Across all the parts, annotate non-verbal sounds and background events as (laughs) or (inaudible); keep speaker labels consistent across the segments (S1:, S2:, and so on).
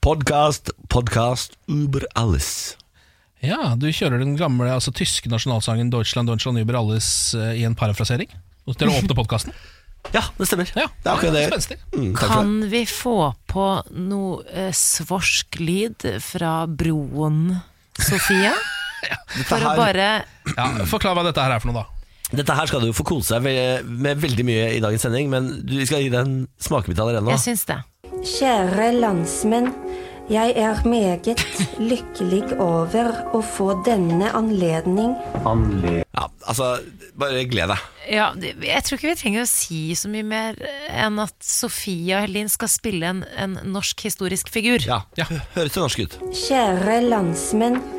S1: Podcast, podcast über alles.
S2: Ja, du kjører den gamle altså, tyske nasjonalsangen 'Deutschland, Deutschland über alles' eh, i en parafrasering. Og Til å åpne
S1: (laughs)
S2: podkasten.
S1: Ja, det stemmer.
S2: Ja,
S1: Det er akkurat det.
S2: Spenstig.
S1: Mm, takk for det.
S3: Kan vi få på noe eh, svorsk-lyd fra broen,
S1: (laughs)
S3: Sofia? For å
S1: her-
S3: bare
S2: Ja, forklar hva dette her er for noe, da.
S1: Dette her skal du få kose deg ve- med veldig mye i dagens sending, men du vi skal gi deg en smakebit allerede nå.
S3: Jeg syns det.
S4: Kjære landsmenn. Jeg er meget lykkelig over å få denne anledning
S1: Ja, altså, bare gled deg.
S3: Ja, det- jeg tror ikke vi trenger å si så mye mer enn at Sofia Helin skal spille en, en norsk historisk figur.
S1: Ja.
S2: Ja.
S1: Høres jo norsk ut.
S4: Kjære landsmenn.
S3: (laughs)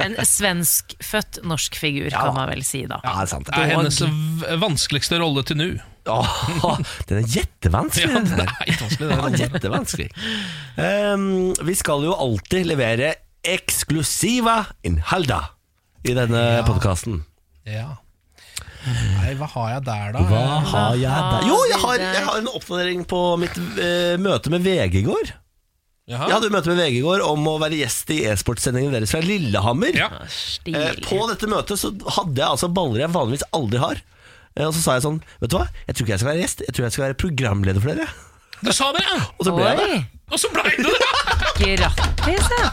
S3: En svenskfødt norsk figur, kan man vel si da.
S1: Ja, det er sant.
S2: Det er hennes v- vanskeligste rolle til
S1: (laughs)
S2: nå.
S1: Åh, den er
S2: Ja,
S1: jettevanskelig.
S2: det
S1: den der.
S2: er litt vanskelig,
S1: Ja,
S2: det.
S1: Jettevanskelig. Ehm, vi skal jo alltid levere eksklusiva innhalda i denne podkasten.
S2: Ja. Nei, hva har jeg der, da?
S1: Hva har jeg der? Jo, jeg har,
S3: vi der?
S1: jeg har en oppdatering på mitt eh, møte med VG i går.
S2: Jaha.
S1: Jeg hadde jo møte med VG i går om å være gjest i e-sportsendingen deres fra Lillehammer.
S2: Ja.
S1: Eh,
S3: Stilig.
S1: på dette møtet så hadde jeg altså baller jeg vanligvis aldri har. Eh, Og så sa jeg sånn Vet du hva, jeg tror ikke jeg skal være gjest, jeg tror jeg skal være programleder for dere.
S2: Du sa det, ja!
S1: Og så ble jeg det.
S3: Oi,
S2: Og så blei du det! (laughs)
S3: grattis, ja.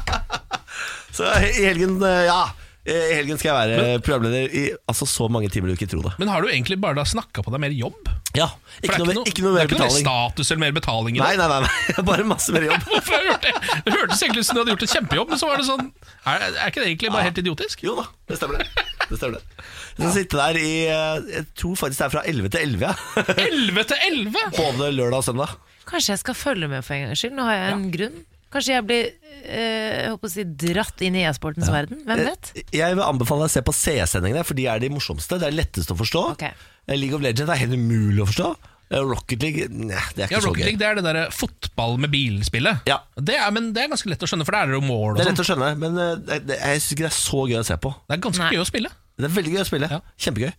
S1: Så i helgen, eh, ja. eh, I helgen skal jeg være programleder i altså, så mange timer du ikke tror det.
S2: Men har du egentlig bare da snakka på deg mer jobb?
S1: Ja,
S2: For det
S1: ikke,
S2: er
S1: noe, mer- ikke noe
S2: det er
S1: mer
S2: ikke noe
S1: betaling.
S2: status eller mer betaling i
S1: Nei,
S2: det. (laughs)
S1: nei, nei, nei. (laughs) Bare masse mer jobb.
S2: Hvorfor har du gjort det? Det hørtes egentlig ut som du hadde gjort en kjempejobb, men så var det sånn Er, er ikke det egentlig bare helt idiotisk?
S1: Jo da, det stemmer det. det, stemmer det. Jeg skal sitte der i eh, Jeg tror faktisk det er fra 11 til 11, ja. (laughs)
S2: 11 til 11!
S1: Både lørdag og søndag.
S3: Kanskje jeg skal følge med for en gangs skyld. Nå har jeg en grunn. Kanskje jeg blir eh, jeg håper å si, dratt inn i e-sportens verden.
S1: Eh,
S3: Hvem vet?
S1: Jeg vil anbefale deg å se på CS-sendingene, for de er de morsomste. Det er lettest å forstå.
S3: Ok.
S1: Eh, League of Legends er helt umulig å forstå. Eh, Rocket League nei, det er ikke
S2: Ja,
S1: så
S2: Rocket
S1: gøy.
S2: League det er det derre fotball med bilspillet.
S1: Ja.
S2: Det er, men det er ganske lett å skjønne, for der er det jo mål og
S1: Det er
S2: sånn.
S1: lett å skjønne, men eh, det, det, jeg syns ikke det er så gøy å se på.
S2: Det er ganske
S3: Nei.
S2: gøy å spille.
S1: Det er veldig gøy å spille.
S2: Ja.
S1: Kjempegøy.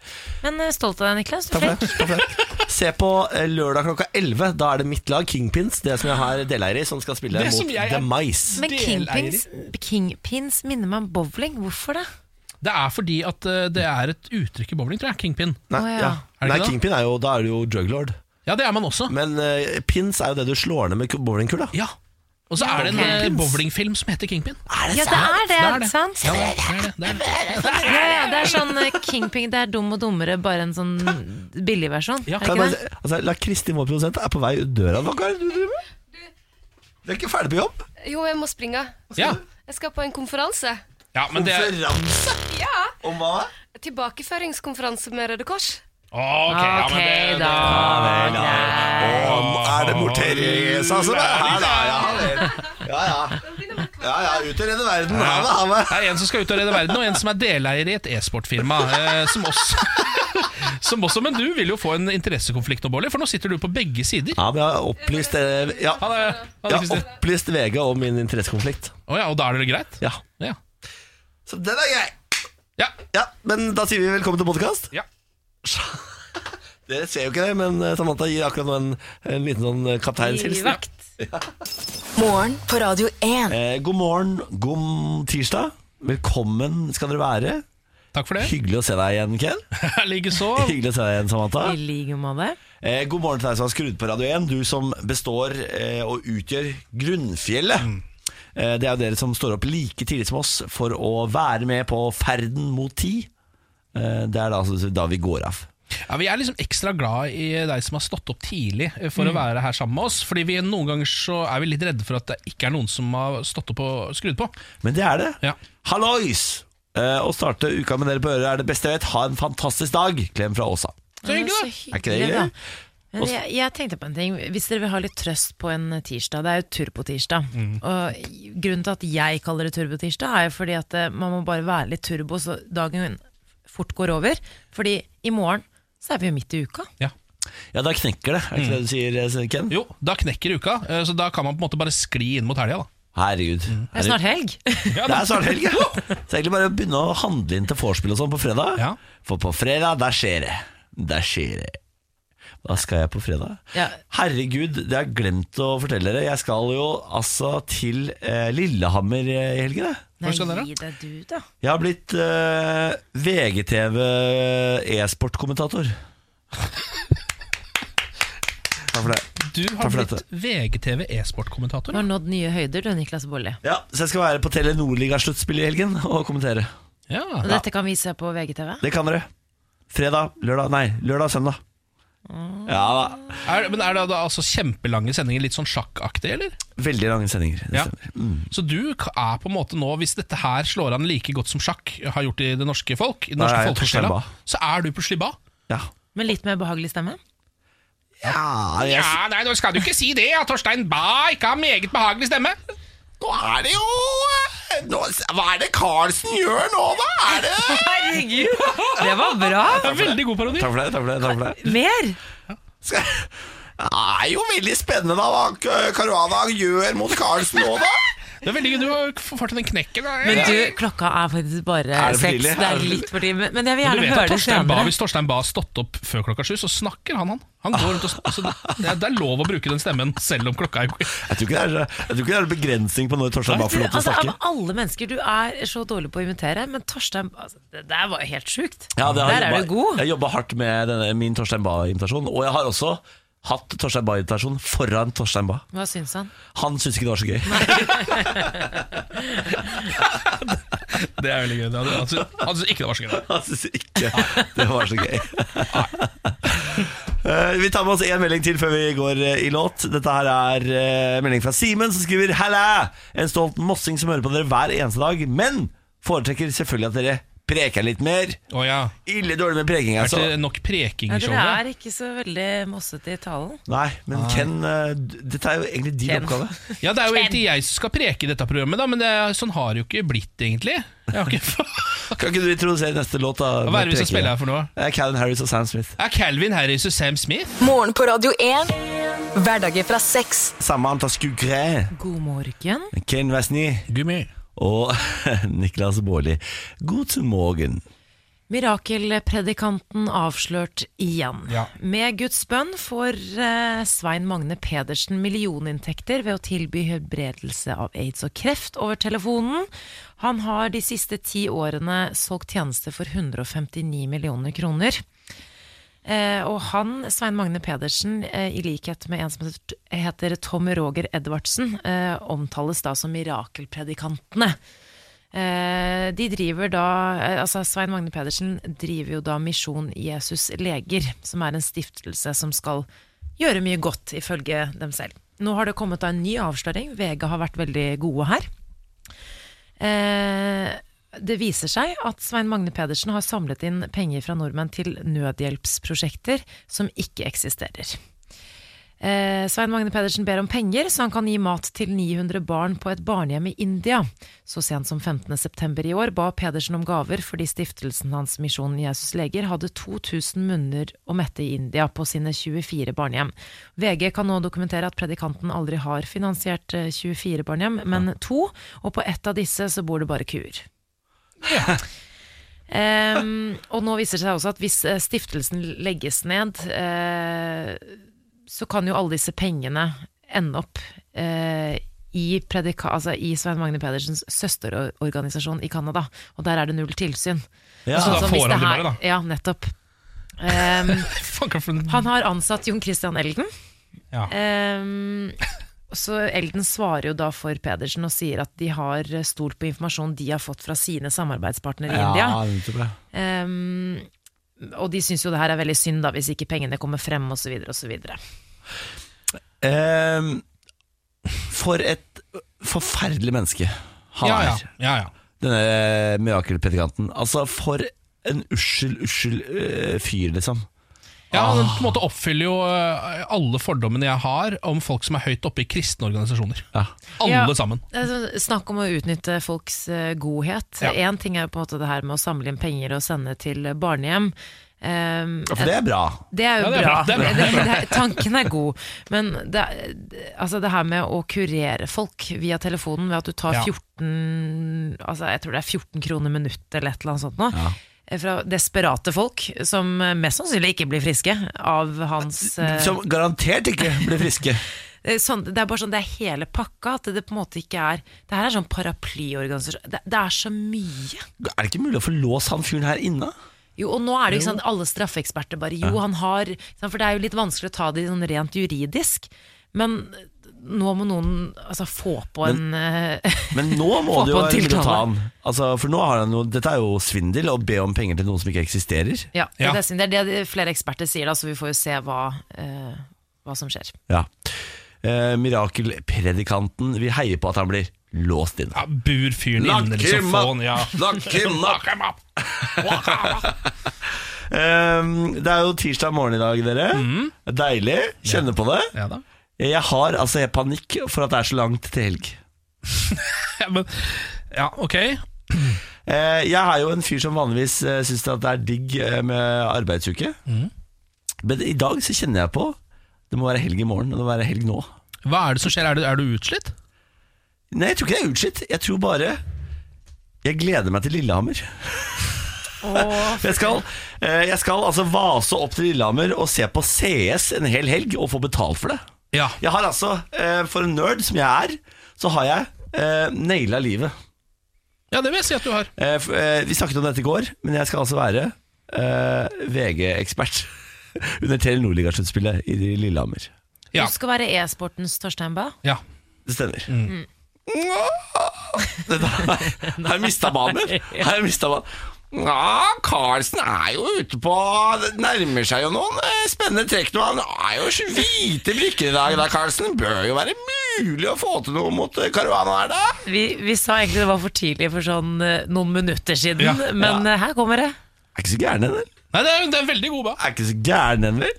S3: Men eh, stolt av deg, Niklas. Du er
S1: Takk
S3: flink.
S1: for det. Takk for det. Se på eh, lørdag klokka 11. Da er det mitt lag, Kingpins, det som jeg har deleier i, som skal spille
S2: Det som
S1: mot
S2: jeg er-
S1: The Mice.
S3: Men
S2: Deleier
S3: kingpins, kingpins minner meg om bowling. Hvorfor det?
S2: Det er fordi at eh, det er et uttrykk i bowling, tror jeg. Kingpin.
S1: Nei,
S3: Å, ja.
S1: ja.
S2: Er det
S1: Nei
S2: ikke det?
S1: Kingpin er jo Da er du jo druglord.
S2: Ja, det er man også.
S1: Men eh, pins er jo det du slår ned med bowlingkula.
S2: Ja. Og så er det en
S3: ok.
S2: eh, bowlingfilm som heter Kingpin.
S1: Er
S3: Ja, det er det,
S2: det.
S3: sant?
S2: Ja, det er det, det er det.
S3: Ja, ja, det er sånn eh, kingpin, det er dum og dummere, bare en sånn billig versjon.
S2: Ja.
S3: Er det
S1: Kan jeg
S3: ikke
S1: bare,
S3: det?
S1: si- altså, la Kristin, vår produsent, er på vei ut døra. Hva er det du driver med? Du er ikke ferdig på jobb?
S5: Jo, jeg må springe.
S2: Ja.
S5: Jeg skal på en konferanse.
S2: ja, men det er
S1: Konferanse
S5: Ja!
S1: om hva?
S5: Tilbakeføringskonferanse med Røde Kors.
S2: Ok, ja, men det,
S3: Ok,
S2: det,
S3: da.
S1: Om, er det mor Teresa som er her, da? Ja vel. Ja ja. ja, ja ut i redde verden. Ha det, ha det.
S2: Det er en som skal ut og redde verden, og en som er deleier i et e-sportfirma. Eh, som også, (laughs) som også, men du vil jo få en interessekonflikt nå, Bårdli, for nå sitter du på begge sider.
S1: Ja, men jeg har opplyst, eh, ja,
S2: Ha det, ha
S1: jeg
S2: det
S1: har
S2: Kristin.
S1: opplyst VG om min interessekonflikt.
S2: Å ja, og da er det greit?
S1: Ja.
S2: Ja.
S1: Så den er grei.
S2: ja.
S1: Ja, men da sier vi velkommen til podkast.
S2: ja.
S1: Dere ser jo ikke det, men eh, Samantha gir akkurat nå en, en liten sånn eh, kapteinshilsen.
S3: Livvakt.
S6: Morgen på Radio 1.
S1: Eh, god morgen, god tirsdag. Velkommen skal dere være.
S2: Takk for det.
S1: Hyggelig å se deg igjen, Ken.
S2: (laughs) Likeså.
S1: Hyggelig å se deg igjen, Samantha.
S3: I like måte.
S1: Eh, god morgen til deg som har skrudd på Radio 1. Du som består eh, og utgjør grunnfjellet. Eh, det er jo dere som står opp like tidlig som oss for å være med på ferden mot ti. Eh, det er da, altså da vi går av.
S2: Ja, vi er liksom ekstra glad i deg som har stått opp tidlig eh, for å være her sammen med oss. Fordi vi noen ganger så er vi litt redde for at det ikke er noen som har stått opp og skrudd på.
S1: Men det er det.
S2: Ja.
S1: Hallois! Eh, å starte uka med dere på øret er det beste jeg vet. Ha en fantastisk dag! Klem fra Åsa.
S2: Så
S3: Men det
S2: hyggelig,
S3: er
S2: da.
S3: så
S1: Er ikke det
S3: hyggelig,
S1: hyggelig?
S3: da. Men jeg, jeg tenkte på en ting Hvis dere vil ha litt trøst på en tirsdag Det er jo turbo-tirsdag
S2: Mm.
S3: Og grunnen til at jeg kaller det turbo-tirsdag Er jo fordi at eh, man må bare være litt turbo Så dagen fort går over Fordi i morgen så er vi jo midt i uka
S2: Ja.
S1: Ja, da knekker det. Er ikke det du sier, eh, Ken?
S2: Jo, da knekker uka, eh, så da kan man på en måte bare skli inn mot helga, da.
S1: Herregud.
S2: Mm.
S3: Det er snart
S2: (laughs)
S3: helg
S1: Det er snart helg, ja. Så egentlig bare å begynne å handle inn til vorspiel og sånn på fredag.
S2: Ja.
S1: For på fredag, der skjer det. Der skjer det. Hva skal jeg på fredag?
S3: Ja.
S1: Herregud, det har jeg glemt å fortelle dere. Jeg skal jo altså til eh, Lillehammer eh, i helgen, jeg.
S3: Nei,
S2: skal dere?
S3: gi deg du, da.
S1: Jeg har blitt eh, VGTV eh, e-sportkommentator. Takk for det.
S2: (laughs) Du
S1: Takk
S2: har
S1: for
S2: blitt VGTV
S3: Du
S2: e-sportkommentator.
S3: har nådd nye høyder, du, Niklas Baarli.
S1: Ja, så jeg skal være på Telenor Liga-sluttspill i helgen og kommentere.
S2: Ja.
S3: Og dette kan vi se på VGTV.
S1: Det kan dere. Fredag, lørdag, nei, lørdag, søndag. Ja da.
S2: Er, men er det da altså kjempelange sendinger, litt sånn sjakkaktig, eller?
S1: Veldig lange sendinger. Det
S2: Ja.
S1: stemmer.
S2: Så du k- er på en måte nå, hvis dette her slår an like godt som sjakk har gjort i det norske folk, i den
S1: Da
S2: norske
S1: er jeg på
S2: folkesjela,
S1: slabba.
S2: så er du på slibba?
S1: Ja.
S3: Med litt mer behagelig stemme.
S1: Ja, jeg,
S2: Ja, nei, nå skal du ikke si det, at Torstein Bae ikke har meget behagelig stemme.
S1: Nå er det jo Hva er det Carlsen gjør nå, da? Er det
S3: Herregud, det var bra!
S2: Det (laughs) er veldig god parodi.
S1: Takk for det. takk for det, takk for det.
S3: Mer!
S1: Skal... Det er jo veldig spennende da hva K- Caruana gjør mot Carlsen nå, da.
S2: Det er veldig gøy, Du har f- fått den knekken. da.
S3: Men du, klokka er faktisk bare
S1: Er det for
S3: seks.
S1: tidlig?
S3: Det
S1: Er det
S3: er
S1: for
S3: litt for tidlig. Men- Men jeg vil
S2: Men du
S3: gjerne
S2: vet at
S3: høre det
S2: Torstein Bae,
S3: senere.
S2: Hvis Torstein Bae har stått opp før klokka sju, så snakker han, han. Han går rundt og sn- så det, er- det er lov å bruke den stemmen selv om klokka er
S1: Jeg tror ikke det er, jeg tror ikke det er begrensning på når Torstein Bae får lov til å
S3: Altså, av
S1: snakke.
S3: alle mennesker, du er så dårlig på å imitere, men Torstein altså, Det der var helt sjukt.
S1: Ja, det har
S3: der
S1: jeg
S3: er
S1: jobbet-
S3: du god.
S1: Jeg jobba hardt med denne, min Torstein Bae-invitasjon. Og jeg har også hatt Torstein Bae-invitasjon foran Torstein Bae.
S3: Hva syns han?
S1: Han syntes ikke det var så gøy.
S2: Det er veldig gøy. Det hadde- altså, altså, ikke det var så gøy.
S1: Han syntes ikke det var så gøy. Eh, Vi tar med oss én melding til før vi går eh, i låt. Dette her er eh, melding fra Simen, som skriver Halla! En stolt mossing som hører på dere hver eneste dag, men foretrekker selvfølgelig at dere preker litt mer.
S2: Å ja.
S1: Ille dårlig med preking,
S2: Er
S1: altså.
S2: det nok preking i
S3: Ja, dere
S2: showet?
S3: er ikke så veldig mossete i talen.
S1: Nei, men Ken, eh, d- dette er jo egentlig din
S3: Ken.
S1: oppgave.
S2: Ja, det er jo egentlig jeg som skal preke i dette programmet, da, men det, er- sånn har det jo ikke blitt, egentlig. Jeg har ikke
S1: Kan ikke du introdusere neste låt, da?
S2: Hva er det vi skal spille her for noe?
S1: Det er Calvin Harris og Sam Smith.
S2: (laughs) Er Calvin Harris og Sam Smith?
S6: Morgen på Radio 1. Hverdager fra seks.
S1: Samme antall skugre.
S3: God morgen.
S1: Ken Westny
S2: Gummi.
S1: og (laughs) Niklas Baarli. God morgen.
S3: Mirakelpredikanten avslørt igjen.
S2: Ja.
S3: Med Guds bønn får eh, Svein Magne Pedersen millioninntekter ved å tilby helbredelse av aids og kreft over telefonen. Han har de siste ti årene solgt tjenester for 159 millioner kroner. Eh, og han, Svein Magne Pedersen, eh, i likhet med en som heter, heter Tom Roger Edvardsen, eh, omtales da som mirakelpredikantene. Eh, de driver da eh, altså Svein Magne Pedersen driver jo da Misjon Jesus Leger, som er en stiftelse som skal gjøre mye godt, ifølge dem selv. Nå har det kommet da en ny avsløring. VG har vært veldig gode her. Eh, det viser seg at Svein Magne Pedersen har samlet inn penger fra nordmenn til nødhjelpsprosjekter som ikke eksisterer. Eh, Svein Magne Pedersen ber om penger, så han kan gi mat til 900 barn på et barnehjem i India. Så sent som 15.9 i år ba Pedersen om gaver fordi stiftelsen hans Misjon Jesus Leger hadde 2000 munner å mette i India på sine 24 barnehjem. VG kan nå dokumentere at predikanten aldri har finansiert eh, 24 barnehjem, men to, og på ett av disse så bor det bare kuer. Em, og nå viser det seg også at hvis eh, stiftelsen legges ned, eh, så kan jo alle disse pengene ende opp eh, i, predika, altså i Svein Magne Pedersens søsterorganisasjon i Canada. Og der er det null tilsyn. Sånn
S1: Ja,
S2: Så da
S3: som hvis
S2: får
S3: det
S2: han de
S3: her-
S2: bare, da.
S3: Ja, nettopp. Em,
S2: Fuck, hva for en-
S3: han har ansatt Jon Christian Elden.
S2: Ja.
S3: Ehm, så Elden svarer jo da for Pedersen og sier at de har stolt på informasjon de har fått fra sine samarbeidspartnere i India.
S1: nettopp det.
S3: Ehm, og de syns jo det her er veldig synd, da, hvis ikke pengene kommer frem, osv. osv.
S1: Ehm, for et forferdelig menneske han
S2: ja, ja,
S1: er,
S2: ja, ja.
S1: denne mirakelpredikanten. Altså, for en ussel, ussel øh, fyr, liksom.
S2: Ja, Han på en måte oppfyller jo eh, alle fordommene jeg har om folk som er høyt oppe i kristne organisasjoner.
S1: Ja.
S2: Alle
S3: Ja.
S2: sammen.
S3: Altså, snakk om å utnytte folks eh, godhet.
S2: Ja.
S3: Én ting er jo på en måte det her med å samle inn penger og sende til barnehjem. Ehm,
S1: For det er bra.
S3: Det er jo
S2: Ja, det er
S3: bra.
S2: bra, det er bra,
S3: Det- det er- (laughs) tanken er god. Men det, er- altså det her med å kurere folk via telefonen ved at du tar
S2: Ja.
S3: 14 altså Jeg tror det er 14 kroner minuttet eller et eller annet sånt nå. eh, fra desperate folk, som eh, mest sannsynlig ikke blir friske av hans eh,
S1: Som garantert ikke blir friske.
S3: eh, sånn, Det er bare sånn, det er hele pakka, at det på en måte ikke er Det her er sånn paraplyorganisasjon det, det er så mye.
S1: Er det ikke mulig å få låst han fyren her inne?
S3: Jo, og nå er det jo ikke sant, alle straffeeksperter bare Jo, han har sant, For det er jo litt vanskelig å ta det sånn rent juridisk, men nå må noen altså, få på en eh, (laughs)
S1: Men nå må
S3: Få
S1: du
S3: på
S1: jo
S3: en
S1: egentlig
S3: tiltale.
S1: ta han. Altså, for nå har han jo, dette er jo svindel, å be om penger til noen som ikke eksisterer.
S3: Ja,
S2: Ja.
S3: Det, er synd. det er det flere eksperter sier, da, så vi får jo se hva, eh, hva som skjer.
S1: Ja. Eh, mirakelpredikanten, vi heier på at han blir låst inne.
S2: Ja, Bur fyren inne, liksom. Få han, ja. Lock him up.
S1: Ehm, det er jo tirsdag morgen i dag, dere. Deilig. Kjenne på det.
S2: Mhm. Ja da.
S1: Jeg har altså jeg panikk for at det er så langt til helg.
S2: Ja, men, ja, ok.
S1: Eh, jeg er jo en fyr som vanligvis eh, syns at det er digg eh, med arbeidsuke.
S2: Mhm.
S1: Men i dag så kjenner jeg på det må være helg i morgen, og det må være helg nå.
S2: Hva er det som skjer? Er du, er du utslitt?
S1: Nei, jeg tror ikke det er utslitt. Jeg tror bare jeg gleder meg til Lillehammer. (laughs) Jeg skal, eh, jeg skal altså vase opp til Lillehammer og se på CS en hel helg og få betalt for det.
S2: Ja.
S1: Jeg har altså, eh, For en nerd som jeg er, så har jeg eh, naila livet.
S2: ja, det vil jeg si at du har.
S1: Eh, f- eh, vi snakket om dette i går, men jeg skal altså være eh, VG-ekspert (laughs) under Telenor-ligasluttspillet i Lillehammer.
S2: Ja.
S3: Du skal være e-sportens Torstein Bae.
S2: Ja.
S1: Det stemmer. Det der- Har jeg mista banen? Har jeg mistet banen? Ja, Carlsen er jo ute på Det nærmer seg jo noen eh, spennende trekk nå. Han er jo så hvite brikker i dag, da, Carlsen. Bør jo være mulig å få til noe mot eh, Caruana her, da.
S3: Vi, vi sa egentlig det var for tidlig for sånn eh, noen minutter siden,
S2: Ja.
S3: men eh, her kommer det.
S1: Er ikke så gæren, eller?
S2: Nei, det er, det er veldig god, da.
S1: Er ikke så gæren, eller?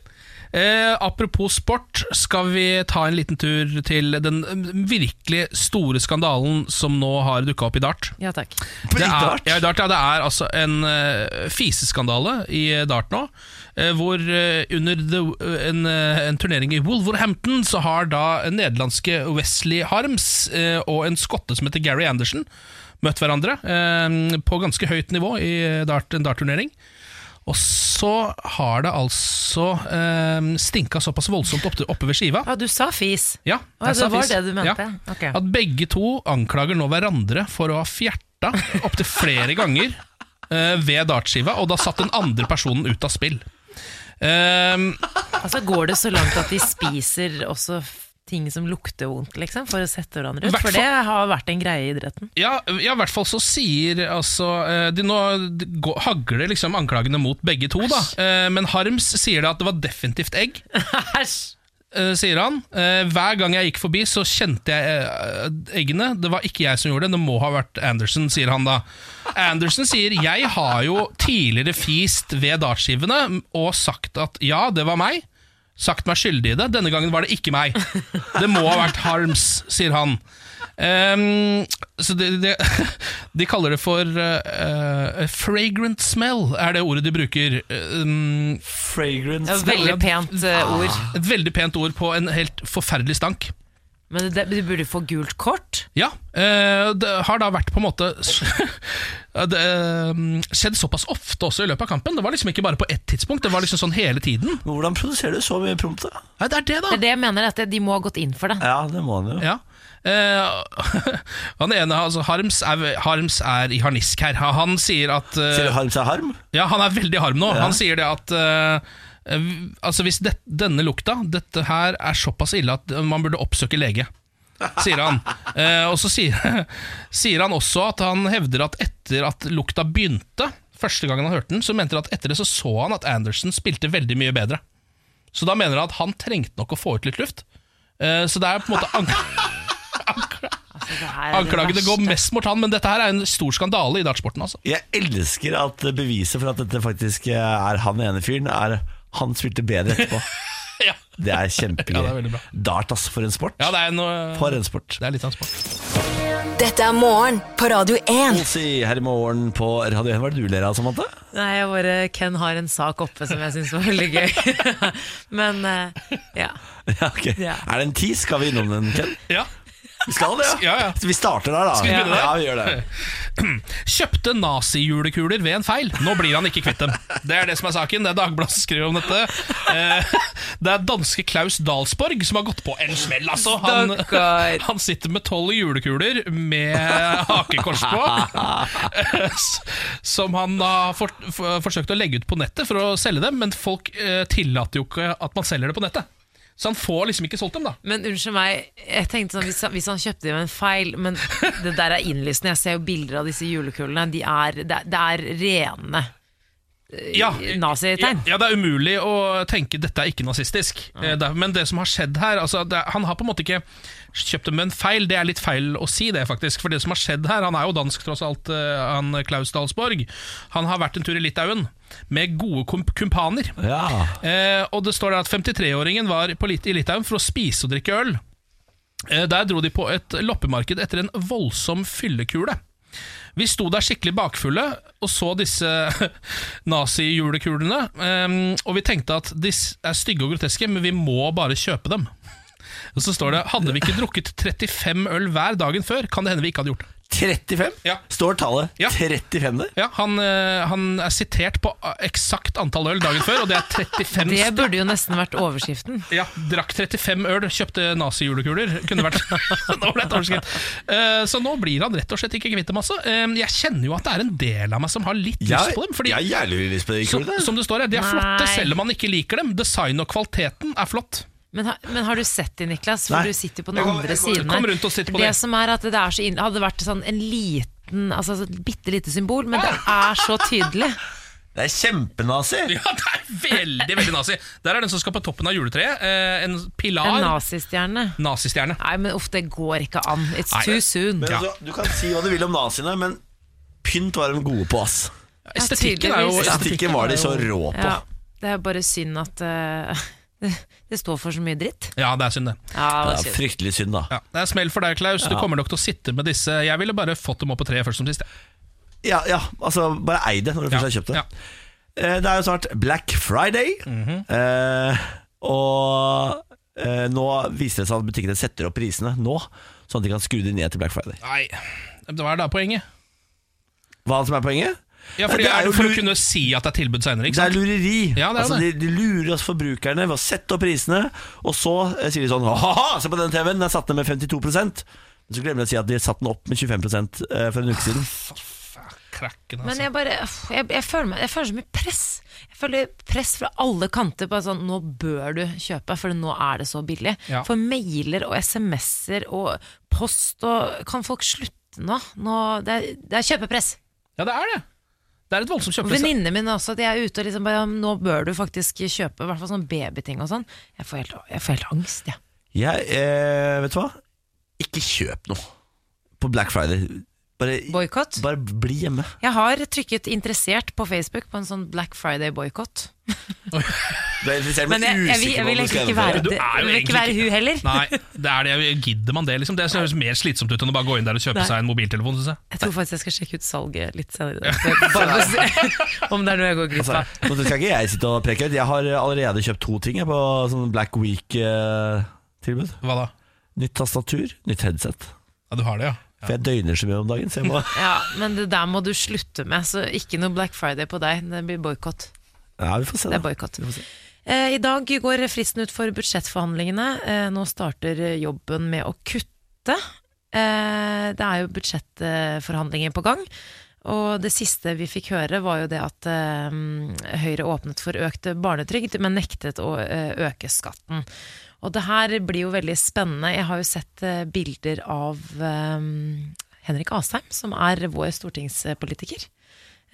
S2: Eh, apropos sport, skal vi ta en liten tur til den eh, virkelig store skandalen som nå har dukka opp i dart.
S3: Ja takk.
S2: Det er,
S1: Dart?
S2: ja, i dart, ja, det er altså en eh, fiseskandale i eh, dart nå. eh, hvor eh, under the, en, eh, en turnering i Wolverhampton så har da nederlandske Wesley Harms eh, og en skotte som heter Gary Anderson møtt hverandre eh, på ganske høyt nivå i eh, dart, en dartturnering. Og så har det altså eh, stinka såpass voldsomt oppe, oppe ved skiva.
S3: Ja, Ah, du sa fis.
S2: Ja,
S3: Å,
S2: jeg
S3: det sånn
S2: sa
S3: var
S2: fis.
S3: det du mente. Ok.
S2: At begge to anklager nå hverandre for å ha fjerta opptil flere ganger eh, ved dartskiva, og da satt den andre personen ut av spill. Ehm,
S3: Altså Går det så langt at de spiser også f- ting som lukter vondt, liksom, for å sette hverandre ut? For det har vært en greie i idretten.
S2: ja, ja, i hvert fall så sier altså eh, de Nå de går- hagler liksom anklagene mot begge to, da. Eh, men Harms sier da at det var definitivt egg.
S3: Æsj!
S2: eh, sier han. Eh, hver gang jeg gikk forbi, så kjente jeg eh, eggene. Det var ikke jeg som gjorde det, det må ha vært Anderson, sier han da. Anderson sier jeg har jo tidligere fist ved dartskivene og sagt at ja, det var meg. Sagt meg skyldig i det. Denne gangen var det ikke meg. Det må ha vært Harms, sier han. Ehm, så de, de, (laughs) de kaller det for eh, eh, fragrant smell, er det ordet de bruker. Ehm,
S1: Fragrance
S3: Det var et veldig pent eh, ord.
S2: et veldig pent ord på en helt forferdelig stank.
S3: Men det, du burde få gult kort.
S2: Ja, eh, det har da vært på en måte (laughs) det, eh, skjedd såpass ofte også i løpet av kampen. Det var liksom ikke bare på ett tidspunkt, det var liksom sånn hele tiden.
S1: Hvordan produserer du så mye prompt, da?
S2: Nei, det er det, da!
S3: Det er det jeg mener, at de må ha gått inn for det.
S1: Ja, det må han jo.
S2: Ja. Eh, (laughs) han ene, altså Harms er, Harms er i harnisk her. Han sier at eh,
S1: Ser du harm seg harm?
S2: Ja, han er veldig harm nå. Han sier det at eh, v- Altså Hvis det, denne lukta Dette her er såpass ille at man burde oppsøke lege. Sier han. Eh, og så sier, (laughs) sier han også at han hevder at etter at lukta begynte, første gangen han hørte den, så mente han at etter det så så han at Anderson spilte veldig mye bedre. Så da mener han at han trengte nok å få ut litt luft. Eh, så det er på en måte ank
S3: Det her er det
S2: anklagene går
S3: verste.
S2: mest mot han, men dette her er en stor skandale i dartsporten. Altså.
S1: Jeg elsker at beviset for at dette faktisk eh, er han ene fyren, er han spilte bedre etterpå.
S2: Ja.
S1: Det er kjempegøy.
S2: Ja, det er veldig bra.
S1: Dart, altså, for en sport.
S2: Ja, det er noe-
S1: For en sport.
S2: det er litt av en sport.
S6: Dette er morgen på Radio 1.
S1: Olsi her i morgen på Radio 1. Hva er det du ler av, Samantha? (laughs)
S3: Nei, jeg bare, Ken har en sak oppe som jeg syns var veldig gøy. (laughs) Men eh, ja.
S1: Ja, ok.
S3: Ja.
S1: Er det en ti? Skal vi innom den, Ken?
S2: Ja.
S1: Vi skal det,
S2: Ja, ja.
S1: Så Vi starter der, da.
S2: vi begynne der?
S1: ja, vi gjør det.
S2: Kjøpte nazijulekuler ved en feil. Nå blir han ikke kvitt dem. Det er det som er saken. Det er Dagbladet som skriver om dette. Eh, Det er danske Klaus Dalsborg som har gått på en smell, altså. Han,
S3: Stakkar.
S2: han sitter med tolv julekuler med hakekors på, eh, s- som han har for, for, forsøkt å legge ut på nettet for å selge dem, men folk eh, tillater jo ikke at man selger det på nettet. Så han får liksom ikke solgt dem, da.
S3: Men unnskyld meg, jeg tenkte sånn, hvis han, hvis han kjøpte det med en feil Men det der er innlysende. Jeg ser jo bilder av disse julekulene. De er, det, er- det er rene
S2: ja,
S3: nazitegn.
S2: Ja, ja, det er umulig å tenke dette er ikke nazistisk. Eh, det er- Men det som har skjedd her altså, det, er- Han har på en måte ikke kjøpt dem med en feil. Det er litt feil å si det, faktisk. For det som har skjedd her Han er jo dansk, tross alt, eh, han Klaus Dalsborg. Han har vært en tur i Litauen med gode kump kumpaner.
S1: Ja.
S2: Eh, og det står der at 53-åringen var på lit i Litauen for å spise og drikke øl. Eh, der dro de på et loppemarked etter en voldsom fyllekule. Vi sto der skikkelig bakfulle og så disse (laughs) nazi-julekulene, eh, og vi tenkte at disse er stygge og groteske, men vi må bare kjøpe dem. (laughs) Og så står det hadde vi ikke drukket 35 øl hver dagen før, kan det hende vi ikke hadde gjort det.
S1: 35?
S2: Ja.
S1: Står tallet
S2: Ja.
S1: 35 der?
S2: Ja, han, eh, han er sitert på eh, eksakt antall øl dagen før, og det er 35
S3: Det
S2: stykker.
S3: burde jo nesten vært overskriften.
S2: Ja, drakk 35 øl, kjøpte nazijulekuler. Kunne vært (laughs) Nå ble det overskritt. Eh, så nå blir han rett og slett ikke kvitt dem, altså. Eh, jeg kjenner jo at det er en del av meg som har litt lyst på dem. Fordi,
S1: jeg har jævlig lyst på de
S2: som,
S1: kulene.
S2: som det står her, de er flotte
S3: Nei.
S2: selv om man ikke liker dem. Design og kvaliteten er flott.
S3: Men, har- men har du sett de, Niklas? For
S1: Nei.
S3: du sitter jo på den andre siden
S2: kom
S3: her.
S2: rundt og sitt på
S3: det
S2: det.
S3: som er at det er så inn... hadde vært sånn en liten Altså et bitte lite symbol, men det er så tydelig.
S1: Det er kjempenazi.
S2: Ja, det er veldig, veldig nazi. Der er den som skal på toppen av juletreet. eh, en
S3: En
S2: pilar.
S3: nazistjerne.
S2: Nazistjerne.
S3: Nei, men uff, det går ikke an. It's
S2: Nei,
S3: too
S2: det-
S3: soon.
S1: Men
S2: Ja.
S1: altså, du kan si hva du vil om naziene, men pynt var de gode på, ass.
S2: Estetikken er jo
S3: tydeligvis, ja.
S1: Estetikken var de så rå på.
S3: Ja, det er bare synd at eh, (laughs) det, det står for så mye dritt.
S2: Ja, det er synd, det.
S3: Ja, det
S1: Det
S3: var
S1: er
S3: synd.
S1: fryktelig synd, da.
S2: Ja, det er smell for deg, Klaus. Du kommer nok til å sitte med disse. Jeg ville bare fått dem opp på treet først som sist. jeg.
S1: Ja, ja, altså Bare ei det når du først har kjøpt det.
S2: Ja.
S1: Eh, Det er jo snart Black Friday,
S2: Mhm.
S1: eh, og eh, nå viser det seg at butikkene setter opp prisene nå, sånn at de kan skru de ned til Black Friday.
S2: Nei, hva er da poenget?
S1: Hva som er poenget?
S2: Ja, fordi
S1: Det er
S2: er
S1: jo
S2: det for å
S1: lur-
S2: kunne si at det er tilbud senere, ikke
S1: Det er
S2: sant?
S1: lureri.
S2: Ja, det er
S1: altså, de,
S2: det.
S1: de lurer oss forbrukerne ved å sette opp prisene, og så eh, sier de sånn Ha-ha, se på den TV-en, den er satt ned med 52 Men så glemmer de å si at de satte den opp med 25 eh, for en uke siden.
S2: Krakken,
S3: Men
S2: altså.
S3: jeg bare uff, jeg, jeg, føler meg, jeg føler så mye press. Jeg føler press fra alle kanter på at sånn Nå bør du kjøpe, for nå er det så billig.
S2: Ja.
S3: For mailer og SMS-er og post og Kan folk slutte nå? nå det, er, det er kjøpepress.
S2: Ja, det er det. Det er et voldsomt kjøpepress.
S3: Venninnene mine også, de er ute og liksom bare Nå bør du faktisk kjøpe, i hvert fall sånn babyting og sånn. Jeg får helt, jeg får helt angst, jeg. Ja.
S1: Jeg, eh, vet du hva? Ikke kjøp noe på Black Friday. Bare,
S3: Boikott?
S1: bare bli hjemme.
S3: Jeg har trykket interessert på Facebook på en sånn Black Friday-boikott.
S1: Du er interessert,
S3: Men jeg, jeg, vil- jeg vil egentlig ikke være,
S2: Du er
S3: det-
S2: jo
S3: jeg vil ikke
S2: egentlig
S3: være hun heller.
S2: Nei, det er det. Gidder man det, liksom? Det høres mer slitsomt ut enn å bare gå inn der og kjøpe
S3: Nei.
S2: seg en mobiltelefon, synes jeg.
S3: Jeg tror faktisk jeg skal sjekke ut salget litt senere. i dag, for- Bare for å se (laughs) om det er noe jeg går glipp av.
S1: Nå skal ikke jeg sitte og preke ut. Jeg har allerede kjøpt to ting jeg, på sånn Black Week-tilbud.
S2: Hva da?
S1: Nytt tastatur, nytt headset.
S2: Ja, du har det, ja.
S1: For jeg døgner så mye om dagen, så jeg
S3: (laughs)
S1: må
S3: Ja, men det der må du slutte med, så ikke noe Black Friday på deg. Det blir boikott.
S1: Ja, vi får se.
S3: Det er
S1: Da.
S3: boikott. Eh, I dag går fristen ut for budsjettforhandlingene. Eh, nå starter eh, jobben med å kutte. Eh, det er jo budsjettforhandlinger på gang. Og det siste vi fikk høre, var jo det at eh, Høyre åpnet for økt barnetrygd, men nektet å eh, øke skatten. Og det her blir jo veldig spennende. Jeg har jo sett eh, bilder av eh, Henrik Asheim, som er vår stortingspolitiker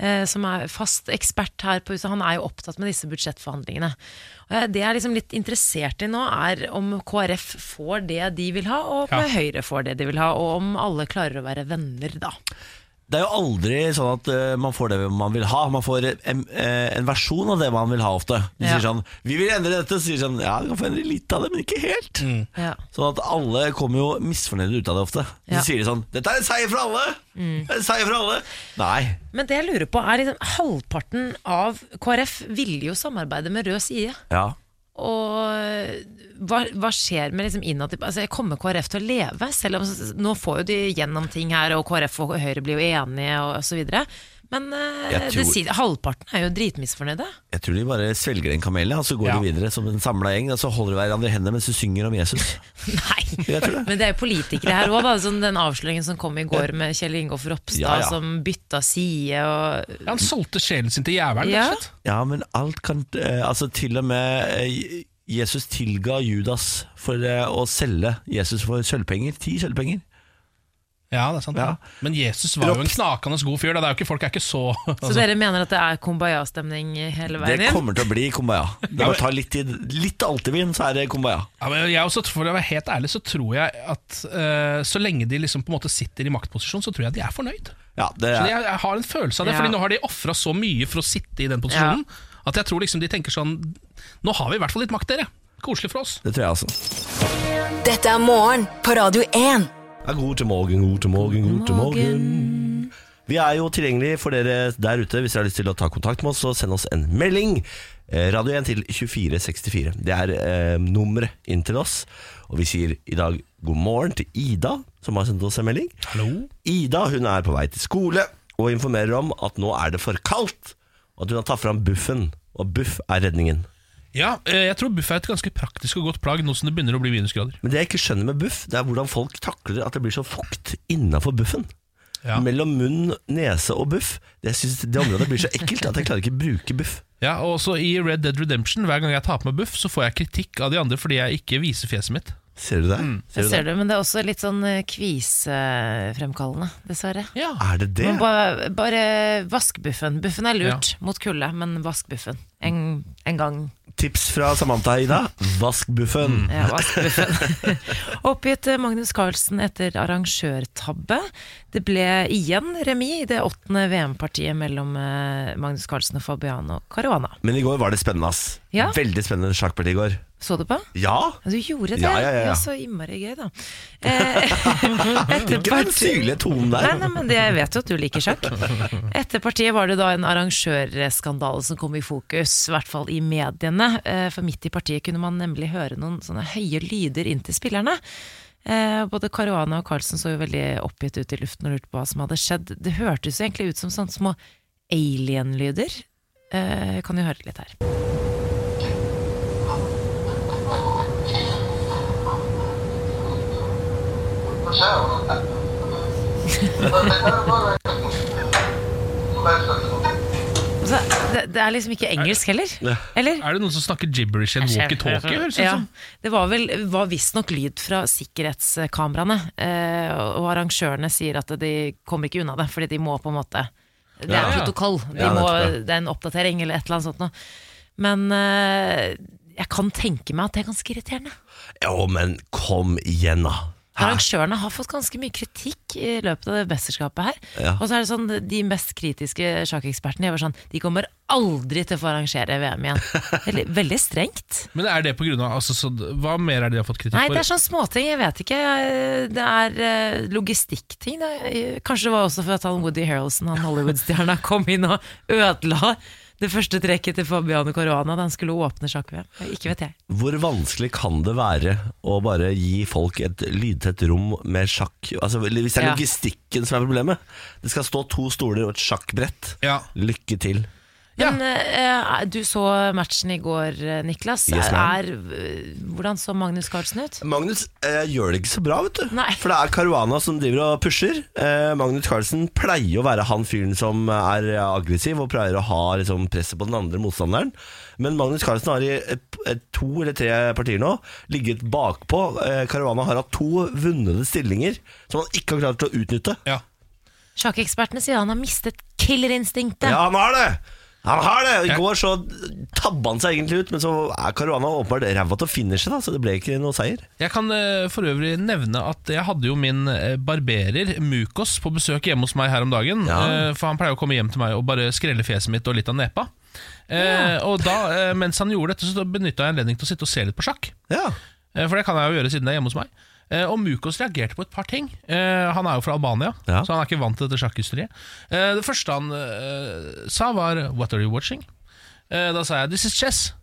S3: eh, som er fast ekspert her på huset, han er jo opptatt med disse budsjettforhandlingene. Eh, Det jeg er liksom litt interessert i nå, er om KrF får det de vil ha, og om
S2: Ja.
S3: Høyre får det de vil ha, og om alle klarer å være venner da.
S1: Det er jo aldri sånn at eh, man får det man vil ha. Man får en, eh, en versjon av det man vil ha ofte. De
S3: Ja.
S1: sier sånn 'Vi vil endre dette', så sier de sånn 'Ja, du kan få endre litt av det, men ikke helt'.
S3: Ja.
S1: Sånn at alle kommer jo misfornøyde ut av det ofte. Så
S3: Ja. Mm.
S1: sier de sånn 'Dette er en seier for alle'. Det er En seier for alle. Nei.
S3: Men det jeg lurer på er liksom, halvparten av KrF ville jo samarbeide med Rød side.
S1: Ja.
S3: Og hva, hva skjer med liksom innad i altså, Kommer KrF til å leve? Selv om Nå får jo de gjennom ting her, og KrF og Høyre blir jo enige og osv. Men eh,
S1: Jeg
S3: det
S1: tror-
S3: sier, halvparten er jo dritmisfornøyde. (laughs)
S1: Jeg tror de bare svelger en kamel, ja, og så går
S2: Ja.
S1: de videre som en samla gjeng. Og så holder de hverandre i hendene mens de synger om Jesus.
S3: Nei!
S1: Jeg tror det.
S3: Men det er jo politikere her òg, sånn, den avsløringen som kom i går med Kjell Ingolf Ropstad
S1: Ja, ja.
S3: som bytta side og
S2: Han solgte sjelen sin til jævelen.
S3: Ja.
S2: rett og slett.
S1: Ja, men alt kan eh, Altså, til og med eh, Jesus tilga Judas for eh, å selge Jesus for sølvpenger. Ti sølvpenger.
S2: Ja, det er sant.
S1: Ja.
S2: Men Jesus var jo en knakende god fyr. Da. Det er jo ikke, folk er ikke så
S3: Så dere mener at det er kumbaya-stemning hele veien
S1: Altså- Det
S3: inn?
S1: kommer til å bli kumbaya. Det bare tar litt tid. Litt altevin, så er det kumbaya.
S2: Ja, men jeg også, for å være helt ærlig så tror jeg at eh, så lenge de liksom på en måte sitter i maktposisjon, så tror jeg de er fornøyd.
S1: Ja, det
S2: Så
S1: er,
S2: jeg, jeg har en følelse av det,
S3: Ja.
S2: Fordi nå har de ofra så mye for å sitte i den posisjonen, at jeg tror liksom de tenker sånn Nå har vi i hvert fall litt makt, dere. Koselig for oss.
S1: det tror jeg altså.
S6: Dette er morgen på Radio 1.
S1: Ja, god til morgen, god til morgen, god til morgen. Vi er jo tilgjengelig for dere der ute. Hvis dere har lyst til å ta kontakt med oss, så send oss en melding. Eh, Radio 1 til 2464. Det er eh, nummeret inn til oss. Og vi sier i dag god morgen til Ida, som har sendt oss en melding.
S2: Hallo?
S1: Ida hun er på vei til skole og informerer om at nå er det for kaldt. Og at hun har tatt fram Buffen, og Buff er redningen.
S2: Ja, eh, jeg tror buff er et ganske praktisk og godt plagg nå som det begynner å bli minusgrader.
S1: Men det jeg ikke skjønner med Buff, det er hvordan folk takler at det blir så fukt innafor Buffen.
S2: Ja.
S1: Mellom munn, nese og buff. Det, jeg synes det området blir så ekkelt at jeg klarer ikke å bruke buff.
S2: Ja, og også I Red Dead Redemption, hver gang jeg tar på meg buff, så får jeg kritikk av de andre fordi jeg ikke viser fjeset mitt.
S1: Ser du det? Ser du
S3: Det
S1: det?
S3: ser du, men det er også litt sånn eh, kvisefremkallende, dessverre.
S2: Ja,
S1: Er det det?
S3: Men bare, bare vask buffen. Buffen er lurt mot kulde, men vask buffen. En, en gang.
S1: Tips fra Samantha Ida. Vask buffen. (laughs)
S3: Ja, vask buffen. (laughs) Oppgitt eh, Magnus Carlsen etter arrangørtabbe. Det ble igjen remis i det åttende VM-partiet mellom eh, Magnus Carlsen og Fabiano Caruana.
S1: Men i går var det spennende, ass.
S3: Ja.
S1: Veldig spennende sjakkparti i går.
S3: Så du på?
S1: Ja!
S3: Ja, Du gjorde det?
S1: Ja, ja, ja, ja.
S3: så innmari gøy,
S1: (laughs)
S3: da. Eh, (laughs) etter
S1: Ikke den
S3: partiet
S1: syrlige tonen
S3: Nei,
S1: der.
S3: nei, men det, Jeg vet jo at du liker sjakk. Etter partiet var det da en arrangørskandale som kom i fokus, i hvert fall i mediene. Eh, For midt i partiet kunne man nemlig høre noen sånne høye lyder inn til spillerne. Eh, Både Caruana og Carlsen så jo veldig oppgitt ut i luften og lurte på hva som hadde skjedd. Det hørtes jo egentlig ut som sånne små alien-lyder. Eh, Kan jo høre litt her. Så det, det er liksom ikke engelsk heller? Eller?
S2: Er det noen som snakker gibberish i en walkietalkie? høres det ut
S3: Ja,
S2: som?
S3: det var vel var visstnok lyd fra sikkerhetskameraene, eh, og- og arrangørene sier at de kommer ikke unna det, fordi de må på en måte Det er
S2: Ja, ja.
S3: protokoll, de
S1: Ja, nettopp,
S3: må, det er en oppdatering eller et eller annet sånt noe. Men eh, jeg kan tenke meg at det er ganske irriterende.
S1: Jo, men kom igjen, da. Hæ?
S3: Arrangørene har fått ganske mye kritikk i løpet av det mesterskapet her.
S1: Ja.
S3: Og så er det sånn, de mest kritiske sjakkekspertene de var sånn De kommer aldri til å få arrangere
S1: (laughs)
S3: VM igjen. Veldig, veldig strengt.
S2: Men er det på grunn av altså, så, Hva mer er det de har fått kritikk
S3: Nei,
S2: for?
S3: det er sånn småting. Jeg vet ikke. Det er eh, logistikkting. da. Eh, Kanskje det var også for at han Woody Harrelson, han Hollywood-stjerna, kom inn og ødela det første trekket til Fabiano Caruana da han skulle åpne sjakk-VM. Ikke vet jeg.
S1: Hvor vanskelig kan det være å bare gi folk et lydtett rom med sjakk? Altså, hvis det er
S3: Ja.
S1: logistikken som er problemet. Det skal stå to stoler og et sjakkbrett.
S2: Ja.
S1: Lykke til.
S2: Ja.
S3: Men eh, du så matchen i går, eh, Niklas.
S1: Yes, ma'am.
S3: er, eh, hvordan så Magnus Carlsen ut?
S1: Magnus eh, gjør det ikke så bra, vet du.
S3: Nei.
S1: For det er Caruana som driver og pusher. Eh, Magnus Carlsen pleier å være han fyren som er aggressiv og pleier å ha liksom, presset på den andre motstanderen. Men Magnus Carlsen har i et, et, to eller tre partier nå ligget bakpå. Eh, Caruana har hatt to vunnede stillinger som han ikke har klart å utnytte.
S3: eh,
S2: Ja.
S3: Sjakkekspertene sier han har mistet killerinstinktet.
S1: Ja, han har det! Han har det! I
S2: Ja.
S1: går så tabba han seg egentlig ut, men så er Caruana åpenbart ræva til å finishe, da, så det ble ikke noe seier.
S2: Jeg kan eh, for øvrig nevne at jeg hadde jo min eh, barberer Mukos på besøk hjemme hos meg her om dagen.
S1: Ja.
S2: eh, For han pleier å komme hjem til meg og bare skrelle fjeset mitt og litt av nepa. Eh, Og da, eh, mens han gjorde dette, så benytta jeg anledningen til å sitte og se litt på sjakk.
S1: Ja.
S2: Eh, For det kan jeg jo gjøre siden det er hjemme hos meg. Eh, Og Mukos reagerte på et par ting. Eh, Han er jo fra Albania,
S1: Ja.
S2: så han er ikke vant til dette sjakkhysteriet. Eh, Det første han eh, sa, var 'What are you watching?' Eh, Da sa jeg 'This is chess'.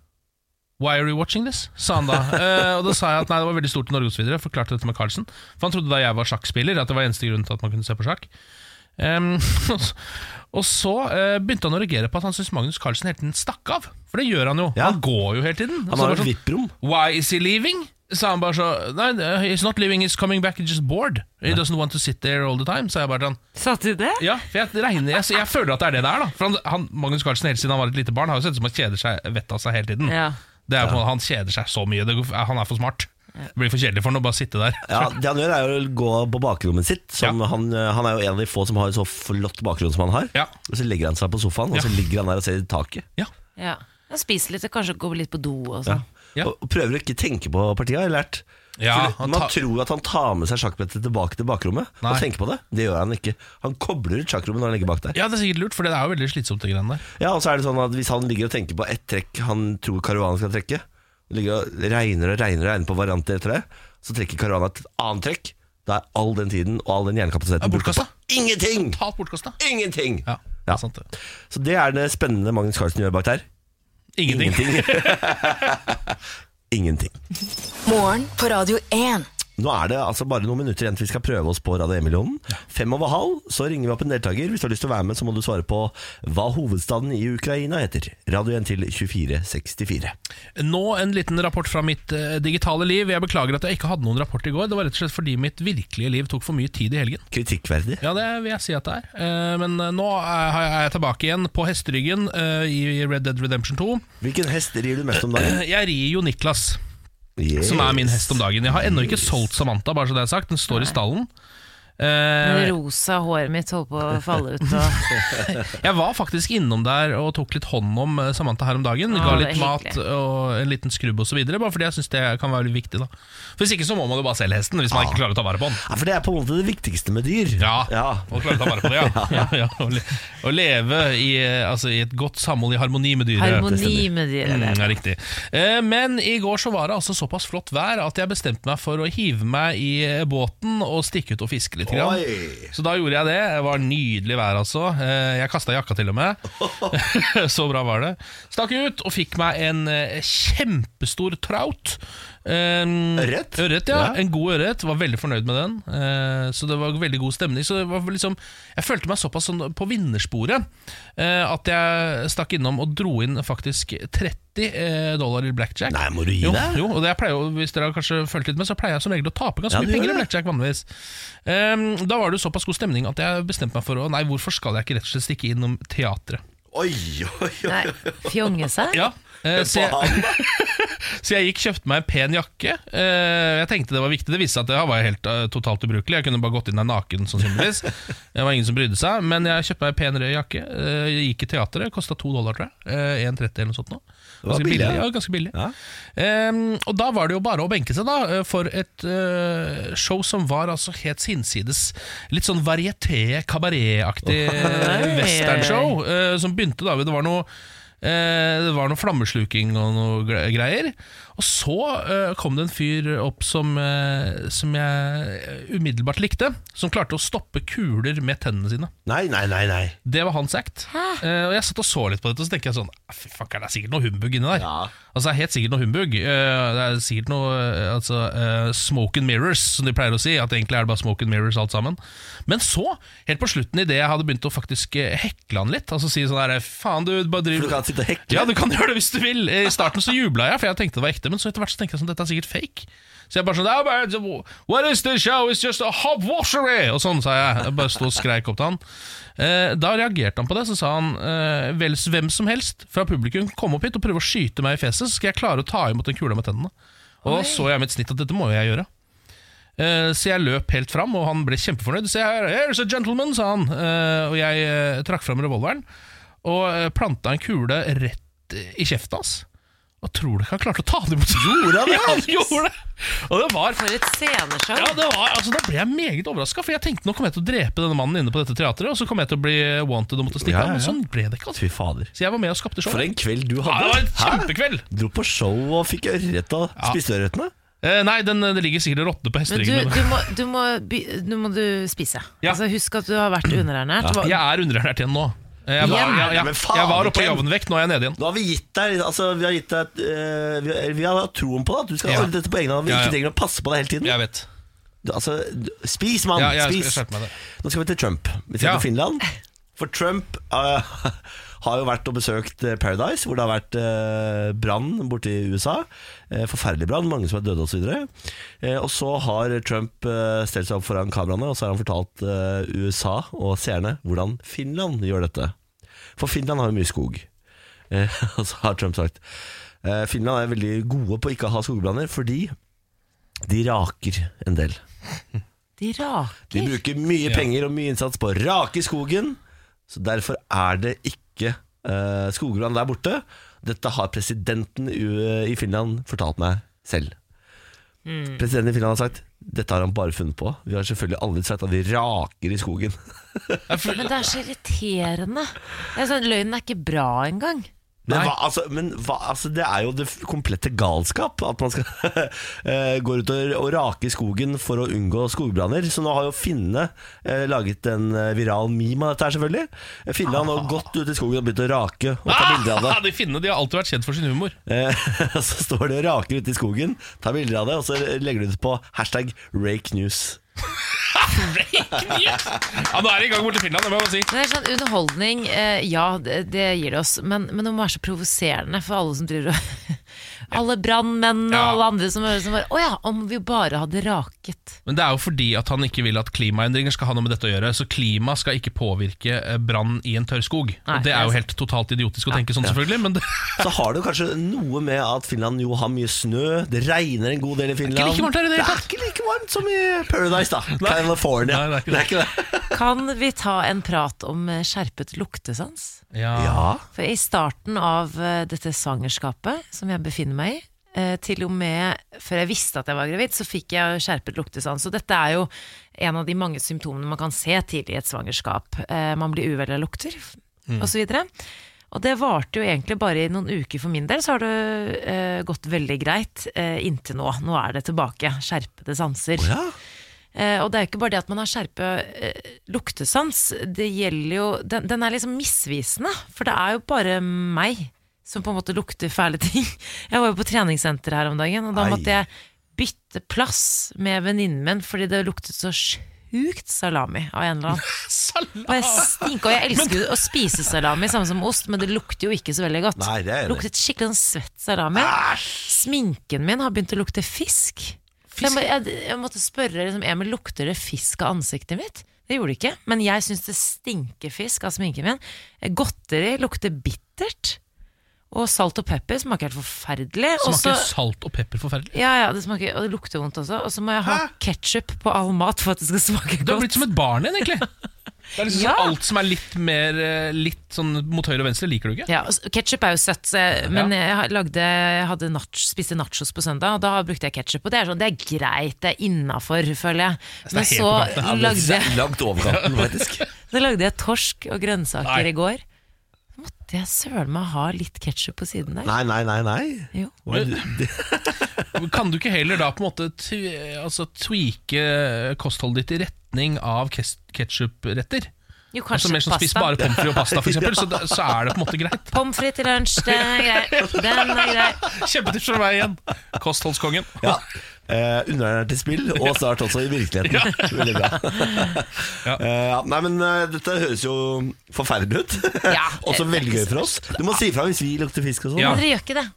S2: Why are you watching this? sa han da. Eh, og da sa jeg at nei, det var veldig stort i Norge og så videre. Forklarte dette med Carlsen. For han trodde da jeg var sjakkspiller, at det var eneste grunnen til at man kunne se på sjakk. Ehm, (laughs) og så- og så eh, begynte han å reagere på at han syntes Magnus Carlsen hele tiden stakk av. For det gjør han jo.
S1: Ja.
S2: Han går jo hele tiden. Og
S1: Han
S2: så
S1: har
S2: bare
S1: et
S2: sånn,
S1: VIP-rom.
S2: Why is he leaving? Sa han bare så Nei, he's not leaving, he's coming back, he's just bored. He doesn't want to sit there all the time. Sa jeg bare sånn
S3: Sa du det?
S2: ja, for jeg, regner, jeg, jeg føler at det er det det er. da For han, han, Magnus Carlsen helt siden han var et lite barn, har jo sett ut som han kjeder seg vettet av seg hele tiden.
S3: Ja.
S2: Det er på, en måte- Han kjeder seg så mye. Det, går- han er for smart. Det blir for kjedelig for han å bare sitte
S3: (laughs)
S2: der.
S1: Ja, Det han gjør, er jo å gå på bakrommet sitt. Som han, eh, han er jo en av de få som har et så flott bakrom som han har.
S2: Ja.
S1: Og så legger han seg på sofaen,
S2: Ja.
S1: og så ligger han der og ser i taket.
S2: Ja,
S3: Ja. Jeg spiser litt og kanskje går litt på do og sånn.
S2: Ja.
S1: Og prøver å ikke tenke på partiet, har jeg lært.
S2: Ja,
S1: Fordi
S2: han
S1: man
S2: tar-
S1: tror at han tar med seg sjakkbrettet tilbake til bakrommet
S2: Nei.
S1: og tenker på det. Det gjør han ikke. Han kobler ut sjakkrommet når han ligger bak der.
S2: ja det er sikkert lurt, for det er jo veldig slitsomt. det greiene der
S1: Ja, og så er det sånn at Hvis han ligger og tenker på ett trekk han tror Caruana skal trekke, og ligger og regner og regner og regner på varianter etter det, så trekker Caruana et annet trekk. Da er all den tiden og all den
S2: Det er
S1: hjernekapasiteten
S2: bortkasta.
S1: på ingenting!
S2: Totalt bortkasta.
S1: Ingenting!
S2: Ja, det
S1: Ja.
S2: er sant det.
S1: Så det er det spennende Magnus Carlsen gjør bak der.
S2: Ingenting. (laughs)
S1: Ingenting. Ingenting.
S6: Morgen på Radio 1.
S1: Nå er det altså bare noen minutter igjen til vi skal prøve oss på Radio 1-millionen. Fem over halv, så ringer vi opp en deltaker. Hvis du har lyst til å være med, så må du svare på hva hovedstaden i Ukraina heter. Radio 1 til 2464.
S2: Nå en liten rapport fra mitt eh, digitale liv. Jeg beklager at jeg ikke hadde noen rapport i går. Det var rett og slett fordi mitt virkelige liv tok for mye tid i helgen.
S1: Kritikkverdig.
S2: Ja, det vil jeg si at det er. Eh, Men eh, nå er er jeg tilbake igjen på hesteryggen eh, i Red Dead Redemption 2.
S1: Hvilken hest rir du mest om dagen?
S2: Jeg rir jo Niklas,
S1: Yes.
S2: (clears throat) som er min hest om dagen. Jeg har ennå ikke solgt Samantha, bare så det er sagt. Den står i stallen. Eh,
S3: Det rosa håret mitt holdt på å falle ut. Og
S2: Jeg var faktisk innom der og tok litt hånd om eh, Samantha her om dagen.
S3: Å,
S2: Ga
S3: det er
S2: litt mat
S3: hyggelig.
S2: og en liten skrubb osv. Bare fordi jeg syns det kan være litt viktig. da For Hvis ikke så må man jo bare selge hesten, hvis man ikke klarer å ta vare på den.
S1: Ja, for det er på en måte det viktigste med dyr.
S2: Ja,
S1: Ja.
S2: og klare å ta vare på det,
S1: (laughs)
S2: ja. ja. ja, og le- og leve i, eh, altså, i et godt samhold i harmoni med dyret.
S3: harmoni med dyret.
S2: (laughs) Mm, ja, riktig. Eh, Men i går så var det altså såpass flott vær at jeg bestemte meg for å hive meg i eh, båten og stikke ut og fiske litt. Grann.
S1: Oi.
S2: Så da gjorde jeg det. Det var nydelig vær, altså. Eh, Jeg kasta jakka til og
S1: (laughs)
S2: med. så bra var det. Stakk ut og fikk meg en eh, kjempestor traut. Um,
S1: Ørret?
S2: Ørret, ja.
S1: Ja.
S2: En god ørret. Var veldig fornøyd med den. Eh, Så det var veldig god stemning. Så det var liksom, Jeg følte meg såpass sånn på vinnersporet eh, at jeg stakk innom og dro inn faktisk 30 eh, dollar i blackjack.
S1: Nei, må du gi
S2: jo,
S1: deg?
S2: jo, og det jeg pleier, jo- hvis dere har kanskje følt litt med, så pleier jeg som regel å tape ganske
S1: Ja,
S2: mye
S1: du gjør
S2: penger i
S1: det.
S2: blackjack vanligvis. Ehm, da var det jo såpass god stemning at jeg bestemte meg for å Nei, hvorfor skal jeg ikke rett og slett stikke innom teatret?
S1: Oi, oi, oi.
S3: Nei, fjonge seg?
S2: Ja, eh, så, jeg,
S1: Faen.
S2: så jeg gikk kjøpte meg en pen jakke. Eh, jeg tenkte det var viktig. Det viste seg at jeg var helt eh, totalt ubrukelig. Jeg kunne bare gått inn der naken, sannsynligvis. Det var ingen som brydde seg. Men jeg kjøpte meg en pen rød jakke. Eh, jeg gikk i teatret. Kosta to dollar, tror jeg. Eh, 1,30 eller noe sånt. Nå.
S1: var
S2: Ganske
S1: billig,
S2: billig.
S1: ja.
S2: Ja, ganske billig.
S1: Ja.
S2: Ehm, og da var det jo bare å benke seg, da, eh, for et eh, show som var altså helt hinsides. Litt sånn varieté, kabaretaktig eh, westernshow, eh, som begynte da Det var noe eh, det var noe flammesluking og noe gre- greier. Og så eh, kom det en fyr opp som, eh, som jeg umiddelbart likte. Som klarte å stoppe kuler med tennene sine.
S1: Nei, nei, nei, nei.
S2: Det var hans act. Eh, og jeg satt og så litt på dette, og så tenker jeg sånn Fy fucker, det er sikkert noe humbug inni der.
S1: Ja.
S2: Altså, det er helt sikkert noe humbug. Eh, det er sikkert noe eh, altså, eh, smoke and mirrors, som de pleier å si. At egentlig er det bare smoke and mirrors alt sammen. Men så, helt på slutten, idet jeg hadde begynt å faktisk eh, hekle han litt, altså si sånn her Faen, du bare
S1: For du
S2: driver
S1: kan sitte og hekle.
S2: ja, du kan gjøre det hvis du vil. I starten så jubla jeg, for jeg tenkte det var ekte, men så etter hvert så tenkte jeg sånn, dette er sikkert fake. Så jeg bare sånn "Ah, but What is this show? It's just a hobwashery! Og sånn sa jeg. jeg bare sto og skreik opp til han. Eh, da reagerte han på det, så sa han eh, vel hvem som helst fra publikum kom opp hit og prøve å skyte meg i fjeset, så skal jeg klare å ta imot den kula med tennene. Og da så jeg mitt snitt at dette må jo jeg gjøre. Eh, Så jeg løp helt fram, og han ble kjempefornøyd. Så jeg, Here's a gentleman, sa han. Eh, Og jeg eh, trakk fram revolveren og eh, planta en kule rett i kjeften hans. Og tror du ikke han klarte å ta det
S1: (laughs)
S2: imot? Gjorde
S1: han det?
S2: (laughs) ja, han gjorde det! Og det var
S3: For et sceneshow!
S2: ja, det var, altså, Da ble jeg meget overraska, for jeg tenkte nå kommer jeg til å drepe denne mannen inne på dette teatret, og så kommer jeg til å bli eh, wanted og måtte stikke
S1: Ja,
S2: av. Men
S1: ja.
S2: sånn ble det ikke. altså.
S1: Fy fader.
S2: Så jeg var med og skapte show.
S1: For en kveld du
S2: Ja,
S1: hadde.
S2: det var en
S1: Hæ?
S2: kjempekveld!
S1: Dro på show og fikk ørret og spiste ørretene.
S2: Eh, nei, den, den ligger sikkert og råtner på
S3: Men du,
S2: hesteryggene.
S3: du, må, du, må, by- nå må du spise.
S2: Ja.
S3: Altså, husk at du har vært underernært. Hva-
S2: Jeg er underernært igjen nå. Eh, Jeg var,
S1: Igjen?
S2: jeg, jeg,
S1: Men
S2: jeg,
S1: faen,
S2: var oppe på
S1: Ken.
S2: jevnvekt, nå er jeg nede igjen.
S1: Nå har vi gitt deg altså, Vi har gitt deg eh, vi, har, vi har hatt troen på det, at du skal
S2: Ja.
S1: ordne dette på egen hånd. Vi
S2: Ja, ja.
S1: ikke trenger å passe på deg hele tiden.
S2: Jeg vet.
S1: Du, altså, du, spis, mann!
S2: Ja, jeg- jeg
S1: spis.
S2: skjerper meg det.
S1: Nå skal vi til Trump. Vi skal
S2: Ja.
S1: til Finland. For Trump eh, (laughs) har jo vært og besøkt eh, Paradise, hvor det har vært eh, brann borte i USA. Eh, forferdelig brann, mange som er døde osv. Uh, og så har Trump eh, stelt seg opp foran kameraene og så har han fortalt eh, USA og seerne hvordan Finland gjør dette. For Finland har jo mye skog. Eh, (laughs) og så har Trump sagt eh, Finland er veldig gode på ikke å ha skogbranner fordi de raker en del.
S3: De raker.
S1: De bruker mye
S2: Ja.
S1: penger og mye innsats på å rake skogen, så derfor er det ikke uh, skogbrann der borte. Dette har presidenten i, i Finland fortalt meg selv. Presidenten i Finland har sagt dette har han bare funnet på. Vi har selvfølgelig aldri sagt at vi raker i skogen.
S3: Men det er så irriterende. Det er sånn, løgnen er ikke bra engang.
S1: Men,
S2: Nei.
S1: hva, altså, men hva, altså, det er jo det f- komplette galskap at man skal (laughs) eh, gå ut og, og rake i skogen for å unngå skogbranner. Så nå har jo finnene eh, laget en eh, viral meme av dette her, selvfølgelig. Finnene har nå gått ut i skogen og begynt å rake og ta bilder av det.
S2: Ah, de finnene de har alltid vært kjent for sin humor. (laughs)
S1: Eh, (laughs) så står de og raker ute i skogen, tar bilder av det, og så legger de det på hashtag rake news.
S2: Ja, Nå er de i gang borte i Finland, det må jeg bare si.
S3: Men det er sånn Underholdning, eh, ja, det, det gir det oss. Men, men det må være så provoserende for alle som driver og (laughs) Alle brannmennene
S2: Ja.
S3: og alle andre som, som bare Å ja, om vi bare hadde raket.
S2: Men det er jo fordi at han ikke vil at klimaendringer skal ha noe med dette å gjøre. Så klima skal ikke påvirke eh, brann i en tørrskog.
S3: Nei,
S2: Og det er
S3: det
S2: jo
S3: er
S2: helt totalt idiotisk å tenke sånn, selvfølgelig. Men det er
S1: Så har det jo kanskje noe med at Finland jo har mye snø, det regner en god del i Finland.
S2: ikke like varmt her i det hele
S1: Det er
S2: tatt.
S1: ikke like varmt som i Paradise, da.
S2: (laughs)
S1: California.
S2: Nei, det er ikke
S1: det er ikke det.
S3: Kan vi ta en prat om eh, skjerpet luktesans?
S2: ja.
S1: Ja.
S3: For i starten av eh, dette svangerskapet som jeg befinner meg i, eh, til og med før jeg visste at jeg var gravid, så fikk jeg skjerpet luktesans. Og dette er jo en av de mange symptomene man kan se tidlig i et svangerskap. Eh, Man blir uvel av lukter, osv. Og det varte jo egentlig bare i noen uker for min del, så har det eh, gått veldig greit eh, inntil nå. Nå er det tilbake. Skjerpede sanser.
S1: ja.
S3: Eh, og det er jo ikke bare det at man har skjerpe eh, luktesans, det gjelder jo den, den er liksom misvisende, for det er jo bare meg som på en måte lukter fæle ting. (laughs) Jeg var jo på treningssenter her om dagen, og da
S1: Ai.
S3: måtte jeg bytte plass med venninnen min fordi det luktet så sjukt salami av en eller annen.
S2: Salam.
S3: Og jeg stinker, og jeg elsker jo å spise salami, samme som ost, men det lukter jo ikke så veldig godt.
S1: Nei, det er jeg enig i.
S3: luktet skikkelig sånn svett salami. Sminken min har begynt å lukte fisk. Så Jeg, må, jeg, jeg måtte spørre liksom, Emil, lukter det fisk av ansiktet mitt? Det gjorde det ikke, men jeg syns det stinker fisk av sminken min. Godteri lukter bittert. Og salt og pepper smaker helt forferdelig. og
S2: Smaker
S3: så-
S2: salt og pepper forferdelig?
S3: ja, ja, det smaker, og det lukter vondt også. Og så må jeg ha ketsjup på all mat for at det skal smake godt.
S2: Du har blitt som et barn igjen, egentlig. Det er liksom
S3: Ja.
S2: sånn alt som er litt mer eh, Litt sånn mot høyre og venstre, liker du ikke?
S3: Ja, Ketsjup er jo søtt, så jeg, men jeg har- lagde, jeg hadde nach, spiste nachos på søndag, og da brukte jeg ketsjup. Og det er, sånn, det er greit, det er innafor, føler jeg. Men
S2: helt
S3: så
S2: på
S1: Ja, men
S3: lagde,
S1: det er Langt over kanten, faktisk.
S3: så lagde jeg torsk og grønnsaker
S2: Nei.
S3: i går. Så Måtte jeg søren meg ha litt ketsjup på siden der?
S1: Nei, nei, nei. nei.
S3: Jo.
S1: Hva er det- det-
S2: Kan du ikke heller da på en måte tv- altså, tweake kostholdet ditt i retning av ketsjupretter?
S3: jo,
S2: Altså
S3: kanskje
S2: mer sånn spis
S3: pasta.
S2: bare pommes frites og pasta, for eksempel, så, da- så er det på en måte greit.
S3: Pommes frites til lunsj, det er greit. Den er grei.
S2: Kjempetips fra meg igjen. Kostholdskongen.
S1: Ja. Eh, Underernært i spill, og snart også i virkeligheten. Veldig bra.
S2: Ja.
S1: Eh, ja, nei, men eh, dette høres jo forferdelig ut.
S3: Ja,
S1: (laughs) Også
S3: det er
S1: veldig
S3: ikke
S1: gøy for oss. Du må si ifra hvis vi lukter fisk og sånn.
S2: Ja.
S3: Men dere gjør ikke det.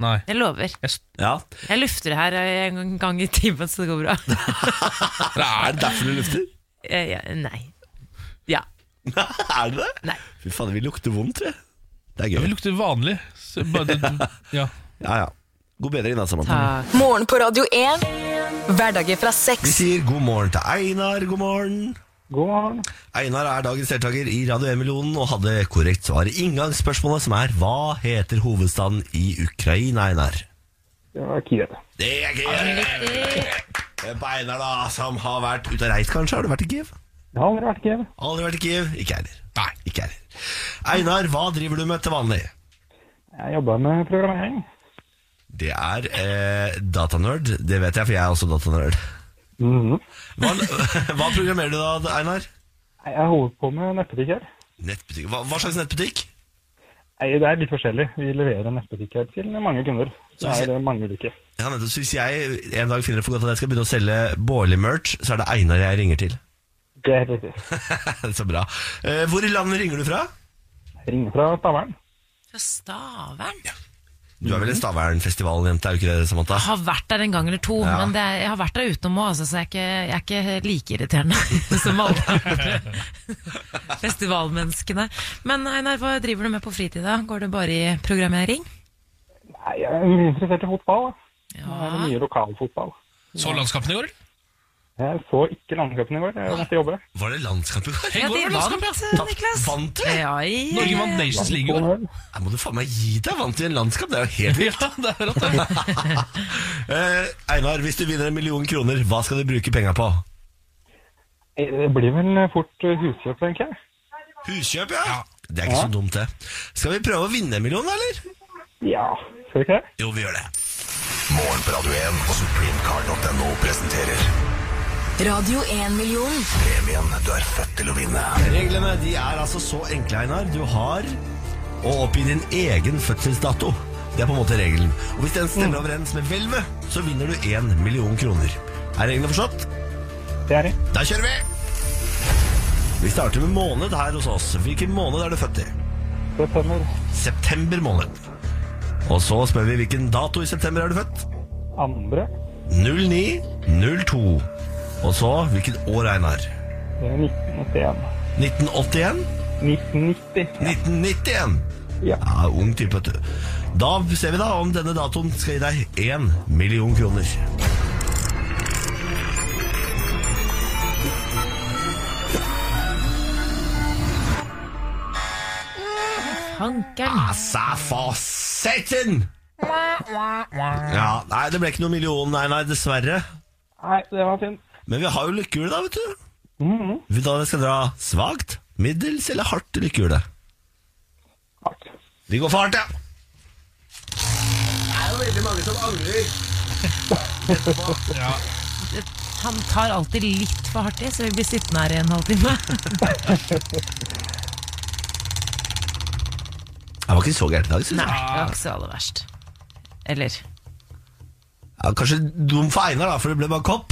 S2: Nei.
S3: Jeg lover.
S2: Jeg, s-
S1: Ja.
S3: Jeg lufter det her en gang i timen, så det går bra.
S2: (laughs)
S1: Er det derfor du lufter?
S3: Eh, ja, Nei. Ja.
S1: (laughs) er det det?
S3: Nei.
S1: Fy faen, vi lukter vondt, vi. Det er
S2: jeg
S1: gøy.
S2: vil lukte vanlig. Så bare, ja.
S1: Ja, ja. God bedring, da, Samantha.
S3: Takk.
S6: Morgen på Radio 1. Hverdager fra
S1: Vi
S6: seks.
S1: sier god morgen til Einar. God morgen.
S7: God morgen.
S1: Einar er dagens deltaker i Radio 1-millionen og hadde korrekt svar i inngangsspørsmålet, som er hva heter hovedstaden i Ukraina, Einar?
S7: Det var Kiev.
S1: Det er Kiev! Beinar, da, som har vært ute og reist, kanskje? Har du vært i Kiev?
S7: Jeg har aldri vært i Kiev.
S1: Aldri vært i Kiev? Ikke jeg heller. Nei, ikke jeg heller. Einar, hva driver du med til vanlig?
S7: Jeg jobber med programmering.
S1: Det er eh, datanerd. Det vet jeg, for jeg er også datanerd. (laughs) Hva, hva programmerer du da, Einar?
S7: Jeg holder på med nettbutikker.
S1: Nettbutikk. Hva, hva slags nettbutikk?
S7: Nei, det er litt forskjellig. Vi leverer en nettbutikk her til mange kunder. Så
S1: Så hvis-
S7: er det mange ulike.
S1: Ja, nettopp. Så hvis jeg en dag finner det for godt at jeg skal begynne å selge Bårli-merch, så er det Einar jeg ringer til. (laughs)
S7: Det er helt riktig.
S1: så bra. Eh, hvor i landet ringer du fra?
S7: Ring fra Stavern.
S3: Fra Stavern?
S1: Du er vel en Stavernfestival-jente, er du ikke det, Samantha?
S3: Jeg har vært der en gang eller to,
S1: Ja.
S3: men det er, jeg har vært der utenom òg, altså, så jeg er, ikke, jeg er ikke like irriterende (laughs) som alle andre (laughs) festivalmenneskene. Men Einar, hva driver du med på fritida? Går det bare i programmering?
S7: Nei, jeg er mye interessert i fotball. da. Nå er det
S3: Ja.
S7: mye lokalfotball.
S2: Så landskampen i går?
S7: Jeg så ikke landskapen i går. Jeg måtte jobbe.
S1: Var det landskamp i går?
S2: I
S3: Ja,
S2: går
S3: de
S2: var det
S3: vant,
S2: landskamp,
S3: eh, Niklas.
S1: Vant du?
S3: Ja, i-
S2: Norge vant Nations League i går.
S7: 2-0.
S1: Nei, må du faen meg gi deg vant i en landskamp, det er jo helt
S2: Ja, det er rått, det.
S1: eh, Einar, hvis du vinner en million kroner, hva skal du bruke penga på?
S7: Eh, Det blir vel fort huskjøp, tenker jeg.
S1: Huskjøp, ja. Det er ikke så dumt, det. Skal vi prøve å vinne en million, eller?
S7: Ja, skal vi ikke det?
S1: Jo, vi gjør det.
S8: Morgen på Radio 1 og supremecard.no presenterer
S6: Radio 1-million.
S8: premien du er født til å vinne.
S1: Reglene de er altså så enkle, Einar. Du har å oppgi din egen fødselsdato. Det er på en måte regelen. Og hvis den stemmer overens med hvelvet, så vinner du én million kroner. Er reglene forstått?
S7: Det er det.
S1: Da kjører vi! Vi starter med måned her hos oss. Hvilken måned er du født i?
S7: Det stemmer.
S1: September måned. Og så spør vi hvilken dato i september er du født?
S7: Andre.
S1: 0902. Og så hvilket år, Einar?
S7: Det er 1981.
S1: 1981?
S7: 1990.
S1: 1991?
S7: Ja.
S1: Ja, ung type, vet du. Da ser vi da om denne datoen skal gi deg én million kroner.
S3: Fankeren.
S1: Assa for satan! Ja, nei, det ble ikke noen million, nei, nei, dessverre.
S7: Nei, det var synd.
S1: Men vi har jo lykkehjulet, da, vet du.
S7: Mhm.
S1: Vil du at jeg skal dra svakt, middels eller hardt i lykkehjulet?
S7: Hardt.
S1: Vi går for hardt, ja. Det er jo veldig mange som angrer.
S2: Ja.
S3: Han tar alltid litt for hardt i, så vi blir sittende her i en halvtime.
S1: Jeg var ikke så gæren i dag, syns
S3: Nei,
S1: jeg.
S3: det var ikke så aller verst. Eller
S1: Ja, kanskje dum for Einar, da, for det ble bare kopp.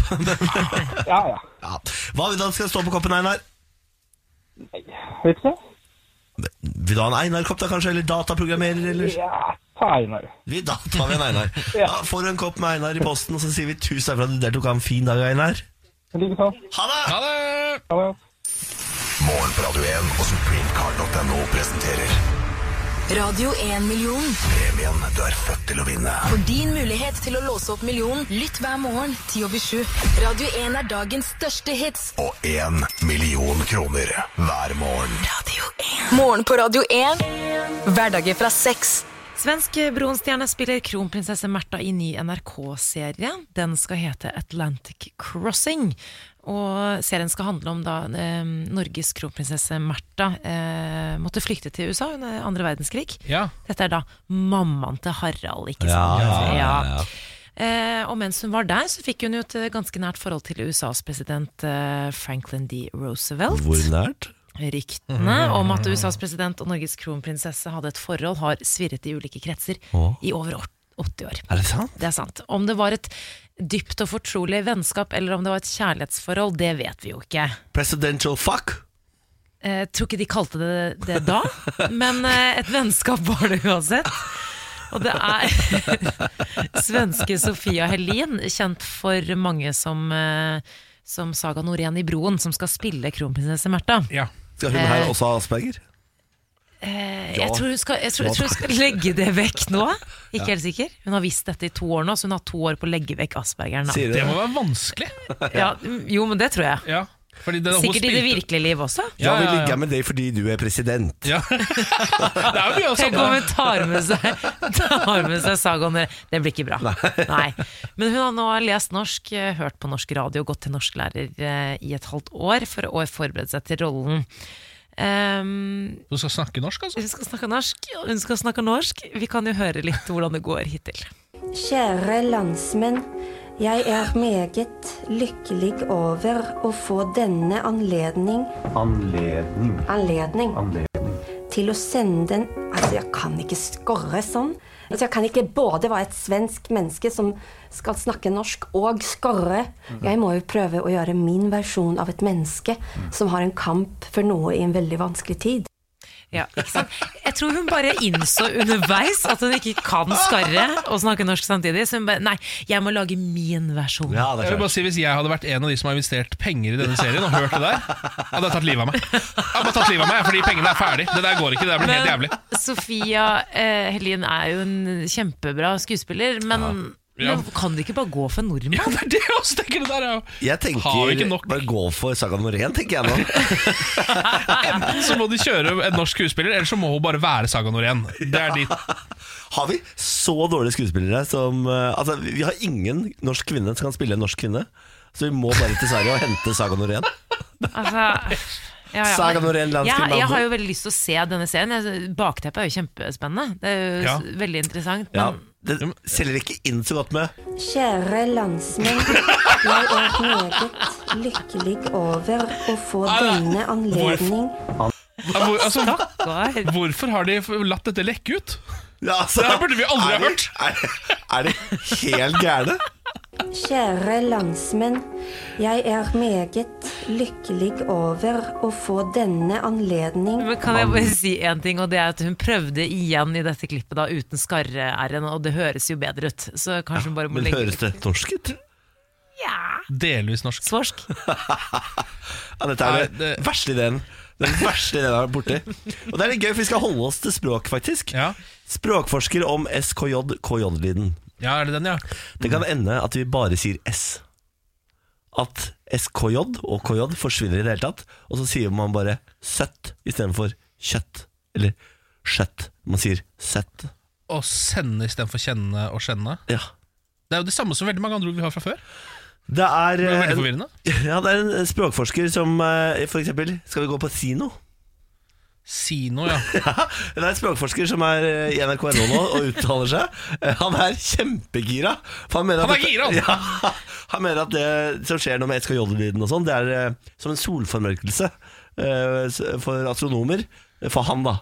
S1: (laughs)
S7: Ja, ja.
S1: ja. Hva vil du at skal stå på koppen, Einar?
S7: Vet du hva?
S1: Vil du ha en Einar-kopp, da, kanskje? Eller dataprogrammerer, eller?
S7: Ja, ta Einar.
S1: Vi da tar vi en Einar.
S7: (laughs) Ja.
S1: Da får du en kopp med Einar i posten, og så sier vi tusen takk for at du deltok. Ha en fin dag, Einar.
S7: Likeså.
S1: Ha det!
S2: Ha det!
S7: Ha det.
S8: Morgen på Radio 1 og supremecard.no presenterer
S6: Radio 1-million.
S8: premien du er født til å vinne.
S6: For din mulighet til å låse opp millionen, lytt hver morgen 10 over 7. Radio 1 er dagens største hits.
S8: Og én million kroner hver morgen.
S6: Radio 1. Morgen på Radio 1. Hverdager fra seks.
S3: Svensk Bronstjerne spiller kronprinsesse Märtha i ny NRK-serie. Den skal hete Atlantic Crossing. Og serien skal handle om da eh, Norges kronprinsesse Märtha eh, måtte flykte til USA under andre verdenskrig.
S2: Ja.
S3: Dette er da mammaen til Harald, ikke
S1: Ja,
S3: sant?
S1: ja, ja, ja.
S3: Eh, og mens hun var der, så fikk hun jo et eh, ganske nært forhold til USAs president eh, Franklin D. Roosevelt.
S1: Hvor nært?
S3: Ryktene om at USAs president og Norges kronprinsesse hadde et forhold, har svirret i ulike kretser
S1: Åh.
S3: i over åt- 80 år.
S1: Er det sant?
S3: Det er sant. Om det var et dypt og fortrolig vennskap, eller om det var et kjærlighetsforhold, det vet vi jo ikke.
S1: Presidential fuck?
S3: Eh, tror ikke de kalte det det da, men eh, et vennskap var det uansett. Og det er (laughs) svenske Sofia Helin, kjent for mange som, eh, som Saga Norén i Broen, som skal spille kronprinsesse Märtha.
S2: ja.
S1: Skal
S7: Eh.
S1: hun her også ha asperger?
S3: Eh, Jeg tror hun skal, jeg tror, jeg tror hun skal legge det vekk nå. Ikke helt sikker. Hun har visst dette i to år nå, så hun har to år på å legge vekk aspergeren. Da.
S1: Sier du
S2: Det
S1: det?
S2: må være vanskelig.
S3: Ja, mm, jo, men det tror jeg.
S2: Ja. Fordi det, hun
S3: Sikkert i det
S2: spilte-
S3: virkelige liv også.
S1: Ja,
S2: ja,
S1: vi
S2: ja.
S1: ligger med deg fordi du er president.
S2: Ja. det er jo mye å
S3: Tenk
S2: savne.
S3: om hun tar med seg, tar med seg sagaen ned. Det blir ikke bra. Nei. Men hun har nå lest norsk, eh, hørt på norsk radio, gått til norsklærer eh, i et halvt år for å forberede seg til rollen. Ehm,
S2: Du skal snakke norsk, altså?
S3: hun skal snakke norsk, og hun skal snakke norsk. Vi kan jo høre litt hvordan det går hittil.
S4: Kjære landsmenn, Jeg er meget lykkelig over å få denne anledning
S7: Anledning.
S4: Anledning
S7: Anledning.
S4: til å sende den Altså, jeg kan ikke skorre sånn. Altså, jeg kan ikke både være et svensk menneske som skal snakke norsk, og skorre. Jeg må jo prøve å gjøre min versjon av et menneske som har en kamp for noe i en veldig vanskelig tid.
S3: Ja, ikke sant? Jeg tror hun bare innså underveis at hun ikke kan skarre og snakke norsk samtidig. Så hun bare Nei, jeg må lage min versjon.
S1: Ja, det
S2: Jeg
S1: er
S2: vil bare
S1: klart.
S2: si Hvis jeg hadde vært en av de som har investert penger i denne serien, og hørt det der, hadde jeg tatt livet av meg. Jeg hadde bare tatt livet av meg, Fordi pengene er ferdig. Det der går ikke. Det der blir helt
S3: Men
S2: jævlig.
S3: Sofia eh, Helin er jo en kjempebra skuespiller, men,
S2: Ja.
S3: men kan det ikke bare gå for nordmenn?
S2: Ja, det er det jeg også tenker! Det der er jo
S1: Jeg tenker
S2: Har vi ikke nok?
S1: bare gå for Saga Norén, tenker jeg nå.
S2: Enten så må de kjøre en norsk skuespiller, eller så må hun bare være Saga Norén. Det er de
S1: Har vi så dårlige skuespillere som eh, Altså, vi har ingen norsk kvinne som kan spille en norsk kvinne. Så vi må bare til Sverige og hente Saga Norén.
S3: Altså, ja, ja.
S1: Saga Norén,
S3: jeg,
S1: landsfilm,
S3: jeg
S1: altså.
S3: har jo veldig lyst til å se denne serien. Jeg- Bakteppet er jo kjempespennende. Det er jo
S2: Ja.
S3: s- veldig interessant.
S1: Ja,
S3: Men
S1: det selger ikke inn så godt med
S4: Kjære landsmenn, jeg er meget lykkelig over å få
S2: Nei, nei.
S4: denne anledning
S2: Ja, hvor, altså,
S3: stakkar.
S2: hvorfor har de latt dette lekke ut?
S1: ja, altså,
S2: Det her burde vi aldri ha
S1: er de-
S2: hørt.
S1: Er, er de
S2: (laughs)
S1: helt gærne?
S4: Kjære landsmenn, jeg er meget lykkelig over å få denne anledning
S3: Men kan jeg bare si én ting, og det er at hun prøvde igjen i dette klippet da uten skarre-r-en, og det høres jo bedre ut. Så kanskje hun bare må
S1: Men
S3: legge
S1: høres det norsk ut?
S2: Delvis norsk.
S3: Svorsk.
S1: Ja, dette er
S2: Nei,
S1: den
S2: det-
S1: verste ideen. Den verste ideen jeg har vært borti. Og det er litt gøy, for vi skal holde oss til språk, faktisk.
S2: Ja.
S1: Språkforsker om SKJ, KJ-lyden.
S2: ja, er det den, ja?
S1: Det kan ende at vi bare sier S. At SKJ og KJ forsvinner i det hele tatt. Og så sier man bare søtt istedenfor kjøtt. Eller skjøtt. Man sier søtt.
S2: Å sende istedenfor kjenne og skjenne.
S1: Ja.
S2: Det er jo det samme som veldig mange andre ord vi har fra før.
S1: Det er,
S2: Det er jo
S1: eh,
S2: veldig
S1: en,
S2: forvirrende.
S1: (laughs) ja, det er en språkforsker som eh, for eksempel Skal vi gå på Sino?
S2: Sino, ja.
S1: Det er en språkforsker som er eh, i NRK.no nå og uttaler seg. Eh, Han er kjempegira. for mener at
S2: Han er
S1: dette-
S2: gira, han!
S1: Ja, (laughs) han mener at det som skjer nå med SKJ-lyden og sånn, det er eh, som en solformørkelse eh, s- for astronomer. For han, da.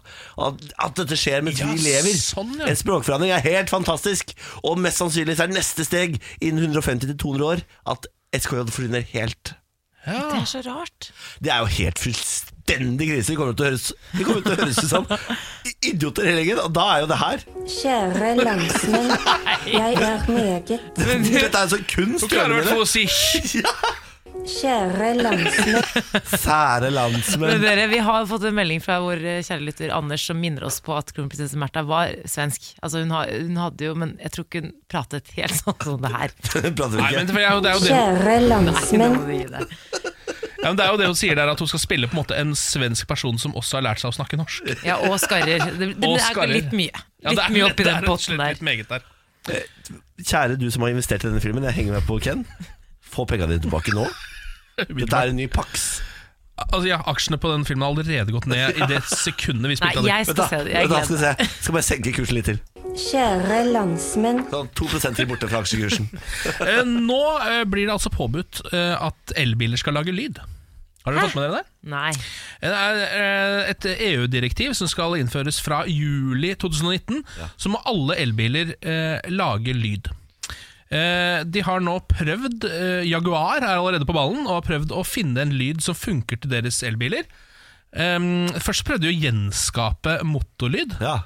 S1: At, at dette skjer mens
S2: Ja,
S1: vi lever.
S2: sånn, ja.
S1: En språkforandring er helt fantastisk. Og mest sannsynlig så er neste steg innen 150-200 år at SKJ forsvinner helt.
S3: Det er så rart.
S1: Det er jo helt fullstendig krise. Vi kommer til å høres, vi kommer til å høres ut som idioter hele gjengen, og da er jo det her
S4: Kjære landsmenn, jeg er meget
S1: Dette er jo sånn
S2: Hun
S1: kunst.
S2: klarer i
S1: gjør
S2: hvert fall
S1: dere
S2: å si
S1: (laughs)
S4: Kjære landsmenn,
S1: det? Sære
S3: Men
S1: landsmenn.
S3: dere, Vi har fått en melding fra vår eh, kjære lytter Anders som minner oss på at kronprinsesse Märtha var svensk. Altså hun, har, hun hadde jo, Men jeg tror ikke hun pratet helt sånn som det her.
S1: (laughs) Prater vi
S2: Nei, men
S1: ikke?
S2: det er jo det, er jo det.
S4: kjære
S3: Nå
S4: landsmenn,
S3: må du gi deg.
S2: Ja, men det er jo det hun sier der, at hun skal spille på en måte en svensk person som også har lært seg å snakke norsk.
S3: Ja, og skarrer. Det, det
S2: Og
S3: er
S2: skarrer.
S3: litt mye.
S2: Ja,
S3: Litt
S2: det er-
S3: mye oppi
S2: det
S3: den
S2: er rett og
S3: potten
S2: slett
S3: der.
S2: litt meget der.
S1: Kjære du som har investert i denne filmen, jeg henger meg på Ken. Få penga dine tilbake nå. Dette er en ny Pax.
S2: Altså, ja, Aksjene på den filmen har allerede gått ned i det sekundet vi
S3: Nei,
S2: spilte av den.
S3: jeg skal se det. Jeg
S1: vent da,
S3: gleder
S1: skal
S3: meg.
S1: vi se. Skal bare senke kursen litt til.
S4: kjære landsmenn,
S1: Sånn 2 til borte fra aksjekursen.
S2: Eh, Nå eh, blir det altså påbudt eh, at elbiler skal lage lyd. Har dere fått med dere det?
S3: Nei.
S2: Det er eh, et EU-direktiv som skal innføres fra juli 2019, så må alle elbiler eh, lage lyd. Eh, de har nå prøvd eh, Jaguar er allerede på ballen og har prøvd å finne en lyd som funker til deres elbiler. Ehm, først prøvde de å gjenskape motorlyd.
S1: Ja.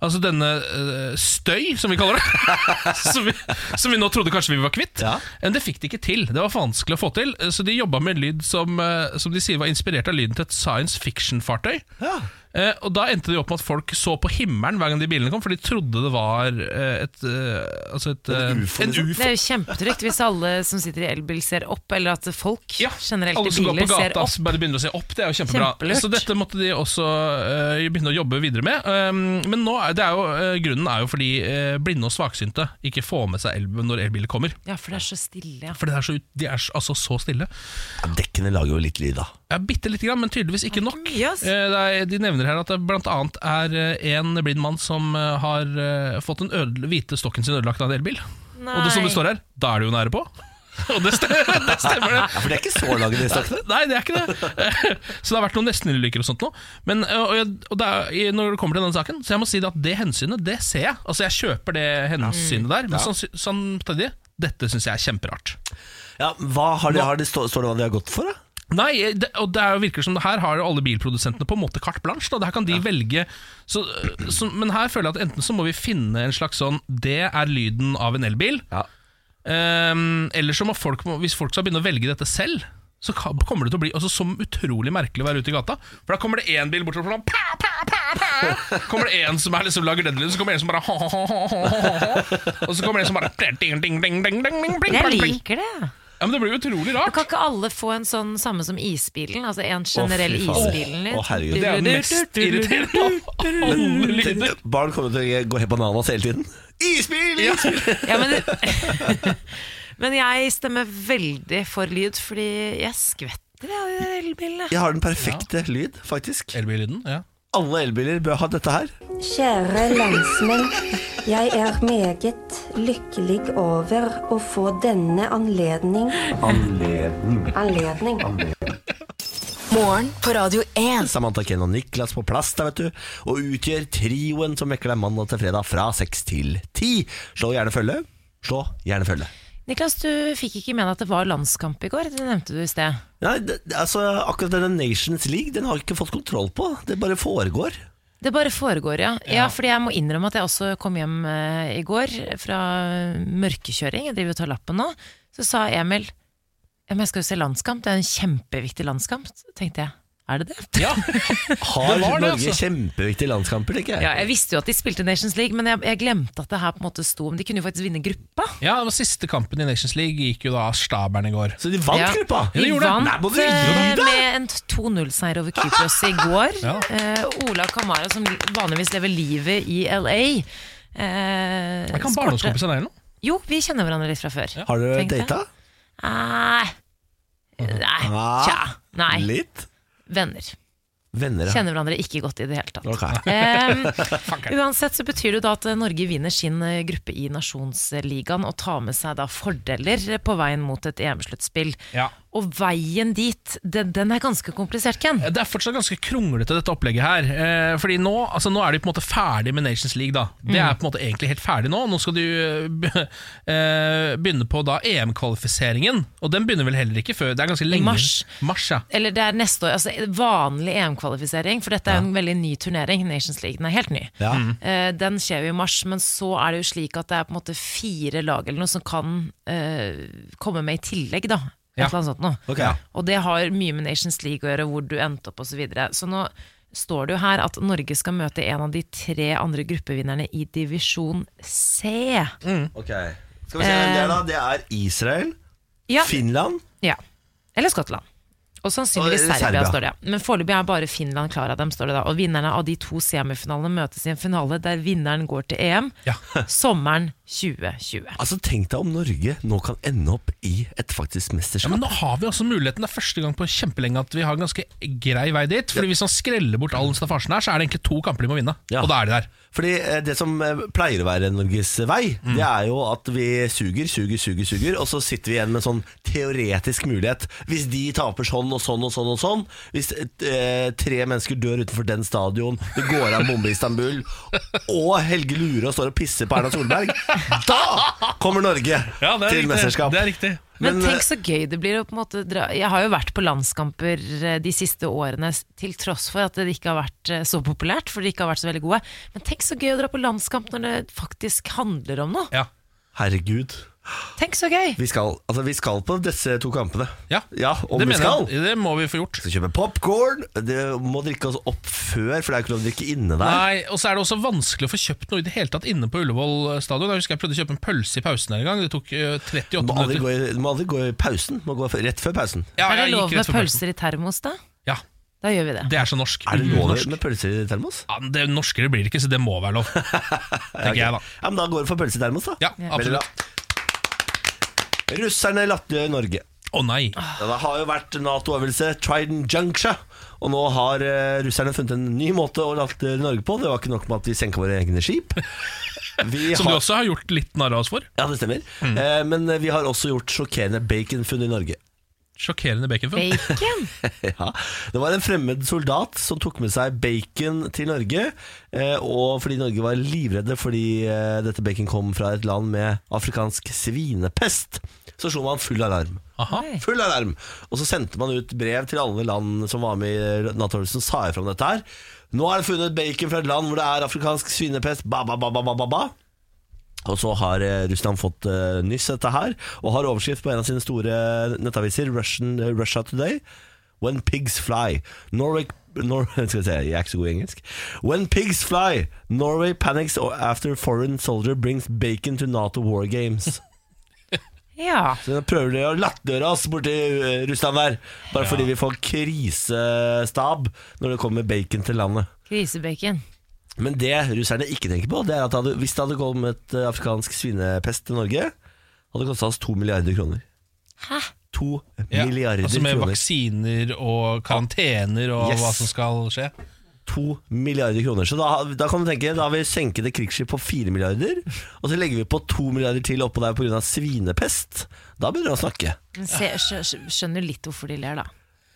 S2: Altså denne eh, støy, som vi kaller
S1: (laughs)
S2: det. som, vi, som vi nå trodde kanskje vi var kvitt.
S1: Ja.
S2: Men det fikk de ikke til. Det var for vanskelig å få til. eh, Så de jobba med en lyd som, eh, som de sier var inspirert av lyden til et science fiction-fartøy.
S1: ja.
S2: Eh, og Da endte det opp med at folk så på himmelen hver gang de bilene kom, for de trodde det var eh, et, eh, altså et, eh,
S1: En ufo, liksom.
S3: Det er jo kjempetrygt hvis alle som sitter i elbil ser opp, eller at folk
S2: Ja,
S3: generelt
S2: alle
S3: i
S2: som går på
S3: biler ser
S2: gata
S3: opp.
S2: så bare begynner å se opp. Det er jo kjempebra.
S3: Kjempelurt.
S2: Så dette måtte de også eh, begynne å jobbe videre med. Um, men nå er det er jo, eh, grunnen er jo fordi eh, blinde og svaksynte ikke får med seg el når elbiler kommer.
S3: Ja, for det er så stille. Ja.
S2: For det er så, ut- de er s- altså så stille.
S1: Dekkene lager jo litt lyd, da.
S2: Ja, Bitte lite grann, men tydeligvis ikke nok.
S3: mye, ass.
S2: Eh, det er, de nevner her at det blant annet er eh, en blind mann som eh, har eh, fått den ødele, hvite stokken sin ødelagt av en elbil. Og det som det står her, da er du jo nære på. (laughs) Og det stemmer, (laughs) det stemmer det.
S1: For det er ikke så lange (laughs) distanser.
S2: Nei, det (laughs) er ikke det. Så det har vært noen nesten-ulykker og sånt nå. Men øh, og jeg, og det er, når det kommer til denne saken, så jeg må si det at det hensynet, det ser jeg. Altså, jeg kjøper det hensynet der, men sanns- samtidig, dette syns jeg er kjemperart.
S1: Ja, hva har de, har de, står, står det hva de har gått for, da?
S2: Nei, det, og det er jo virker som det her har jo alle bilprodusentene på en måte carte blanche. Da. Det her kan de velge så, så, Men her føler jeg at enten så må vi finne en slags sånn Det er lyden av en elbil.
S1: Ja.
S2: Ehm, eller så må folk, må- hvis folk skal begynne å velge dette selv, så ka- kommer det til å bli altså, som utrolig merkelig å være ute i gata. For da kommer det én bil bort og sånn pa, pa, pa, pa. Kommer det en som er liksom lager den lyden, så kommer det en som bare ha, ha, ha, ha, ha, ha. Og så kommer det en som bare ding, ding, ding, ding, ding, ding, bling,
S3: Jeg
S2: bling, bling.
S3: liker det.
S2: Ja, men Det blir jo utrolig
S3: Og
S2: rart.
S3: Kan ikke alle få en sånn samme som isbilen? Altså en generell
S1: fy faen.
S3: isbilen litt?
S1: Å, herregud.
S2: Det er jo mest irriterende av alle lyder.
S1: Barn kommer til å gå helt bananas hele tiden. Isbil! isbil!
S3: Ja, men, (laughs) men jeg stemmer veldig for lyd, fordi jeg skvetter av elbilene.
S1: Jeg har den perfekte lyd, faktisk.
S2: Elbillyden, ja.
S1: Alle elbiler bør ha dette her.
S4: Kjære landsmenn, jeg er meget lykkelig over å få denne anledning Anledning.
S6: Morgen på Radio 1.
S1: Samantha Ken og Niklas på plass der, vet du. Og utgjør trioen som vekker deg mandag til fredag fra seks til ti. Slå gjerne følge. Slå gjerne følge.
S3: Niklas, du fikk ikke med deg at det var landskamp i går. Det nevnte du i sted.
S1: Nei, det, altså, akkurat denne Nations League Den har jeg ikke fått kontroll på. Det bare foregår.
S3: Det bare foregår, ja. ja. fordi jeg må innrømme at jeg også kom hjem eh, i går fra mørkekjøring. Jeg driver og tar lappen nå. Så sa Emil ja, men jeg skal jo se landskamp, det er en kjempeviktig landskamp. Så tenkte jeg, er det det?
S2: ja.
S1: Har
S2: Det var det,
S1: Norge
S2: altså.
S1: kjempeviktige landskamper, tenker jeg.
S3: (laughs) Ja, jeg visste jo at de spilte Nations League, men jeg, jeg glemte at det her på en måte sto om De kunne jo faktisk vinne gruppa.
S2: ja, det var Siste kampen i Nations League gikk jo da av stabelen i går.
S1: Så de vant
S3: Ja.
S1: gruppa!
S2: Ja, de
S3: Vi
S2: gjorde det.
S3: vant
S1: Nei, må du
S3: eh,
S1: gi deg!
S3: med en 2-0-seier over Kypros i går.
S2: (laughs) Ja.
S3: Eh, Ola Kamara, som vanligvis lever livet i LA. eh,
S2: Jeg kan
S3: skårte-
S2: barndomskompisen deg nå.
S3: Jo, vi kjenner hverandre litt fra før.
S1: Har dere
S3: Tenkte jeg.
S1: data?
S3: Nei. Nei. Tja. Nei.
S1: Ah. Litt?
S3: Venner.
S1: Venner, ja.
S3: Kjenner hverandre ikke godt i det hele tatt.
S1: Ok.
S3: (laughs) Ehm, uansett så betyr det jo da at Norge vinner sin eh, gruppe i nasjonsligaen og tar med seg da fordeler på veien mot et EM-sluttspill.
S2: Ja.
S3: Og veien dit, den, den er ganske komplisert, Ken.
S2: Det er fortsatt ganske kronglete, dette opplegget her. Eh, fordi nå, altså, nå er de på en måte ferdig med Nations League. da Det er på en måte egentlig helt ferdig nå. Nå skal de eh, be- eh, begynne på da EM-kvalifiseringen. Og den begynner vel heller ikke før Det er ganske lenge
S3: mars.
S2: mars ja.
S3: Eller det er neste år, altså vanlig EM-kvalifisering, for dette er jo en veldig ny turnering, Nations League, den er helt ny.
S1: Ja.
S3: Eh, Den skjer jo i mars, men så er det jo slik at det er på en måte fire lag eller noe som kan eh, komme med i tillegg, da. Et
S2: Ja.
S3: eller annet sånt noe.
S1: Ok.
S3: Og det har mye med Nations League å gjøre, hvor du endte opp osv. Så, videre. så nå står det jo her at Norge skal møte en av de tre andre gruppevinnerne i divisjon C.
S1: Ok. Skal vi se hvem det er, da. Det er Israel,
S3: Ja,
S1: Finland
S3: Ja. Eller Skottland. Og sannsynligvis
S1: Og- eller
S3: Serbia,
S1: Serbia.
S3: står det. Men foreløpig er bare Finland klar av dem, står det da. Og vinnerne av de to semifinalene møtes i en finale der vinneren går til EM
S2: Ja.
S3: sommeren 2020.
S1: Altså Tenk deg om Norge nå kan ende opp i et faktisk
S2: Ja,
S1: mesterskap.
S2: men nå har vi også muligheten. Det er første gang på kjempelenge at vi har en ganske grei vei dit. Fordi Hvis han skreller bort all staffasjen her, så er det egentlig to kamper de må vinne.
S1: Ja.
S2: Og da er de der.
S1: Fordi eh, Det som eh, pleier å være Norges vei,
S2: Mm.
S1: det er jo at vi suger, suger, suger, suger og så sitter vi igjen med en sånn teoretisk mulighet. Hvis de taper sånn og sånn og sånn og sånn Hvis eh, tre mennesker dør utenfor den stadion, det går av en bombe i Istanbul, og Helge Lure og står og pisser på Erna Solberg, da kommer Norge til mesterskap.
S2: Det er riktig.
S3: Men,
S1: Men,
S3: tenk så gøy det blir å på en måte dra Jeg har jo vært på landskamper eh, de siste årene s- til tross for at det ikke har vært eh, så populært, for de ikke har vært så veldig gode. Men tenk så gøy å dra på landskamp når det faktisk handler om noe.
S2: Ja.
S1: Herregud.
S3: Tenk så gøy!
S1: Vi skal, altså, vi skal på disse to kampene.
S2: Ja.
S1: ja om
S2: det
S1: vi skal.
S2: jeg. Det må vi få gjort.
S1: skal kjøpe popcorn Det må drikke oss opp før For det er ikke lov å drikke inne der
S2: Nei, og så er det også vanskelig å få kjøpt noe i det hele tatt inne på Ullevål stadion. Jeg husker jeg prøvde å kjøpe en pølse i pausen her en gang. Det tok eh, 38
S1: Du må aldri
S2: minutter.
S1: gå i, du må aldri gå i pausen Du må gå f- rett før pausen
S2: Ja,
S3: er det
S2: jeg gikk
S3: lov
S2: rett
S3: med
S2: for pausen.
S3: pølser i termos, da?
S2: Ja,
S3: Da gjør vi det.
S2: det er så norsk.
S1: Er det lov
S2: Norsk.
S1: med pølser i termos?
S2: Ja, men det norskere blir det ikke, så det må være
S1: (laughs)
S2: lov. Tenker jeg, da.
S1: Ja, men da går det for pølser i termos da
S2: Ja,
S1: Veldig
S2: absolutt.
S1: bra. Russerne latterliggjør Norge
S2: Å nei.
S1: Det har jo vært NATO-øvelse Trident Juncture Og nå
S2: (laughs)
S1: har eh, russerne funnet en ny måte å latterliggjøre Norge på Det var ikke nok med at vi senket våre egne skip Vi
S2: Som du
S1: har-
S2: også har gjort litt narr av oss for.
S1: Ja, det stemmer. Eh, men vi har også gjort sjokkerende baconfunn i Norge. (laughs)
S2: Sjokkerende baconfunn.
S3: Bacon?
S1: Ja. Det var en fremmed soldat som tok med seg bacon til Norge. eh, Og fordi Norge var livredde fordi eh, dette bacon kom fra et land med afrikansk svinepest, så slo man full alarm.
S2: Aha.
S1: Full alarm! Og så sendte man ut brev til alle land som var med i NATO-øvelsen, sa ifra om dette her. Nå er det funnet bacon fra et land hvor det er afrikansk svinepest. Ba, ba, ba, ba, ba, ba, ba. Og så har eh, Russland fått eh, nyss dette her, og har overskrift på en av sine store nettaviser, Russian, eh, Russia Today. When pigs fly Norway Nor (laughs) skal vi se, Jeg er ikke så god i engelsk. When pigs fly, Norway panics after foreign soldier brings bacon to NATO war games.
S3: Ja.
S1: Så nå prøver de å latterliggjøre oss borti eh, Russland der, bare fordi vi får krisestab når det kommer bacon til landet.
S3: Grisebacon.
S1: Men det russerne ikke tenker på, det er at det hadde, hvis det hadde kommet eh, afrikansk svinepest til Norge, hadde det kosta oss to milliarder kroner. Hæ? To
S2: Ja.
S1: milliarder
S2: Altså med
S1: kroner.
S2: vaksiner og karantener og
S1: Yes.
S2: hva som skal skje.
S1: To milliarder kroner. Så da, da kan du tenke, da har vi senket et krigsskip på fire milliarder, og så legger vi på to milliarder til oppå der pga. svinepest. Da begynner du å snakke.
S3: Men Se, skjø- skjø- skjønner litt hvorfor de ler, da.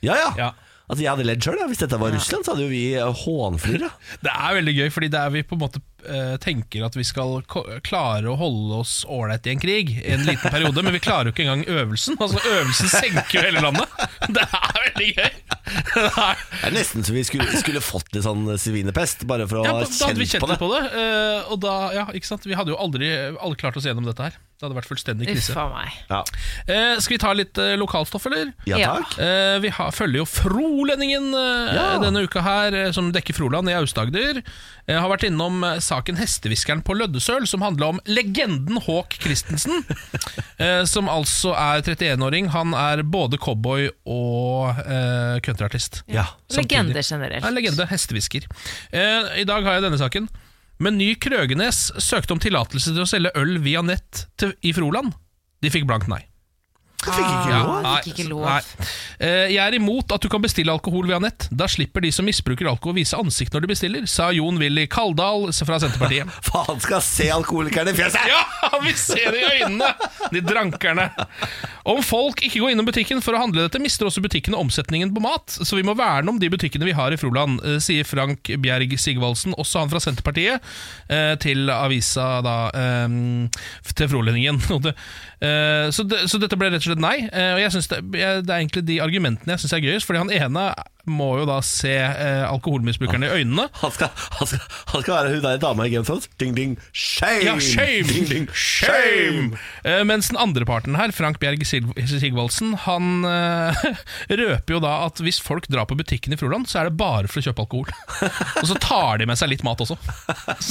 S1: Ja, ja.
S2: Ja.
S1: Altså, jeg hadde ledd sjøl. Hvis dette var Russland, så hadde jo vi eh, hånflira.
S2: (laughs) Det er veldig gøy, fordi det er vi på en måte eh, tenker at vi skal ko klare å holde oss ålreit i en krig i en liten periode, men vi klarer jo ikke engang øvelsen. Altså Øvelsen senker jo hele landet. (laughs) Det er veldig gøy! Det er,
S1: Det er nesten så vi skulle, skulle fått litt sånn svinepest, bare for å
S2: ja,
S1: ha
S2: da, da hadde vi
S1: kjent på det.
S2: litt på det. eh, og da, ja, ikke sant? Vi hadde jo aldri alle klart oss gjennom dette her. Det hadde vært fullstendig
S3: Uff
S2: krise.
S3: a meg.
S1: Ja.
S2: Eh, skal vi ta litt eh, lokalstoff, eller?
S1: ja
S3: Ja.
S1: takk.
S2: Eh, vi har, følger jo Frolendingen eh,
S1: Ja.
S2: denne uka her, eh, som dekker Froland i Aust-Agder. Eh, har vært innom eh, saken Hestehviskeren på Løddesøl, som handla om legenden Håk Christensen. eh, som altså er 31-åring. Han er både cowboy og eh, countryartist.
S1: Ja.
S3: Legende
S2: Ja,
S3: generelt.
S2: legende. Hestehvisker. Eh, I dag har jeg denne saken. Meny Krøgenes søkte om tillatelse til å selge øl via nett til, i Froland. De fikk blankt nei.
S1: Det fikk ikke
S3: Ja.
S1: lov.
S3: Ah, fikk ikke lov.
S2: nei. Eh, Jeg er imot at du kan bestille alkohol via nett. Da slipper de som misbruker alkohol, vise ansikt når de bestiller, sa Jon Willy Kaldal fra Senterpartiet.
S1: Faen skal se alkoholikerne i fjeset!
S2: (laughs) Ja, vi ser det i øynene! De drankerne. Om folk ikke går innom butikken for å handle dette, mister også butikkene omsetningen på mat, så vi må verne om de butikkene vi har i Froland, eh, sier Frank Bjerg Sigvaldsen, også han fra Senterpartiet, eh, til avisa da eh, til Frolendingen. (laughs) Og det- eh, Så, det, så dette ble rett og slett nei, eh, og jeg synes det, jeg, det er egentlig de argumentene jeg syns er gøyest, fordi han ene må jo da se eh, alkoholmisbrukerne i øynene.
S1: Han skal, han, skal, han skal være hun der dama i Game of Thrones. Ding, ding, shame!
S2: Ja, shame!
S1: Ding, ding, shame!
S2: Shame! Eh, mens den andre parten her, Frank Bjerg Sig- Sigvaldsen, han eh, (laughs) røper jo da at hvis folk drar på butikken i Froland, så er det bare for å kjøpe (laughs) alkohol. og så tar de med seg litt mat også.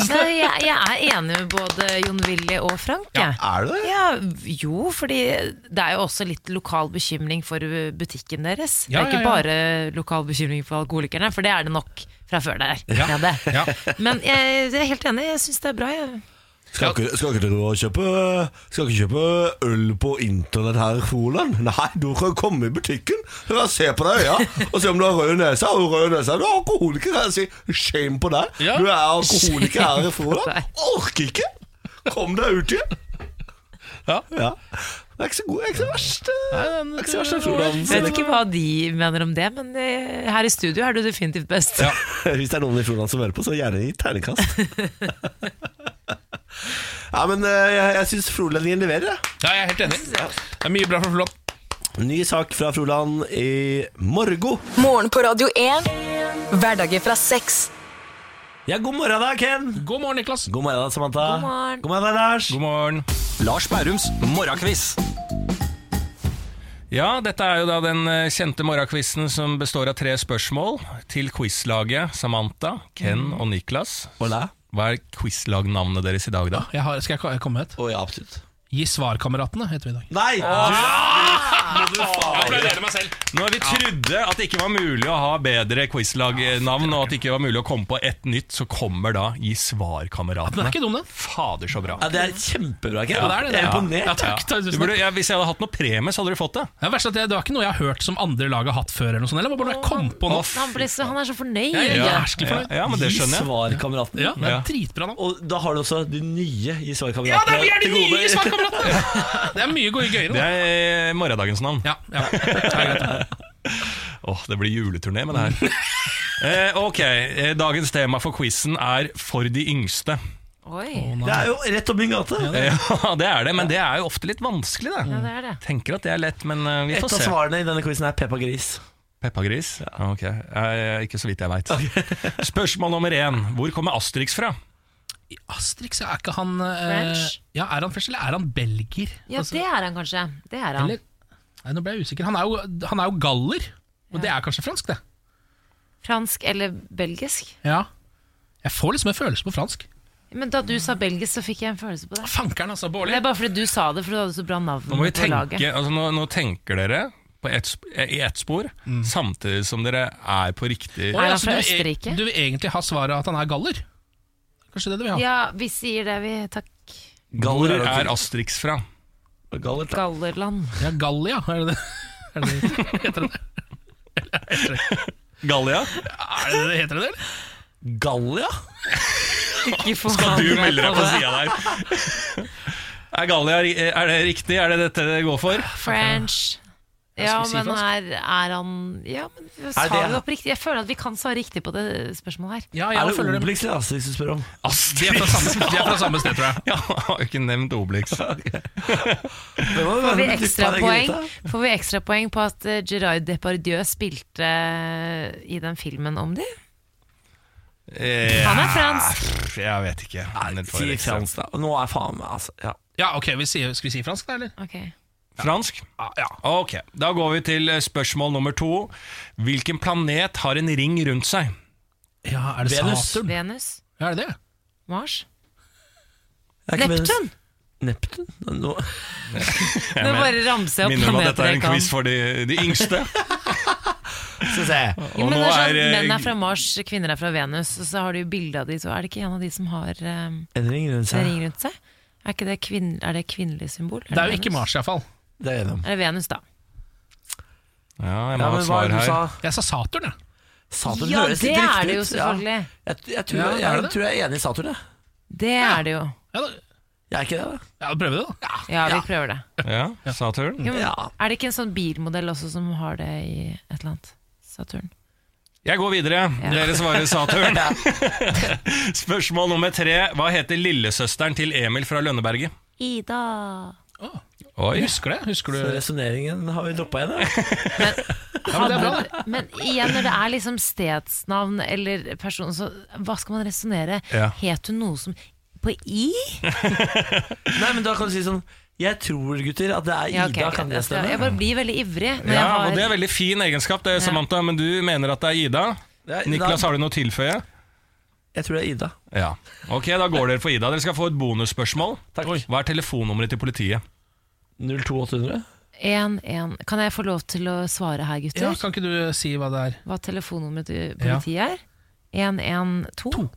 S3: Nei, jeg, jeg er enig med både Jon Willy og Frank. jeg.
S1: Er du det?
S3: Ja, jo, fordi det er jo også litt lokal bekymring for uh, butikken deres.
S2: Ja,
S3: det er
S2: ja,
S3: ikke
S2: ja.
S3: bare lokal bekymring for alkoholikerne, for det er det nok fra før der.
S2: Ja,
S3: nede.
S2: ja.
S3: Men jeg, jeg er helt enig, jeg syns det er bra. Jeg.
S1: Skal ikke, skal ikke dere kjøpe Skal ikke kjøpe øl på internett her i Froland? (laughs) Nei, du kan komme i butikken, du kan se på deg i øya og se om du har rød nese. Har du rød nese, du er alkoholiker. Kan jeg si shame på deg.
S2: Ja.
S1: Du er alkoholiker her i
S3: (laughs) Shame
S1: Froland. Orker ikke! Kom deg ut igjen.
S2: Ja.
S1: Det er ikke så god, det er ikke så verst. eh, Det er ikke så verst i
S3: jeg vet
S1: Froland.
S3: ikke hva de mener om det, men eh, her i studio er du definitivt best.
S2: Ja.
S1: (laughs) Hvis det er noen i Froland som hører på, så gjerne gi
S3: (laughs)
S1: terningkast. (laughs) ja, men eh, jeg, jeg syns Frolendingen leverer, jeg.
S2: ja, jeg er helt enig. Det er mye bra for Froland.
S1: Ny sak fra Froland i morgo.
S6: Morgen på Radio 1. Hverdager fra seks.
S1: Ja, god morgen da, Ken.
S2: God morgen, Niklas.
S1: God morgen da, Samantha.
S3: God morgen.
S1: God morgen da, Lars.
S9: God morgen. Lars Bærums morgenkviss. Ja, dette er jo da den eh, kjente morgenkvissen som består av tre spørsmål til quizlaget Samantha, Ken
S2: Mm.
S9: og Niklas.
S1: Hola.
S9: Hva er quizlagnavnet deres i dag, da?
S2: Jeg har, skal jeg komme med et?
S1: Å ja, absolutt.
S2: Gi svarkameratene, heter vi i dag.
S1: Nei!
S2: Jeg applauderer meg selv.
S9: Når vi trodde at det ikke var mulig å ha bedre quizlagnavn, og at det ikke var mulig å komme på ett nytt, så kommer da
S2: Den
S9: Gi
S2: er
S9: svar-kameratene.
S2: ikke dum, den.
S9: Fader, så bra.
S1: Ja, det er kjempebra, Ken.
S2: Ja, det er det, det er.
S1: Jeg er imponert.
S2: Ja, takk, takk,
S9: Du
S2: tusen
S9: burde,
S2: takk.
S9: ja, hvis jeg hadde hatt noe premie, så hadde du fått det.
S2: Det, er verst at det, det var ikke noe jeg har hørt som andre lag har hatt før. Eller noe sånt, eller? Det var bare noe jeg kom på nå.
S3: Han, ble så, han er så fornøyd.
S2: Jeg er
S9: Ja,
S2: jævlig
S9: ja,
S2: fornøyd.
S9: ja, men det
S1: Gi
S9: skjønner jeg.
S1: svar, kameraten.
S2: Ja, det er
S9: Ja.
S2: dritbra navn.
S1: Og da har du også de nye i svarkameratene.
S2: Ja, det er, vi er de
S1: til gode.
S2: nye svarkameratene! Det er mye gøyere.
S9: Det
S2: Da.
S9: er eh, morgendagens navn.
S2: Ja, ja. Det er greit, da.
S9: Åh, det blir juleturné med det her. Eh, ok, eh, Dagens tema for quizen er For de yngste.
S3: Oi,
S1: (laughs) Det er jo rett opp min gate.
S9: (laughs) Ja, det er det, men det er jo ofte litt vanskelig, det.
S3: ja, det er det.
S9: Tenker at det er lett, men eh, vi
S1: Et
S9: får
S1: av
S9: se.
S1: svarene i denne quizen er Peppa Gris.
S9: Peppa Gris? Ja. Ok, eh, ikke så vidt jeg veit. Spørsmål nummer én. Hvor kommer Asterix fra?
S2: Astrix, er ikke han eh,
S3: French?
S2: Ja, Er han French, eller er han belger?
S3: Ja,
S2: Altså,
S3: det er han kanskje. Det er han.
S2: eller, nei, nå ble jeg usikker. Han er jo, han er jo galler, og det er kanskje fransk, det.
S3: Fransk eller belgisk?
S2: Ja Jeg får liksom en følelse på fransk.
S3: Men da du sa belgisk, så fikk jeg en følelse på det.
S2: Fankeren, altså,
S3: Det
S2: Bårli.
S3: er bare fordi du sa det, for du hadde så bra navn
S9: Nå må vi
S3: på
S9: tenke,
S3: laget.
S9: altså nå, nå tenker dere på ett sp- eh, i ett spor, samtidig som dere er på riktig
S2: Å, ja,
S3: Er han
S2: så
S3: fra
S2: du- e-
S3: Østerrike?
S2: Du vil egentlig ha svaret at han er galler? Kanskje det du vil ha?
S3: Ja, vi sier det, vi. Takk.
S9: Hvor
S1: Galler
S9: er Asterix fra?
S1: Galler, da.
S3: (laughs) Gallerland.
S2: Ja, Gallia, er det (laughs) det? Er det det heter det?
S9: Gallia?
S2: Er det det heter det, eller?
S1: Gallia?
S9: Skal du melde deg på sida der? (laughs) Er Gallia ri- eh, er det riktig? Er det dette det går for?
S3: French. Ja,
S2: Skal vi si
S3: men
S2: fransk?
S3: her er han Ja, men sa
S1: det-
S3: vi oppriktig? Jeg føler at vi kan svare riktig på det spørsmålet her.
S2: Ja,
S1: Er
S2: jeg
S1: det
S2: følger dem.
S1: Obelix eller Asterix du spør om?
S2: De er, fra samme, de er fra samme sted, tror jeg.
S9: Ja, jeg har ikke nevnt (laughs) Obelix.
S3: Får vi ekstrapoeng Får vi ekstrapoeng på at eh, Gerard Depardieu spilte eh, i den filmen om dem?
S9: Eh,
S3: Han er fransk.
S9: Jeg vet ikke. Men for
S1: Si
S9: eksempel-
S1: Frans, da. Nå er faen meg altså, ja.
S2: Ja, ok, vi sier, Skal vi si fransk, da, eller?
S3: Ok.
S9: Fransk?
S2: Ja, ja.
S9: Ok, da går vi til eh, spørsmål nummer to. Hvilken planet har en ring rundt seg?
S2: ja er det
S1: Venus.
S2: Saturn?
S3: Venus?
S2: Ja, er det det?
S3: Mars?
S1: Det er ikke meningen-
S3: Neptun?
S1: Neptun? Nå.
S3: Nå bare ramser jeg opp
S9: Minner om at dette
S3: planeter
S9: er
S3: jeg
S9: en
S3: kan.
S9: quiz for de, de
S3: (laughs)
S9: yngste.
S1: Skal vi se.
S3: Jo,
S9: Og
S3: men
S9: nå
S3: det er sånn,
S9: er, eh,
S3: Menn er fra Mars, kvinner er fra Venus, og så har de jo bilde av de to. Er det ikke en av de som har eh,
S1: En ring rundt
S3: en
S1: seg.
S3: ring rundt seg? Er, ikke det, kvinn, er det kvinnelig symbol?
S2: Det er jo ikke
S3: Venus?
S2: Mars, iallfall.
S1: Det er jeg enig om.
S3: Er det Venus, da?
S9: Ja, jeg må ha
S1: Ja, men
S9: et
S1: hva er
S9: svar
S1: det du
S9: her.
S1: sa?
S2: Jeg sa Saturn, jeg.
S1: Saturn
S3: ja,
S1: høres
S3: det
S1: litt riktig
S3: er det jo
S1: ut. Ja.
S3: selvfølgelig.
S1: Jeg, jeg, tror,
S2: Ja,
S1: jeg,
S2: er det
S1: jeg,
S2: det?
S1: tror jeg er enig i Saturn, jeg.
S3: Det er det jo.
S2: Ja, da,
S1: Jeg er ikke det, da.
S2: ja, da prøver vi det, da.
S3: Ja, vi prøver det.
S9: Ja, Saturn.
S3: Jo, men,
S1: Ja.
S3: Er det ikke en sånn bilmodell også som har det i et eller annet? Saturn.
S9: Jeg går videre. Dere svarer
S3: (laughs)
S9: Saturn. (laughs) Spørsmål nummer tre. Hva heter lillesøsteren til Emil fra Lønneberget?
S3: Ida.
S9: Oi.
S2: Jeg Husker det? Husker du?
S1: Så resonneringen har vi droppa igjen. Ja.
S2: Ja, men det er bra, det.
S3: Men igjen, når det er liksom stedsnavn eller person, så hva skal man resonnere?
S9: Ja.
S3: Het hun noe som på I?
S1: (laughs) Nei, men da kan du si sånn Jeg tror, gutter, at det er Ida.
S3: Ja, ok, greit.
S1: kan det
S3: Jeg skal-
S1: stemme?
S3: Jeg bare blir veldig ivrig når jeg
S9: Ja,
S3: har
S9: og Det er veldig fin egenskap, det, Samantha, men du mener at det er Ida.
S1: Det er Ida.
S9: Niklas, har du noe å tilføye?
S1: Jeg tror det er Ida.
S9: Ja. Ok, da går dere for Ida. Dere skal få et bonusspørsmål.
S1: Takk.
S9: Oi. Hva er telefonnummeret til politiet?
S1: 02800?
S3: en, en. Kan jeg få lov til å svare her, gutter?
S2: Ja, kan ikke du si hva det er?
S3: Hva telefonnummeret til politiet er? 112?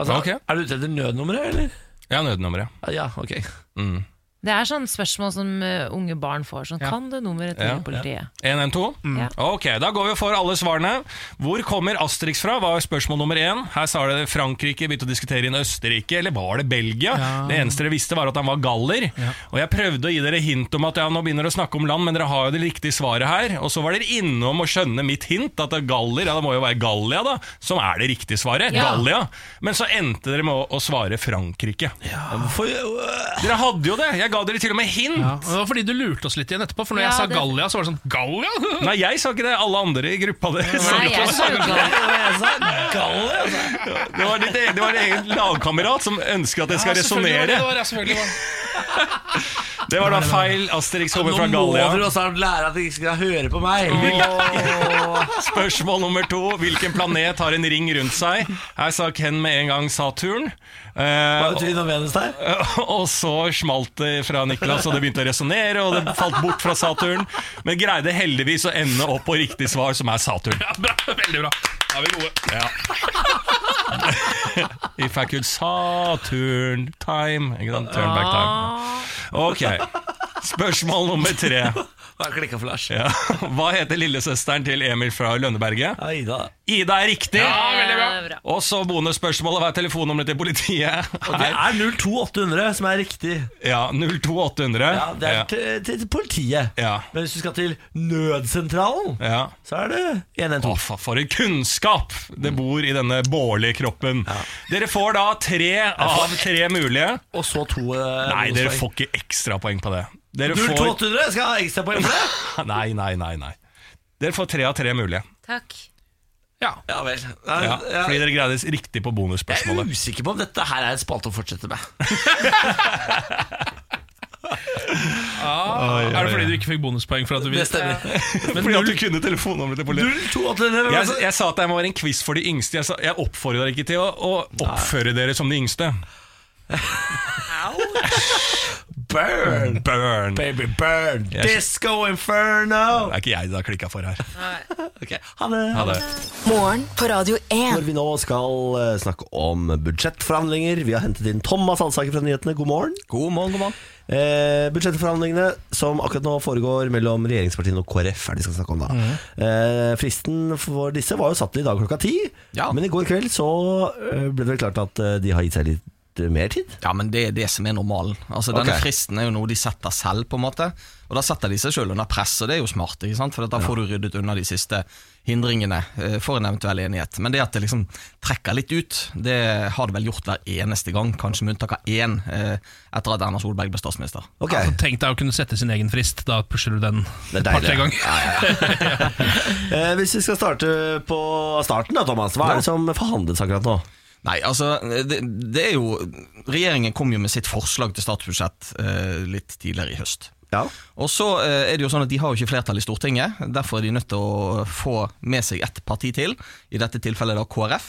S1: Altså,
S9: Ok.
S1: Er du ute etter nødnummeret, eller?
S9: Ja, nødnummeret.
S1: Ja, ok.
S9: Mm.
S3: Det er sånn spørsmål som eh, unge barn får. Sånn, Kan du nummeret til
S9: Ja, ja.
S3: politiet?
S9: 112?
S10: Mm.
S3: Ja.
S9: Ok, da går vi for alle svarene. Hvor kommer Asterix fra, var spørsmål nummer én. Her sa det Frankrike, begynte å diskutere inn Østerrike, eller var det Belgia?
S2: Ja.
S9: Det eneste dere visste var at han var galler. Og jeg prøvde å gi dere hint om at ja, nå begynner dere å snakke om land, men dere har jo det riktige svaret her. Og så var dere innom å skjønne mitt hint, at det er galler, ja det må jo være Gallia da, som er det riktige svaret.
S3: Ja.
S9: Gallia. Men så endte dere med å, å svare Frankrike.
S1: Hvorfor øh,
S9: Dere hadde jo det, jeg ga dere til og med hint.
S2: Ja, og det var fordi du lurte oss litt igjen etterpå, for når
S3: Ja,
S2: jeg sa
S3: det-
S2: Gallia, så var det sånn Gallia?
S9: Nei, jeg sa ikke det, alle andre i gruppa deres.
S3: Nei, jeg sa jo ikke det.
S1: Jeg sa galle, altså.
S9: Det var, ditt, e- det var en egen lagkamerat som ønsker at det skal
S2: Ja, selvfølgelig var det
S9: resonnere.
S2: det var, ja, selvfølgelig var det.
S9: Det var da feil. Asterix kommer fra
S1: Nå må dere
S9: Gallia.
S1: også lære at de ikke skal høre på meg. Åh.
S9: Spørsmål nummer to. Hvilken planet har en ring rundt seg? Her sa Ken med en gang Saturn. Eh,
S1: Hva betyr Novenus der?
S9: (laughs) og så smalt det fra Niklas, og det begynte å resonnere, og det falt bort fra Saturn. Men greide heldigvis å ende opp på riktig svar, som er Saturn.
S2: Ja, bra, (laughs) veldig bra. Da er vi gode.
S9: (laughs) If I could Saturn time Ikke sant? Turn back time. Ok. Spørsmål nummer tre.
S1: Da har jeg klikket for Lars.
S9: Ja. Hva heter lillesøsteren til Emil fra Lønneberget?
S1: Ja, Ida.
S9: Ida er riktig!
S2: veldig bra.
S9: Og så bonusspørsmålet. Hva er telefonnummeret til politiet?
S1: Og det er 02800 som er riktig.
S9: Ja, 02800.
S1: Ja, det er til, til politiet.
S9: Ja.
S1: Men hvis du skal til nødsentralen,
S9: ja.
S1: så er det
S9: Å,
S1: 112.
S9: fa- for en kunnskap det bor i denne bårlige kroppen. Dere får da tre av tre mulige.
S1: Og så to eh,
S9: Nei, dere
S1: bonuspoeng.
S9: får ikke ekstrapoeng på det. Dere får
S1: 02800 skal ha ekstrapoeng for det?
S9: Nei, nei, nei. nei Dere får tre av tre mulige.
S3: Takk.
S2: Ja.
S1: Ja vel. Nei,
S9: (laughs) Ja,
S1: ja.
S9: fordi dere greide riktig på
S1: Jeg er
S9: bonusspørsmålet.
S1: usikker på om dette her er en spalte å fortsette med.
S2: Er det fordi du ikke fikk bonuspoeng? For at du
S1: Det stemmer.
S9: Fordi at du kunne telefonnummeret til politiet.
S1: 02800
S9: Jeg, jeg sa at det må være en quiz for de yngste. Jeg, sa, jeg oppfordrer dere ikke til å, å oppføre dere som de yngste.
S1: Burn!
S9: Burn! Det
S1: Baby burn!
S9: Mm. Jeg-
S1: Disco inferno!
S9: er ikke jeg det har klikka for her.
S1: Ok, ha det!
S9: Ha det.
S6: Morgen på Radio 1.
S1: Når vi nå skal eh, snakke om budsjettforhandlinger Vi har hentet inn Thomas Hansaker fra nyhetene God morgen
S10: God morgen, god morgen.
S1: eh, Budsjettforhandlingene som akkurat nå foregår Mellom regjeringspartiene og KrF Er det vi skal snakke om da
S10: Mhm.
S1: eh, Fristen for disse var jo satt i dag klokka ti
S10: Ja.
S1: Men i går kveld så eh, ble det vel klart at eh, De har gitt seg litt eh, mer tid
S10: Ja, men det er det som er normalen. Altså, Denne
S1: Ok.
S10: fristen er jo noe de setter selv, på en måte. Og da setter de seg selv under press, og det er jo smart, ikke sant? for da får du ryddet unna de siste hindringene eh, for en eventuell enighet. Men det at det liksom trekker litt ut, det har det vel gjort hver eneste gang, kanskje med unntak av én, eh, etter at Erna Solberg ble statsminister.
S1: Ok,
S2: Altså, tenk deg å kunne sette sin egen frist. Da pusher du den
S1: Det er
S2: et par-tre
S1: deilig.
S2: ganger.
S1: (laughs) eh, hvis vi skal starte på starten da Thomas Hva er det som forhandles akkurat nå?
S10: Nei, altså det, det er jo Regjeringen kom jo med sitt forslag til statsbudsjett eh, litt tidligere i høst.
S1: Ja,
S10: Og så eh, er det jo sånn at De har jo ikke flertall i Stortinget, derfor er de nødt til å få med seg ett parti til. I dette tilfellet da KrF,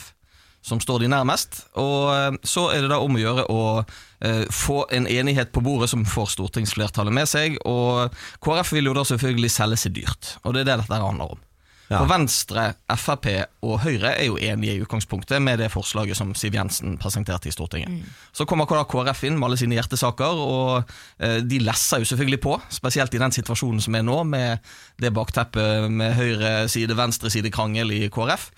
S10: som står de nærmest. Og eh, Så er det da om å gjøre å eh, få en enighet på bordet som får stortingsflertallet med seg. Og KrF vil jo da selvfølgelig selge seg dyrt, og det er det dette handler om.
S1: Ja.
S10: For Venstre, Frp og Høyre er jo enige i utgangspunktet med det forslaget som Siv Jensen presenterte i Stortinget. Så kommer da KrF inn med alle sine hjertesaker, og eh, de lesser jo selvfølgelig på. Spesielt i den situasjonen som er nå, med det bakteppet med høyre side, venstre side krangel i KrF.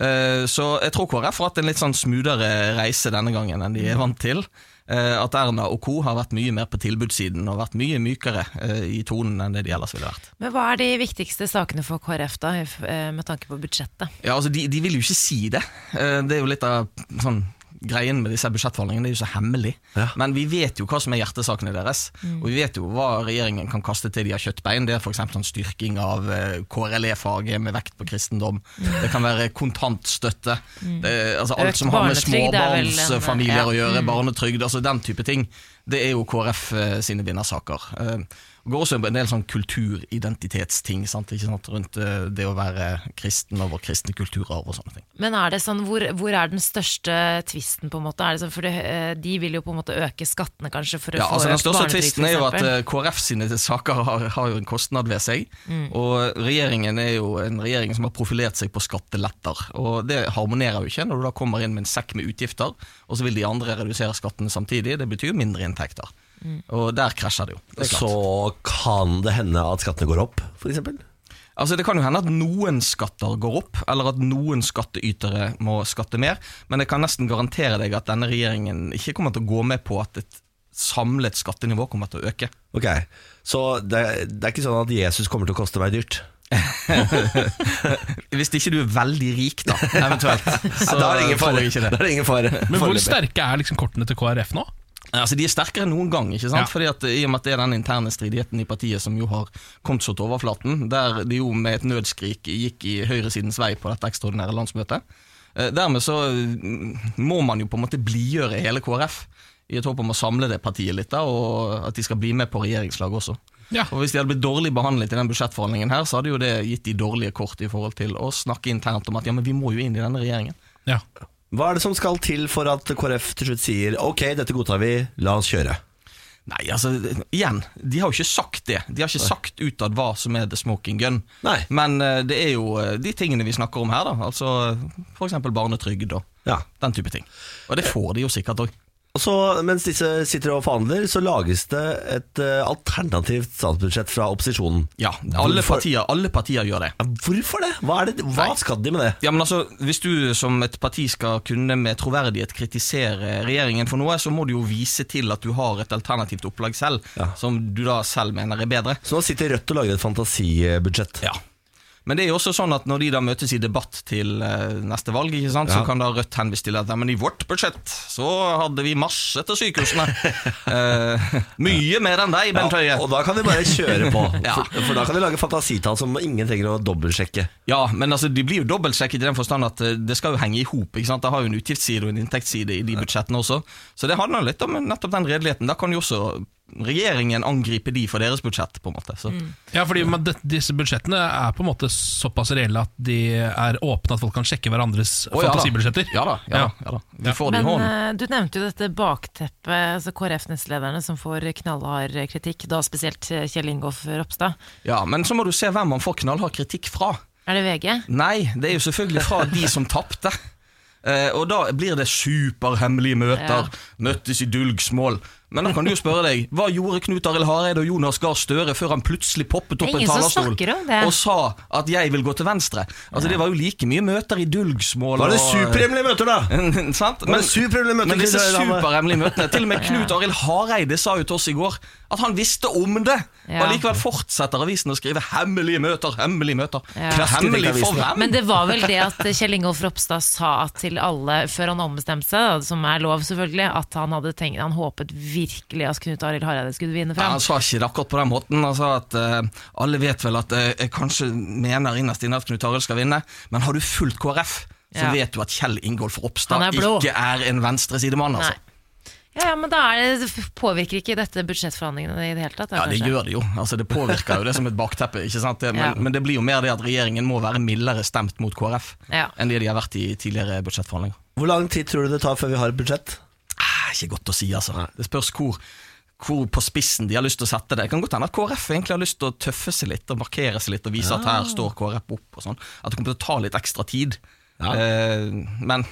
S10: Eh, Så jeg tror KrF har hatt en litt sånn smoothere reise denne gangen enn de er vant til. Eh, At Erna og co. har vært mye mer på tilbudssiden og vært mye mykere eh, i tonen enn det de ellers ville vært.
S3: Men hva er de viktigste sakene for KrF da, i f- eh, med tanke på budsjettet?
S10: Ja, altså de, de vil jo ikke si det. Eh, Det er jo litt av sånn Greien med disse budsjettforhandlingene det er jo så hemmelig. Men vi vet jo hva som er hjertesakene deres. Og vi vet jo hva regjeringen kan kaste til de har kjøttbein. Det er f.eks. Sånn styrking av eh, KRLE-faget med vekt på kristendom. Det kan være kontantstøtte. Det, er- altså alt
S3: Økt
S10: som har med
S3: barnetrygd er vel en-
S10: småbarnsfamilier
S3: ja. Mm.
S10: å gjøre. Barnetrygd, altså den type ting. Det er jo KrF eh, sine vinnersaker. Eh, Det går også en del sånn kulturidentitetsting sant? Ikke sant? rundt eh, det å være kristen og vår kristne kulturarv og sånne ting.
S3: Men er det sånn, hvor, hvor er den største tvisten på en måte? Er det sånn, for det, eh, de vil jo på en måte øke skattene kanskje for å
S10: Ja,
S3: få
S10: altså Den
S3: økt
S10: største
S3: barnetrygd,
S10: tvisten
S3: for
S10: er jo at
S3: eksempel.
S10: eh, KrF sine saker har, har jo en kostnad ved seg.
S3: Mm.
S10: Og regjeringen er jo en regjering som har profilert seg på skatteletter. Og det harmonerer jo ikke når du da kommer inn med en sekk med utgifter, og så vil de andre redusere skattene samtidig. Det betyr jo mindre inntekter.
S3: Mm.
S10: Og der krasjer det jo. det er klart.
S1: så kan det hende at skattene går opp, for eksempel
S10: Altså Det kan jo hende at noen skatter går opp, eller at noen skattytere Eh, må skatte mer, men jeg kan nesten garantere deg at denne regjeringen ikke kommer til å gå med på at et samlet skattenivå kommer til å øke.
S1: Ok, så det, det er ikke sånn at Jesus kommer til å koste meg dyrt
S10: Hvis ikke du er veldig rik, (laughs) da, eventuelt. Så
S1: Da er det ingen
S10: tror
S1: fare,
S10: jeg ikke det.
S1: Da er det ingen fare.
S2: Men hvor
S1: Foreløpig.
S2: sterke er liksom kortene til KrF nå?
S10: Altså, de er sterkere enn noen gang, ikke sant?
S2: Ja.
S10: Fordi at i og med at det er den interne stridigheten i partiet som jo har kommet så til overflaten, der de jo med et nødskrik gikk i høyresidens vei på dette ekstraordinære landsmøtet. Eh, Dermed så mm, må man jo på en måte blidgjøre hele KrF i et håp om å samle det partiet litt, da, og at de skal bli med på regjeringslaget også.
S2: Ja.
S10: Og Hvis de hadde blitt dårlig behandlet i den budsjettforhandlingen her, så hadde jo det gitt de dårlige kort i forhold til å snakke internt om at ja, men vi må jo inn i denne regjeringen.
S2: Ja.
S1: Hva er det som skal til for at KrF til slutt sier ok, dette godtar vi, la oss kjøre?
S10: Nei, altså, igjen, de har jo ikke sagt det. De har ikke sagt utad hva som er the smoking gun.
S1: Nei.
S10: Men eh, det er jo eh, de tingene vi snakker om her, da. Altså f.eks. barnetrygd og
S1: Ja.
S10: den type ting. Og det får de jo sikkert òg.
S1: Og så, Mens disse sitter og forhandler, så lages det et eh, alternativt statsbudsjett fra opposisjonen.
S10: Ja, alle
S1: Hvorfor-
S10: partier, alle partier gjør det.
S1: Ja, Hvorfor det? Hva, er det? Hva
S10: Nei.
S1: skal de med det?
S10: Ja, men altså, Hvis du som et parti skal kunne med troverdighet kritisere regjeringen for noe, så må du jo vise til at du har et alternativt opplag selv,
S1: Ja.
S10: som du da selv mener er bedre.
S1: Så nå sitter Rødt og lager et fantasibudsjett.
S10: Ja. Men det er jo også sånn at når de da møtes i debatt til eh, neste valg, ikke sant,
S1: Ja.
S10: så kan da Rødt henvise til at «Nei, men i vårt budsjett så hadde vi masse til (laughs) sykehusene. Eh, mye mer enn deg, Bent Høie.
S1: Ja, og da kan de bare kjøre
S10: (laughs)
S1: på.
S10: Ja.
S1: for, for da kan de lage fantasitall som ingen trenger å dobbeltsjekke.
S10: Ja, men altså, de blir jo dobbeltsjekket i den forstand at eh, det skal jo henge i hop. ikke sant? Det har jo en utgiftsside og en inntektsside i de budsjettene også. Så det handler litt om nettopp den redeligheten. Da kan jo også regjeringen angripe de for deres budsjett, på en måte. Så.
S2: Ja, fordi man, det, disse budsjettene er på en måte såpass reelle at de er åpne, at folk kan sjekke hverandres
S10: Å, ja da.
S2: fantasibudsjetter.
S10: Ja da, ja, da, ja da. Vi får det
S3: Men
S10: i hånden.
S3: eh, du nevnte jo dette bakteppet, altså KrF-nestlederne som får knallhard eh, kritikk, da spesielt eh, Kjell Ingolf Ropstad.
S10: Ja, men så må du se hvem man får knallhard kritikk fra.
S3: Er det VG?
S10: Nei, det er jo selvfølgelig fra de som tapte. Eh, og da blir det superhemmelige møter,
S3: Ja.
S10: møttes i dulgsmål. Men da kan du jo spørre deg, hva gjorde Knut Arild Hareide og Jonas Gahr Støre før han plutselig poppet opp en
S3: Det er ingen som
S10: talerstol
S3: snakker om det.
S10: og sa at 'jeg vil gå til venstre'? Altså Det var jo like mye møter i dulgsmål.
S1: Var det
S10: og-
S1: superhemmelige møter,
S10: (laughs)
S1: da?
S10: Sant?
S1: det superhemmelige møter,
S10: men disse
S1: Knut Arild Hareide?
S10: superhemmelige møtene Til og med Knut Arild Hareide sa jo til oss i går at han visste om det!
S3: Ja.
S10: Og likevel fortsetter avisen å skrive 'hemmelige møter', 'hemmelige møter'.
S3: Ja.
S10: Hemmelig for
S1: Avisen.
S10: hvem?
S3: Men det var vel det at Kjell Ingolf Ropstad sa til alle, før han ombestemte seg, da, som er lov selvfølgelig, at han hadde tenkt, han håpet virkelig at Knut Arild Hareide skulle vinne
S10: Ja,
S3: fram.
S10: han sa ikke det akkurat på den måten. Han sa at eh, alle vet vel at eh, jeg kanskje mener innerst inne at Knut Arild skal vinne, men har du fulgt KrF, så
S3: Ja.
S10: vet du at Kjell Ingolf Ropstad
S3: Han er blå.
S10: ikke er en venstresidemann, altså.
S3: Nei. Ja, ja, men da er det, påvirker ikke dette budsjettforhandlingene i det hele tatt? Da,
S10: Ja, det
S3: kanskje?
S10: gjør det jo. Altså, det påvirker jo det som et bakteppe. ikke sant? Det, men,
S3: Ja.
S10: men det blir jo mer det at regjeringen må være mildere stemt mot KrF
S3: Ja.
S10: enn det de har vært i tidligere budsjettforhandlinger.
S1: Hvor lang tid tror du det tar før vi har et budsjett?
S10: Ah, ikke godt å si, altså. Det spørs hvor, hvor på spissen de har lyst til å sette det. Det kan godt hende at KrF egentlig har lyst til å tøffe seg litt og markere seg litt og vise at her står KrF opp og sånn. At det kommer til å ta litt ekstra tid. Eh, men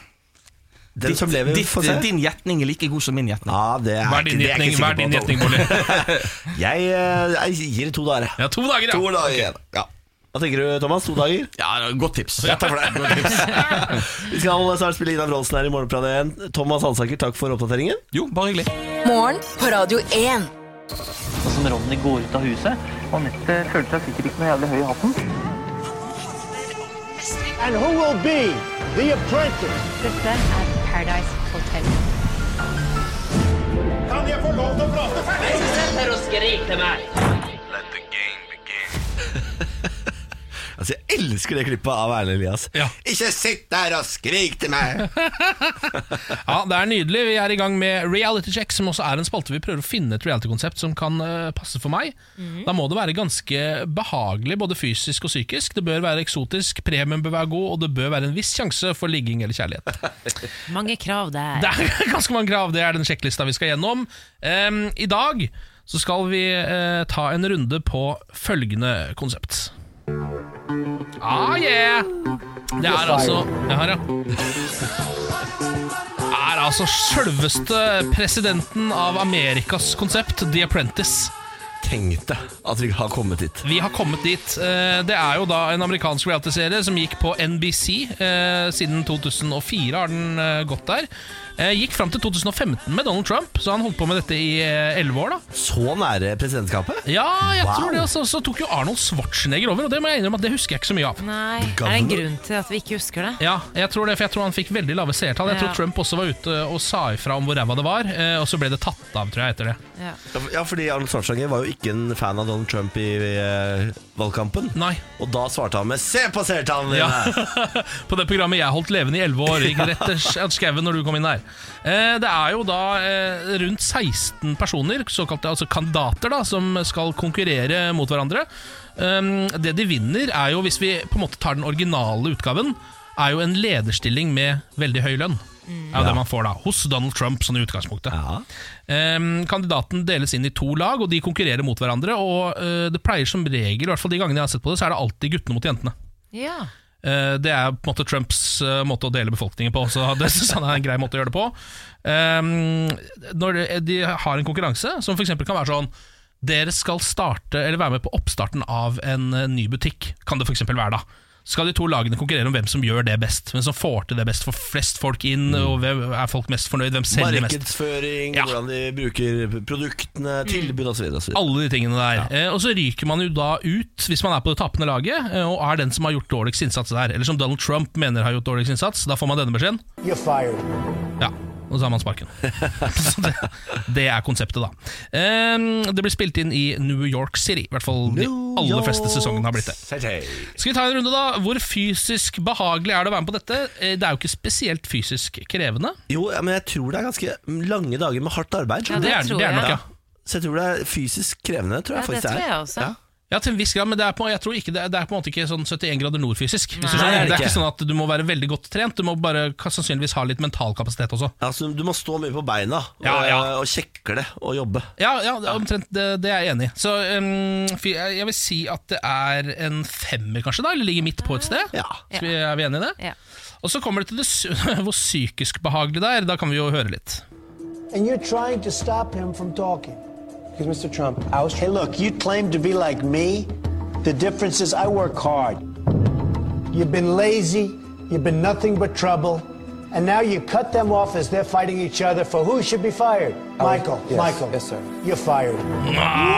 S1: Den som lever,
S10: ditt,
S1: får se.
S10: din gjetning er like god som min gjetning.
S1: Ja, det er
S2: Hva
S1: ikke-
S2: er din
S1: det er ikke
S2: gjetning, hva
S1: sikker
S2: er din
S1: på, Tom.
S2: gjetning, Bolle?
S1: (laughs) Jeg, eh, jeg gir det to dager. jeg.
S2: Ja, to dager, ja.
S1: To dager igjen. Ja. Hva tenker du, Thomas? To dager?
S10: Ja, det er et godt tips.
S1: takk for det. Vi skal snart spille Ina Bronsen her i Morgenplanet 1. Thomas Hansaker, takk for oppdateringen.
S10: (laughs) Jo, bare hyggelig.
S6: Morgen på Radio 1.
S11: som Ronny går ut av huset. Anette føler seg sikkert ikke noe jævlig høy i hatten.
S1: Altså, Jeg elsker det klippet av Erlend Elias.
S2: Ja.
S1: Ikke sitt der og skrik til meg!
S2: ja, det er nydelig. Vi er i gang med Reality Check, som også er en spalte. Vi prøver å finne et reality-konsept som kan eh, passe for meg. Da må det være ganske behagelig, både fysisk og psykisk. Det bør være eksotisk, premien bør være god, og det bør være en viss sjanse for ligging eller kjærlighet. (clears throat)
S3: Mange krav der.
S2: Det er (laughs) ganske mange krav, det er den sjekklista vi skal gjennom. Em, I dag så skal vi eh, ta en runde på følgende konsept. Ah, yeah! Det er altså Jeg har, ja. Er altså sjølveste presidenten av Amerikas konsept, The Apprentice.
S1: Tenk deg at vi har kommet dit.
S2: Vi har kommet dit. Eh, Det er jo da en amerikansk reality-serie som gikk på NBC eh, siden 2004. har den eh, gått der Eh, Gikk fram til 2015 med Donald Trump, så han holdt på med dette i eh, elleve år. da
S1: Så nære presidentskapet.
S2: Ja, jeg
S1: Wow.
S2: tror det. Altså, så tok jo Arnold Schwarzenegger over, og det må jeg innrømme at det husker jeg ikke så mye av.
S3: Nei, er det en grunn til at vi ikke husker det?
S2: Ja, jeg tror det, for jeg tror han fikk veldig lave seertall. Jeg
S3: Ja.
S2: tror Trump også var ute og sa ifra om hvor ræva det var, eh, og så ble det tatt av, tror jeg, etter det.
S3: Ja.
S1: Ja, fordi Arnold Schwarzenegger var jo ikke en fan av Donald Trump i eh, valgkampen. Og da svarte han med 'se på seertallene
S2: Ja.
S1: dine'!
S2: (laughs) På det programmet jeg holdt levende i 11 år.
S12: (laughs)
S2: Gikk rett til sk- skauen når du kom inn der. Eh, Det er jo da eh, rundt 16 personer, såkalte altså kandidater, da, som skal konkurrere mot hverandre. Um, Det de vinner, er jo, hvis vi på en måte tar den originale utgaven, er jo en lederstilling med veldig høy lønn.
S12: Mm.
S2: Er jo
S12: Ja.
S2: det man får da, Hos Donald Trump, sånn i utgangspunktet. Um, kandidaten deles inn i to lag, og de konkurrerer mot hverandre. Og eh, det pleier som regel, i hvert fall de gangene jeg har sett på det, så er det alltid guttene mot jentene.
S3: Ja.
S2: Eh, Det er på en måte Trumps eh, måte å dele befolkningen på, så (laughs) det synes han er en grei måte å gjøre det på. Ehm, når de- de har en konkurranse som f.eks. kan være sånn Dere skal starte, eller være med på oppstarten av en eh, ny butikk, kan det f.eks. være da. Så Skal de to lagene konkurrere om hvem som gjør det best? Hvem som får til det best, får flest folk inn, og hvem er folk mest fornøyd? Hvem selger mest? Mm.
S1: Markedsføring, hvordan de bruker produktene, tilbud osv.
S2: Alle de tingene der. Eh, og så ryker man jo da ut, hvis man er på det tappende laget, eh, og er den som har gjort dårligst innsats der. Eller som Donald Trump mener har gjort dårligst innsats. Da får man denne beskjeden.
S12: You're fired.
S2: Ja, og så har man sparken. Så det, det er konseptet, da. Ehm, det blir spilt inn i New York City. I hvert fall de aller fleste sesongene har blitt det. Skal vi ta en runde, da? Hvor fysisk behagelig er det å være med på dette? Eh, Det er jo ikke spesielt fysisk krevende.
S1: Jo, ja, men jeg tror det er ganske lange dager med hardt arbeid.
S2: Ja, det er- det er nok, ja.
S1: Så jeg tror det er fysisk krevende. Tror jeg faktisk det er. Ja.
S2: Ja, til en viss grad, men det er på, jeg tror ikke, det, er, det er på en måte ikke sånn 71 grader nord fysisk. Hvis du
S1: Nei,
S2: skjønner.
S1: det er det
S2: det er ikke
S1: ikke.
S2: sånn at du må være veldig godt trent, du må bare ka- sannsynligvis ha litt mental kapasitet også.
S1: Altså, du må stå mye på beina og,
S2: Ja,
S1: og kjekle og jobbe.
S2: Ja, ja det er omtrent det, det er jeg enig i. Så um, fy- jeg jeg vil si at det er en femmer, kanskje, da eller ligger midt på et sted. Skal vi, er vi enige i det? Og så kommer det til det sy- (laughs) hvor psykisk behagelig det er. Da kan vi jo høre litt.
S12: And you're trying to stop him from talking. Because Mr. Trump, I was. Hey, look, you claim to be like me. The difference is I work hard. You've been lazy. You've been nothing but trouble. And now you cut them off as they're fighting each other for who should be fired. Michael.
S11: yes,
S12: Michael.
S11: yes, sir.
S12: You're fired.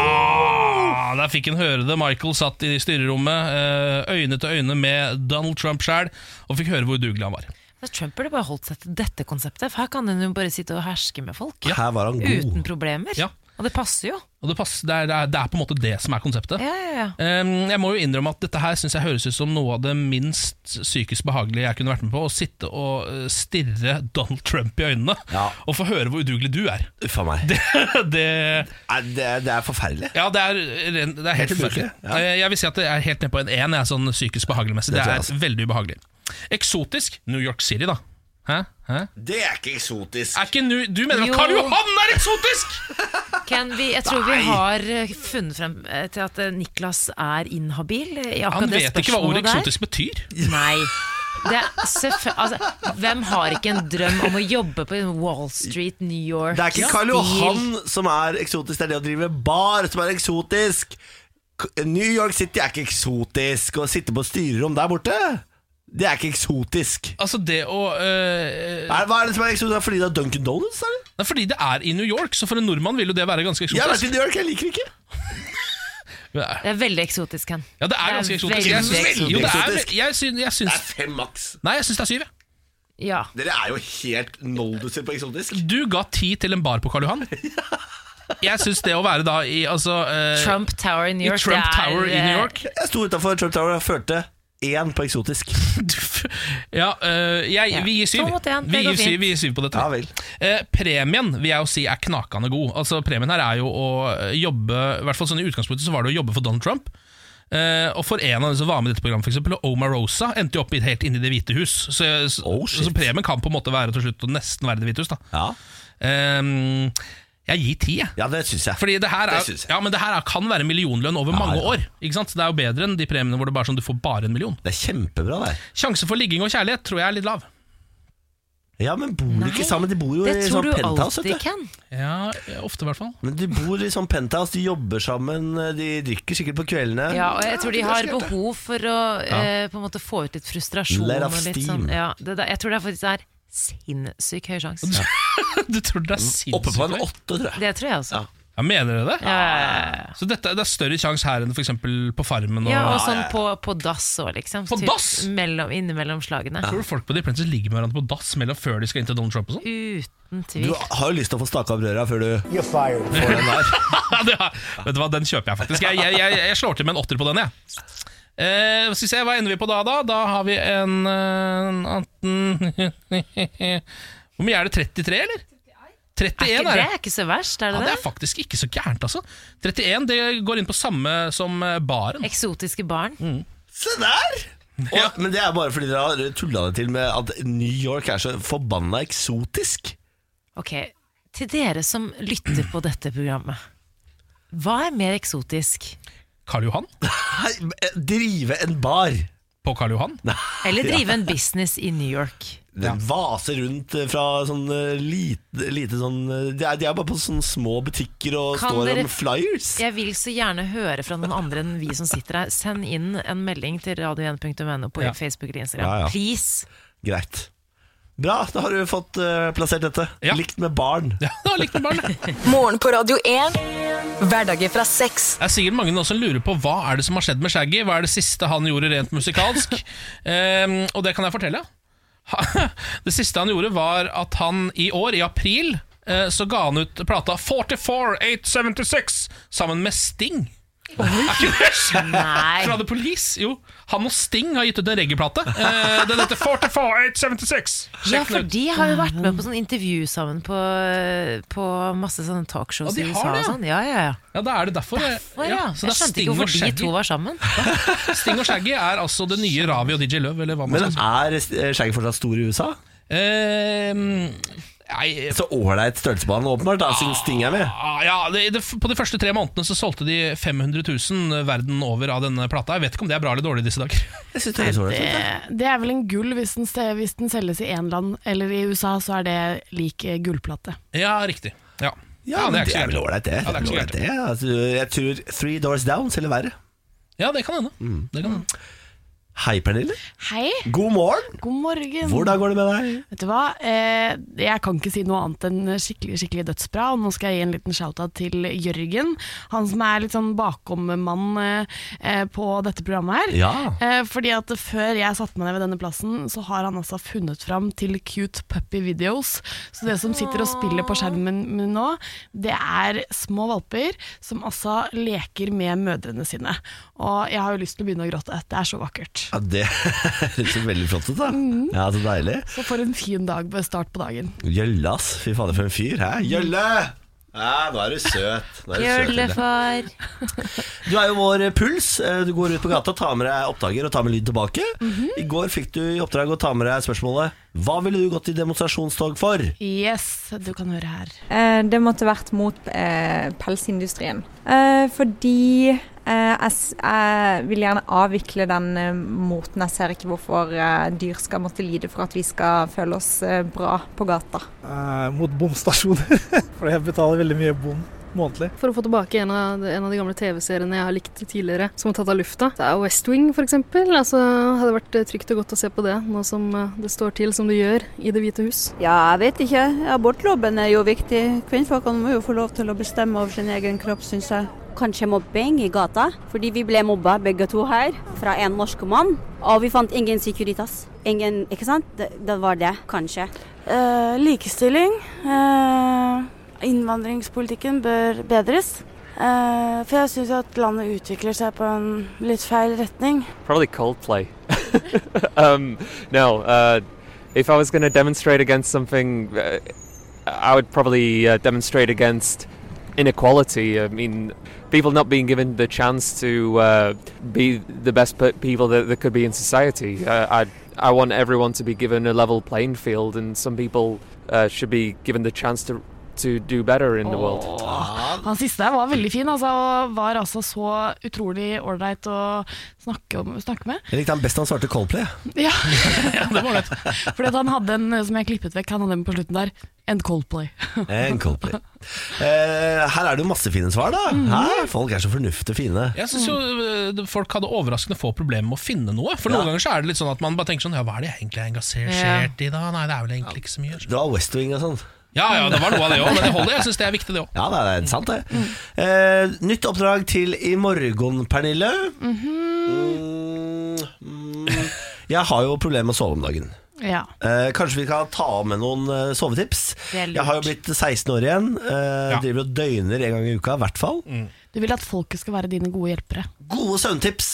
S2: Ah, der fikk han høre det. Michael satt i styrerommet, eh, øyne til øyne med Donald Trump sjæl, og fikk høre hvor udugelig han var.
S3: Men Trump burde bare holdt seg til dette konseptet, for her kan han jo bare sitte og herske med folk.
S2: Ja. Her var han god.
S3: Uten problemer.
S2: Ja.
S3: Og det passer jo.
S2: Og det, passer, det, er, det, er, det er på en måte det som er konseptet. Ehm, jeg må jo innrømme at dette her synes jeg høres ut som noe av det minst psykisk behagelige jeg kunne vært med på. Å sitte og eh, stirre Donald Trump i øynene (laughs) og få høre hvor udugelig du er.
S1: Uffa meg.
S2: Det, (laughs) det,
S1: det, er forferdelig.
S2: Ja, det er, ren- det er helt,
S1: Helt
S2: forferdelig.
S1: forferdelig, ja.
S2: Eh, Jeg vil si at det er helt ned på en én, jeg, sånn psykisk behageligmessig.
S1: Det
S2: Det
S1: tror
S2: er
S1: jeg også.
S2: veldig ubehagelig. Eksotisk New York City, da. Hæ? Hæ?
S1: Det er ikke eksotisk.
S2: Er ikke nu, du mener
S3: Jo.
S2: at Karl Johan er eksotisk?!
S3: Ken, vi, jeg tror
S2: Nei.
S3: vi har eh, funnet frem eh, til at eh, Niklas er inhabil eh, i
S2: Han
S3: akkurat det
S2: vet ikke hva
S3: spørsmålet
S2: ordet
S3: der.
S2: eksotisk betyr.
S3: Nei. Det er selvfø- altså, hvem har ikke en drøm om å jobbe på Wall Street, New York?
S1: Det er ikke Karl Johan som er eksotisk, det er det å drive bar som er eksotisk. K- New York City er ikke eksotisk. Å sitte på styrerom der borte, det er ikke eksotisk.
S2: Altså det å øh,
S1: er, Hva er det som er eksotisk? Er det Fordi det er Duncan Donuts, er det?
S2: Nei, fordi det er i New York, så for en nordmann vil jo det være ganske eksotisk.
S1: Jeg har vært i New York, jeg liker det ikke.
S3: Det er veldig eksotisk, Ken.
S2: Ja, det er ganske eksotisk.
S3: veldig
S2: Jeg synes,
S1: eksotisk.
S2: jo, det er, jeg syns, jeg syns,
S1: Fem maks.
S2: nei, jeg syns det er syv. jeg.
S3: Ja.
S1: Dere er jo helt nolduser på eksotisk.
S2: Du ga ti til en bar på Karl Johan. Jeg syns det å være da i altså, øh,
S3: Trump Tower i New York.
S2: I Trump
S3: det er, eh,
S2: Tower i New York. (laughs)
S1: Jeg sto utafor Trump Tower og førte én på eksotisk.
S2: Ja, øh, jeg, vi gir syv.
S3: To mot en, det
S2: vi,
S3: går
S2: gir syv
S3: fint.
S2: vi gir syv på dette.
S1: Ja vel.
S2: Eh, premien vil jeg jo si er knakende god. Altså Premien her er jo å eh, jobbe I hvert fall sånn i utgangspunktet så var det å jobbe for Donald Trump. Eh, og for en av de som var med i dette programmet, for eksempel, Omarosa, endte jo opp i- helt inn i Det hvite hus. Så, så,
S1: Oh,
S2: så premien kan på en måte være til slutt å nesten være Det hvite hus. Da. Ehm, jeg gir ti, jeg.
S1: Ja, det syns jeg.
S2: Fordi det her,
S1: Det
S2: er,
S1: syns
S2: ja, men det her er, kan være millionlønn over mange
S1: ja.
S2: år. Ikke sant? Så Det er jo bedre enn de premiene hvor det bare er sånn du får bare en million.
S1: Det er kjempebra der.
S2: Sjanse for ligging og kjærlighet tror jeg er litt lav.
S1: Ja, men bor du ikke sammen? De bor jo i
S3: eh, Det tror
S1: sånn
S3: du
S1: penthouse,
S3: alltid,
S1: vet du.
S3: Ken.
S2: Ja, ofte i hvert fall. (laughs)
S1: Men de bor i sånn penthouse, de jobber sammen, de drikker sikkert på kveldene.
S3: Ja, og jeg tror de
S1: det er
S3: har
S1: smart, det.
S3: behov for å
S1: Ja.
S3: eh, på en måte få ut litt frustrasjon.
S1: Let off
S3: og litt
S1: steam.
S3: Sånn, ja, det, der- jeg tror det er faktisk er sinnssykt høy sjanse.
S2: Du tror det er sinnssykt
S1: Mm, Oppe på en åtte, tror jeg.
S3: Det tror jeg også.
S2: Ja, mener du det?
S3: Ja, ja, ja.
S2: Så dette, det er større sjanse her enn for eksempel på Farmen?
S3: Ja, og sånn på, på dass òg, liksom.
S2: På
S3: Typ
S2: dass?
S3: Mellom, innimellom slagene.
S2: Tror du folk på de Princess ligger med hverandre på dass mellom før de skal inn til Donald Trump og sånn? (laughs)
S3: Uten
S1: Du
S3: tvil.
S1: har jo lyst til å få staka opp røra før du
S12: You're fired.
S1: får den der.
S2: Det har- Vet du hva, den kjøper jeg faktisk. Jeg, jeg, jeg, jeg slår til med en åtter på den, jeg. Eh, skal vi se, Hva ender vi på da? Da Da har vi en eh, en 18 (laughs) Hvor mye er det? 33, eller? 31
S3: Er ikke,
S2: er
S3: det
S2: det.
S3: er ikke så verst,
S2: Ja,
S3: er det
S2: det
S3: det?
S2: er faktisk ikke så gærent, altså. 31 det går inn på samme som eh, baren.
S3: Eksotiske barn.
S2: Mm.
S1: Se der! Og, Men det er bare fordi dere har tulla det til med at New York er så forbanna eksotisk.
S3: Ok, til dere som lytter på dette programmet. Hva er mer eksotisk?
S2: Karl Johan?
S1: drive en bar.
S2: På Karl Johan?
S3: Eller drive en business i New York?
S1: Den vaser rundt eh, fra sånn eh, lite, lite sånn eh, De er, de er bare på sånne små butikker og
S3: Kan
S1: står
S3: dere-
S1: om flyers.
S3: Jeg vil så gjerne høre fra noen andre enn vi som sitter her. Send inn en melding til radio1.no på
S1: Ja.
S3: Facebook eller Instagram.
S1: Ja, ja.
S3: Please!
S1: Greit. Bra, da har du fått eh, plassert dette. Likt med barn.
S6: Morgen på Radio 1. Hverdager fra seks.
S2: Det er sikkert mange som lurer på hva er det som har skjedd med Shaggy. Hva er det siste han gjorde rent musikalsk? Ehm, og det kan jeg fortelle. Ha- (laughs) Det siste han gjorde, var at han i år, i april, eh, så ga han ut plata 44876 sammen med Sting. Er ikke det sjukt?
S3: Nei.
S2: Fra The Police? Jo. Han og Sting har gitt ut en reggaeplate. Eh, Den heter 44876.
S3: Ja, for de har jo vært
S2: Mm.
S3: med på sånn intervju sammen på, på masse sånne talkshows
S2: Ja, de
S3: i
S2: har
S3: USA.
S2: det,
S3: og
S2: ja.
S3: sånn. Ja, ja, ja.
S2: Ja, da er det derfor. eh,
S3: Å, ja.
S2: ja, så det
S3: Jeg
S2: er
S3: skjønte
S2: Sting
S3: ikke
S2: og
S3: hvorfor de
S2: Shaggy.
S3: to var sammen.
S2: (laughs) Sting og Shaggy er altså det nye Ravi og DJ Love, eller hva man
S1: Men
S2: skal si.
S1: er eh, Shaggy fortsatt stor i USA?
S2: Ehm,
S1: Så ålreit størrelse på han åpenbart, da, siden Sting er med.
S2: Ah, Ja, det, det, På de første tre månedene så solgte de 500 000 verden over av denne plata. Jeg vet ikke om det er bra eller dårlig i disse dager. (laughs)
S1: det er så ålreit,
S13: Eh, Det, det er vel en gull hvis den, se- hvis den selges i én land, eller i USA så er det lik eh, gullplate.
S2: Ja, riktig. Ja,
S1: Ja, men
S2: det er
S1: det
S2: ikke så
S1: er vel
S2: gærent.
S1: ålreit, det.
S2: Ja, det er ikke så
S1: Ålreit, det. Altså, jeg tror Three Doors Down selger verre.
S2: Ja, det kan hende. Det kan hende.
S1: Hei, Pernille.
S13: Hei!
S1: God morgen!
S13: God morgen!
S1: Hvordan går det med deg?
S13: Vet du hva, eh, jeg kan ikke si noe annet enn skikkelig skikkelig dødsbra. Og nå skal jeg gi en liten shoutout til Jørgen, han som er litt sånn bakommann eh, på dette programmet her.
S14: Ja.
S13: Eh, fordi at før jeg satte meg ned ved denne plassen, så har han altså funnet fram til cute puppy videos. Så det som sitter og spiller på skjermen min nå, det er små valper som altså leker med mødrene sine. Og jeg har jo lyst til å begynne å gråte. Det er så vakkert.
S1: Ja, det (laughs) høres jo veldig flott ut, da.
S13: Mm.
S1: Ja, Så deilig.
S13: Så for en fin dag, start på dagen.
S1: Gjølle, ass. Fy fader, for en fyr. Hæ? Gjølle! Ja, nå er du søt. Nå er du, søt Gjølle.
S3: Gjøllefar.
S1: du er jo vår eh, puls. Eh, Du går ut på gata, tar med deg oppdager og tar med lyd tilbake. I går fikk du i oppdrag å ta med deg spørsmålet Hva ville du gått i demonstrasjonstog for?
S13: Yes, du kan høre her.
S15: Eh, Det måtte vært mot eh, pelsindustrien. Eh, fordi eh, jeg, s- jeg vil gjerne avvikle den eh, moten. Jeg ser ikke hvorfor eh, dyr skal måtte lide for at vi skal føle oss eh, bra på gata.
S16: Eh, mot bomstasjoner. (laughs) For jeg betaler veldig mye bom månedlig.
S17: For å få tilbake en av, en av de gamle TV-seriene jeg har likt tidligere, som er tatt av lufta. Det er West Wing, for eksempel. Altså, hadde det vært eh, trygt og godt å se på det, nå som eh, det står til som det gjør i Det hvite hus.
S18: Ja, jeg vet ikke. Abortloven er jo viktig. Kvinnfolkene må jo få lov til å bestemme over sin egen kropp, syns jeg. Kanskje mobbing i gata, fordi vi ble mobba begge to her, fra en norsk mann. Og vi fant ingen Securitas. Ingen, ikke sant? Det, det var det, kanskje.
S19: Eh, likestilling. eh, innvandringspolitikken bør bedres. Eh, for jeg syns at landet utvikler seg på en litt feil retning.
S20: Probably Coldplay. (laughs) um, no, uh, if I was going to demonstrate against something, uh, I would probably uh, demonstrate against inequality. I mean, people not being given the chance to uh, be the best pe- people that, that could be in society. Uh, I I want everyone to be given a level playing field, and some people uh, should be given the chance to to do better
S2: sånn.
S20: in the world.
S13: Han siste der var veldig fin, altså, og var altså så utrolig ålreit å snakke, om, snakke
S3: (laughs)
S13: med.
S1: Jeg likte han best han svarte Coldplay.
S13: Ja, (laughs) Fordi at han hadde en som jeg klippet vekk, han hadde en på slutten der. En Coldplay. (laughs)
S1: En Coldplay. Eh, her er det jo masse fine svar, da. Hæ? Folk er så fornuftige og fine.
S2: Jeg syns jo
S20: Hmm.
S2: eh, folk hadde overraskende få problemer med å finne noe. For noen ganger så er det litt sånn at man bare tenker sånn Ja, hva er det jeg egentlig er engasjert i da? Nei, det er vel egentlig ikke så mye.
S1: Det var West Wing og sånn.
S2: Ja, ja, det var noe av det òg, men det holder. Jeg syns det er viktig, det òg.
S1: Ja, det er sant, det.
S13: Mm.
S1: Eh, nytt oppdrag til i morgen, Pernille.
S13: Mm-hmm.
S1: Mm, mm. Jeg har jo problemer med å sove om dagen.
S13: Ja.
S1: Eh, kanskje vi kan ta med noen eh, sovetips?
S13: Det er lurt.
S1: Jeg har jo blitt 16 år igjen. Eh,
S13: Ja.
S1: Driver og døgner en gang i uka, i hvert fall.
S13: Du vil at folket skal være dine gode hjelpere.
S1: Gode søvntips!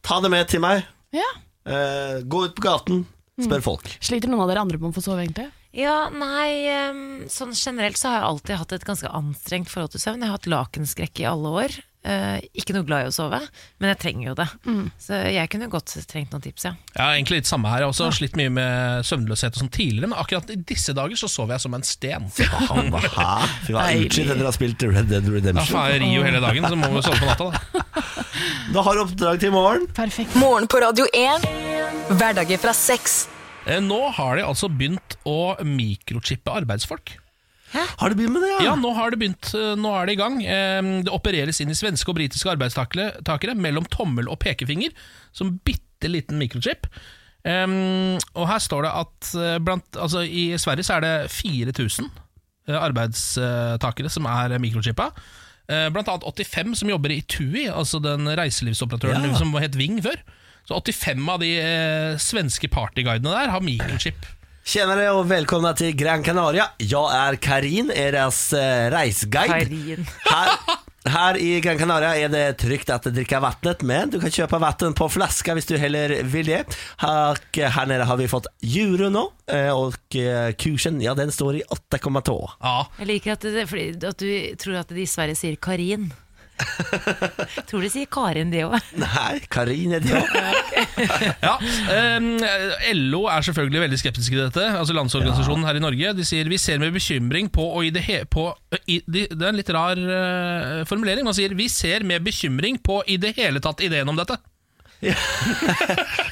S1: Ta det med til meg.
S13: Mm. Ja. Mm.
S1: Eh, gå ut på gaten, spør folk.
S13: Sliter noen av dere andre med å få sove, egentlig?
S3: Ja, nei, ehm, sånn generelt så har jeg alltid hatt et ganske anstrengt forhold til søvn. Jeg har hatt lakenskrekk i alle år. Eh, ikke noe glad i å sove, men jeg trenger jo det.
S13: Mm.
S3: Så jeg kunne godt trengt noen
S13: (laughs)
S3: tips, ja.
S2: Ja, egentlig litt samme her. Jeg har også slitt mye med søvnløshet og sånn tidligere, men akkurat i disse dager så sover jeg som en sten.
S1: Han var hæ? Fy faen,
S2: Deilig.
S1: utslitt etter å ha spilt Red Dead
S2: Ja,
S1: Redemption.
S2: faen, jeg rir jo hele dagen, så må vi sove på natta, da.
S1: Da har du oppdrag til i morgen.
S13: Perfekt.
S6: Morgen på Radio 1. Hverdager fra seks.
S2: Eh, Nå har de altså begynt å mikrochippe arbeidsfolk.
S1: Har de begynt med det,
S2: ja? Ja, nå har det begynt. eh, Nå er det i gang. Eh, Det opereres inn i svenske og britiske arbeidstakere takere mellom tommel og pekefinger som bitte liten mikrochip. Eh, og her står det at eh, blant, altså, i Sverige så er det 4000 eh, arbeidstakere som er mikrochippa. Eh, Blant annet 85 som jobber i TUI, altså den reiselivsoperatøren
S1: Ja.
S2: som het Ving før. Så 85 av de eh, svenske partyguidene der har mikrochip.
S1: Tjenere og välkomna till Gran Canaria. Jag är Karin, eras eh, reisguide.
S3: Karin.
S1: Här, här i Gran Canaria är det tryggt att dricka vattnet, men du kan köpa vatten på flaska om du heller vill det. Och här nere har vi fått Juruno eh, och eh, kursen, ja den står i 8,2.
S3: Jeg liker at, det, fordi, at du tror at de i Sverige sier
S13: (laughs)
S3: Karin. tror de sier Karin, de òg.
S1: Nei, Karin er det også.
S2: Ja, eh, LO er selvfølgelig veldig skeptiske til dette. Altså Landsorganisasjonen her i Norge De sier vi ser med bekymring på, og i det, he på i, de, Det er en litt rar eh, formulering. Man sier vi ser med bekymring på i det hele tatt ideen om dette.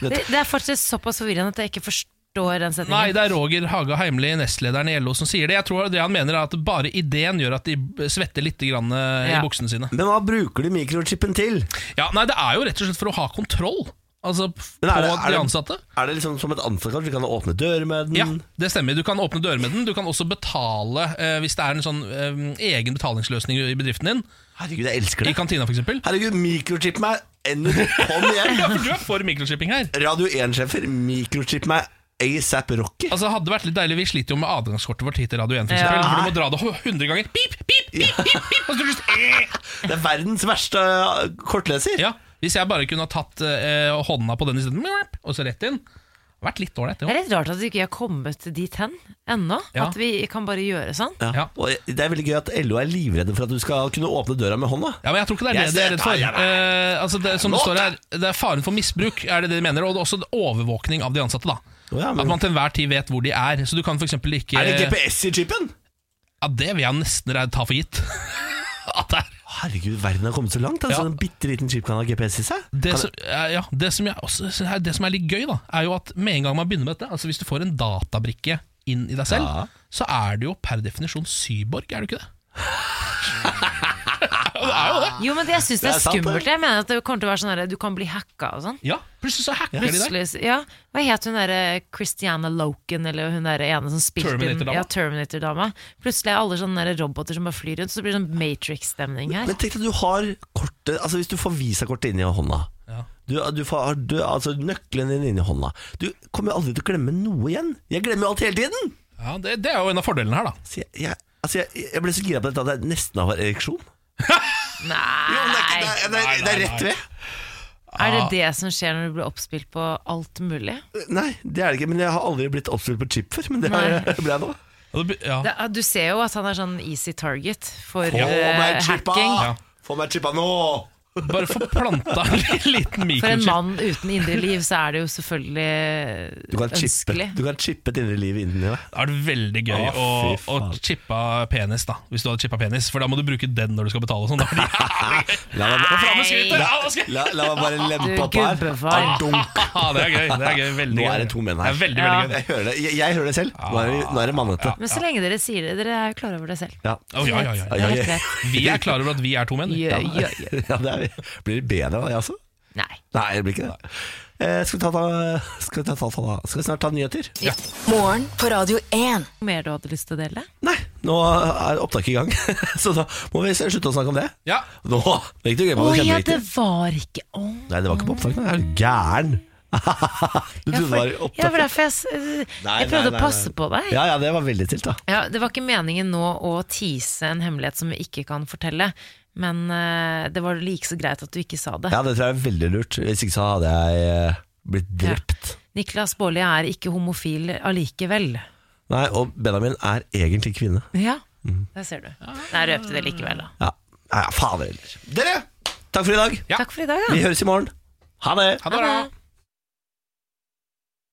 S3: Det, det er faktisk såpass forvirrende at jeg ikke forstår den setningen.
S2: Nei, det er Roger Haga Heimli, nestlederen i LO, som sier det. Jeg tror det han mener er at bare ideen gjør at de svetter litt grann, eh,
S1: Ja.
S2: i buksene sine.
S1: Men hva bruker du mikrochippen til?
S2: Ja, nei, Det er jo rett og slett for å ha kontroll Altså
S1: Men er det-
S2: på
S1: er det-
S2: de ansatte.
S1: Er det liksom som et ansatt kanskje, du kan åpne dører med den?
S2: Ja, det stemmer. Du kan åpne dører med den. Du kan også betale eh, hvis det er en sånn eh, egen betalingsløsning i bedriften din.
S1: Herregud, jeg elsker det.
S2: I kantina, for eksempel.
S1: Herregud, mikrochip meg ennå. Kom igjen.
S2: ja, for du er for mikrochipping her.
S1: Radio 1-sjefer, mikrochip meg ASAP Rocky.
S2: Altså, hadde det vært litt deilig, Vi sliter jo med adgangskortet vårt hit til Radio 1, for, eksempel,
S1: Ja.
S2: for du må dra det 100 ganger. Pip, pip, pip, pip, pip, Altså, og så til slutt, eh.
S1: Det er verdens verste eh, kortleser.
S2: Ja, Hvis jeg bare kunne ha tatt eh, hånda på den isteden, mjaup, og så rett inn. Vært litt ålreit,
S3: Det er
S2: det òg.
S3: litt rart at vi ikke har kommet dit hen ennå.
S1: Ja.
S3: At vi kan bare gjøre sånn.
S1: Ja. Og det er veldig gøy at LO er livredde for at du skal kunne åpne døra med hånda.
S2: Ja, men Jeg tror ikke det er det
S1: Jeg
S2: de er
S1: ser-
S2: redd for.
S1: Nei, nei, nei.
S2: Eh, altså det, som det
S1: Nå-
S2: står her, det er faren for misbruk, er det det de mener. Og det er også overvåkning av de ansatte. da At man til enhver tid vet hvor de er. Så du kan for eksempel ikke
S1: Er det GPS i chipen?
S2: Ja, Det vil jeg nesten re- ta for gitt. At det er
S1: Herregud, verden har kommet så langt. Altså, En bitte liten chip kan ha GPS i seg.
S2: det
S1: Kan-
S2: som, ja, det, som jeg også, synes er- det som er litt gøy, da er jo at med en gang man begynner med dette Altså Hvis du får en databrikke inn i deg selv, så er du jo per definisjon cyborg, er du ikke det? det er jo det.
S3: Jo, men det, jeg syns det,
S2: Det er
S3: er
S2: sant, det.
S3: skummelt. Jeg mener at det kommer til å være sånn her, Du kan bli hacka og sånn.
S2: Ja, plutselig så hacker de deg.
S3: Plutselig- ja. Hva het hun derre Christiana Loken, eller hun derre ene som spilte
S2: Terminator-dama.
S3: Ja, Terminator-dama. Plutselig er alle sånne der roboter som bare flyr rundt, så det blir sånn Matrix-stemning her.
S1: Men tenk deg at du har kortet Altså Hvis du får visakortet inn i hånda du, du får, har- du, altså Nøkkelen din inn i hånda Du kommer jo aldri til å glemme noe igjen. Jeg glemmer jo alt hele tiden!
S2: Ja, det, det er jo en av fordelene her, da.
S1: Så jeg, jeg, altså jeg, jeg ble så gira på dette at jeg nesten har ereksjon.
S3: Nei!
S1: det, er, det er rett ved.
S3: Er det det som skjer når du blir oppspilt på alt mulig?
S1: Nei, det er det ikke. Men jeg har aldri blitt oppspilt på chip før. Men det har
S3: Nei.
S1: jeg- ble jeg nå.
S3: Det, du ser jo at han er sånn easy target for
S1: Få meg
S3: eh,
S1: chippa!
S3: hacking.
S1: Få meg chippa nå!
S2: Bare få planta en liten
S3: For en mann uten indre liv, så er det jo selvfølgelig
S1: Du kan, chippe,
S3: ønskelig.
S1: du kan chippe et indre liv inni deg.
S2: Da er det veldig gøy
S1: Å,
S2: å,
S1: fy
S2: å chippe penis, da. Hvis du hadde chippa penis. For da må du bruke den når du skal betale. og Sånn. Da (laughs) blir det-
S1: La meg,
S2: Fram med skrytet! Ja, nå skal jeg-
S1: la, la meg bare lempe
S2: Du
S1: opp her.
S2: gubbefar.
S1: Ah, Dunk!
S2: Det er gøy. det er gøy, veldig
S1: Nå
S2: gøy.
S1: er det to menn her.
S2: Det er veldig, veldig gøy.
S1: Jeg hører det, jeg, jeg hører det selv. Nå er det, nå er det mannete.
S3: Men så lenge dere sier det, dere er jo klar over det selv.
S1: Ja.
S2: Å, ja, ja, ja.
S1: Ja, ja, ja.
S3: Helt rett.
S2: Vi er klar over at vi er to menn.
S1: (laughs)
S3: Ja, ja,
S1: Ja, det er, blir det bedre av det, altså?
S3: Nei.
S1: Nei, det blir ikke det. Eh, skal, vi ta, ta, skal, vi ta, ta, ta, skal vi snart ta nyheter? Ja.
S6: Morgen på Radio 1.
S3: Mer du hadde lyst til å dele?
S1: Nei. Nå er opptaket i gang, (laughs) så da må vi slutte å snakke om det.
S2: Ja.
S1: Nå det gikk det gøy,
S3: Å
S1: det
S3: ja,
S1: kjemperiktig.
S3: det var ikke Å.
S1: Nei, det var ikke på opptak, nei. Er du gæren? (laughs) du trodde det var i
S3: Ja, for
S1: opptak?
S3: derfor jeg, s-
S1: Nei,
S3: jeg prøvde
S1: nei, nei,
S3: å passe
S1: nei.
S3: på deg.
S1: Ja, ja, det var veldig tilt, da.
S3: Ja, Det var ikke meningen nå å tease en hemmelighet som vi ikke kan fortelle, men eh, det var like så greit at du ikke sa det.
S1: Ja, det tror jeg er veldig lurt. Hvis ikke så hadde jeg eh, blitt drept.
S3: Niklas Baarli er ikke homofil allikevel.
S1: Nei, og Benjamin er egentlig kvinne.
S3: Ja,
S1: Mm.
S3: der ser du. Der røpte det likevel, da.
S1: Ja, ja fader heller. Dere, takk for i dag. 네.
S3: Takk for i dag, ja.
S1: Vi høres i morgen. Ha det.
S3: Ha det bra.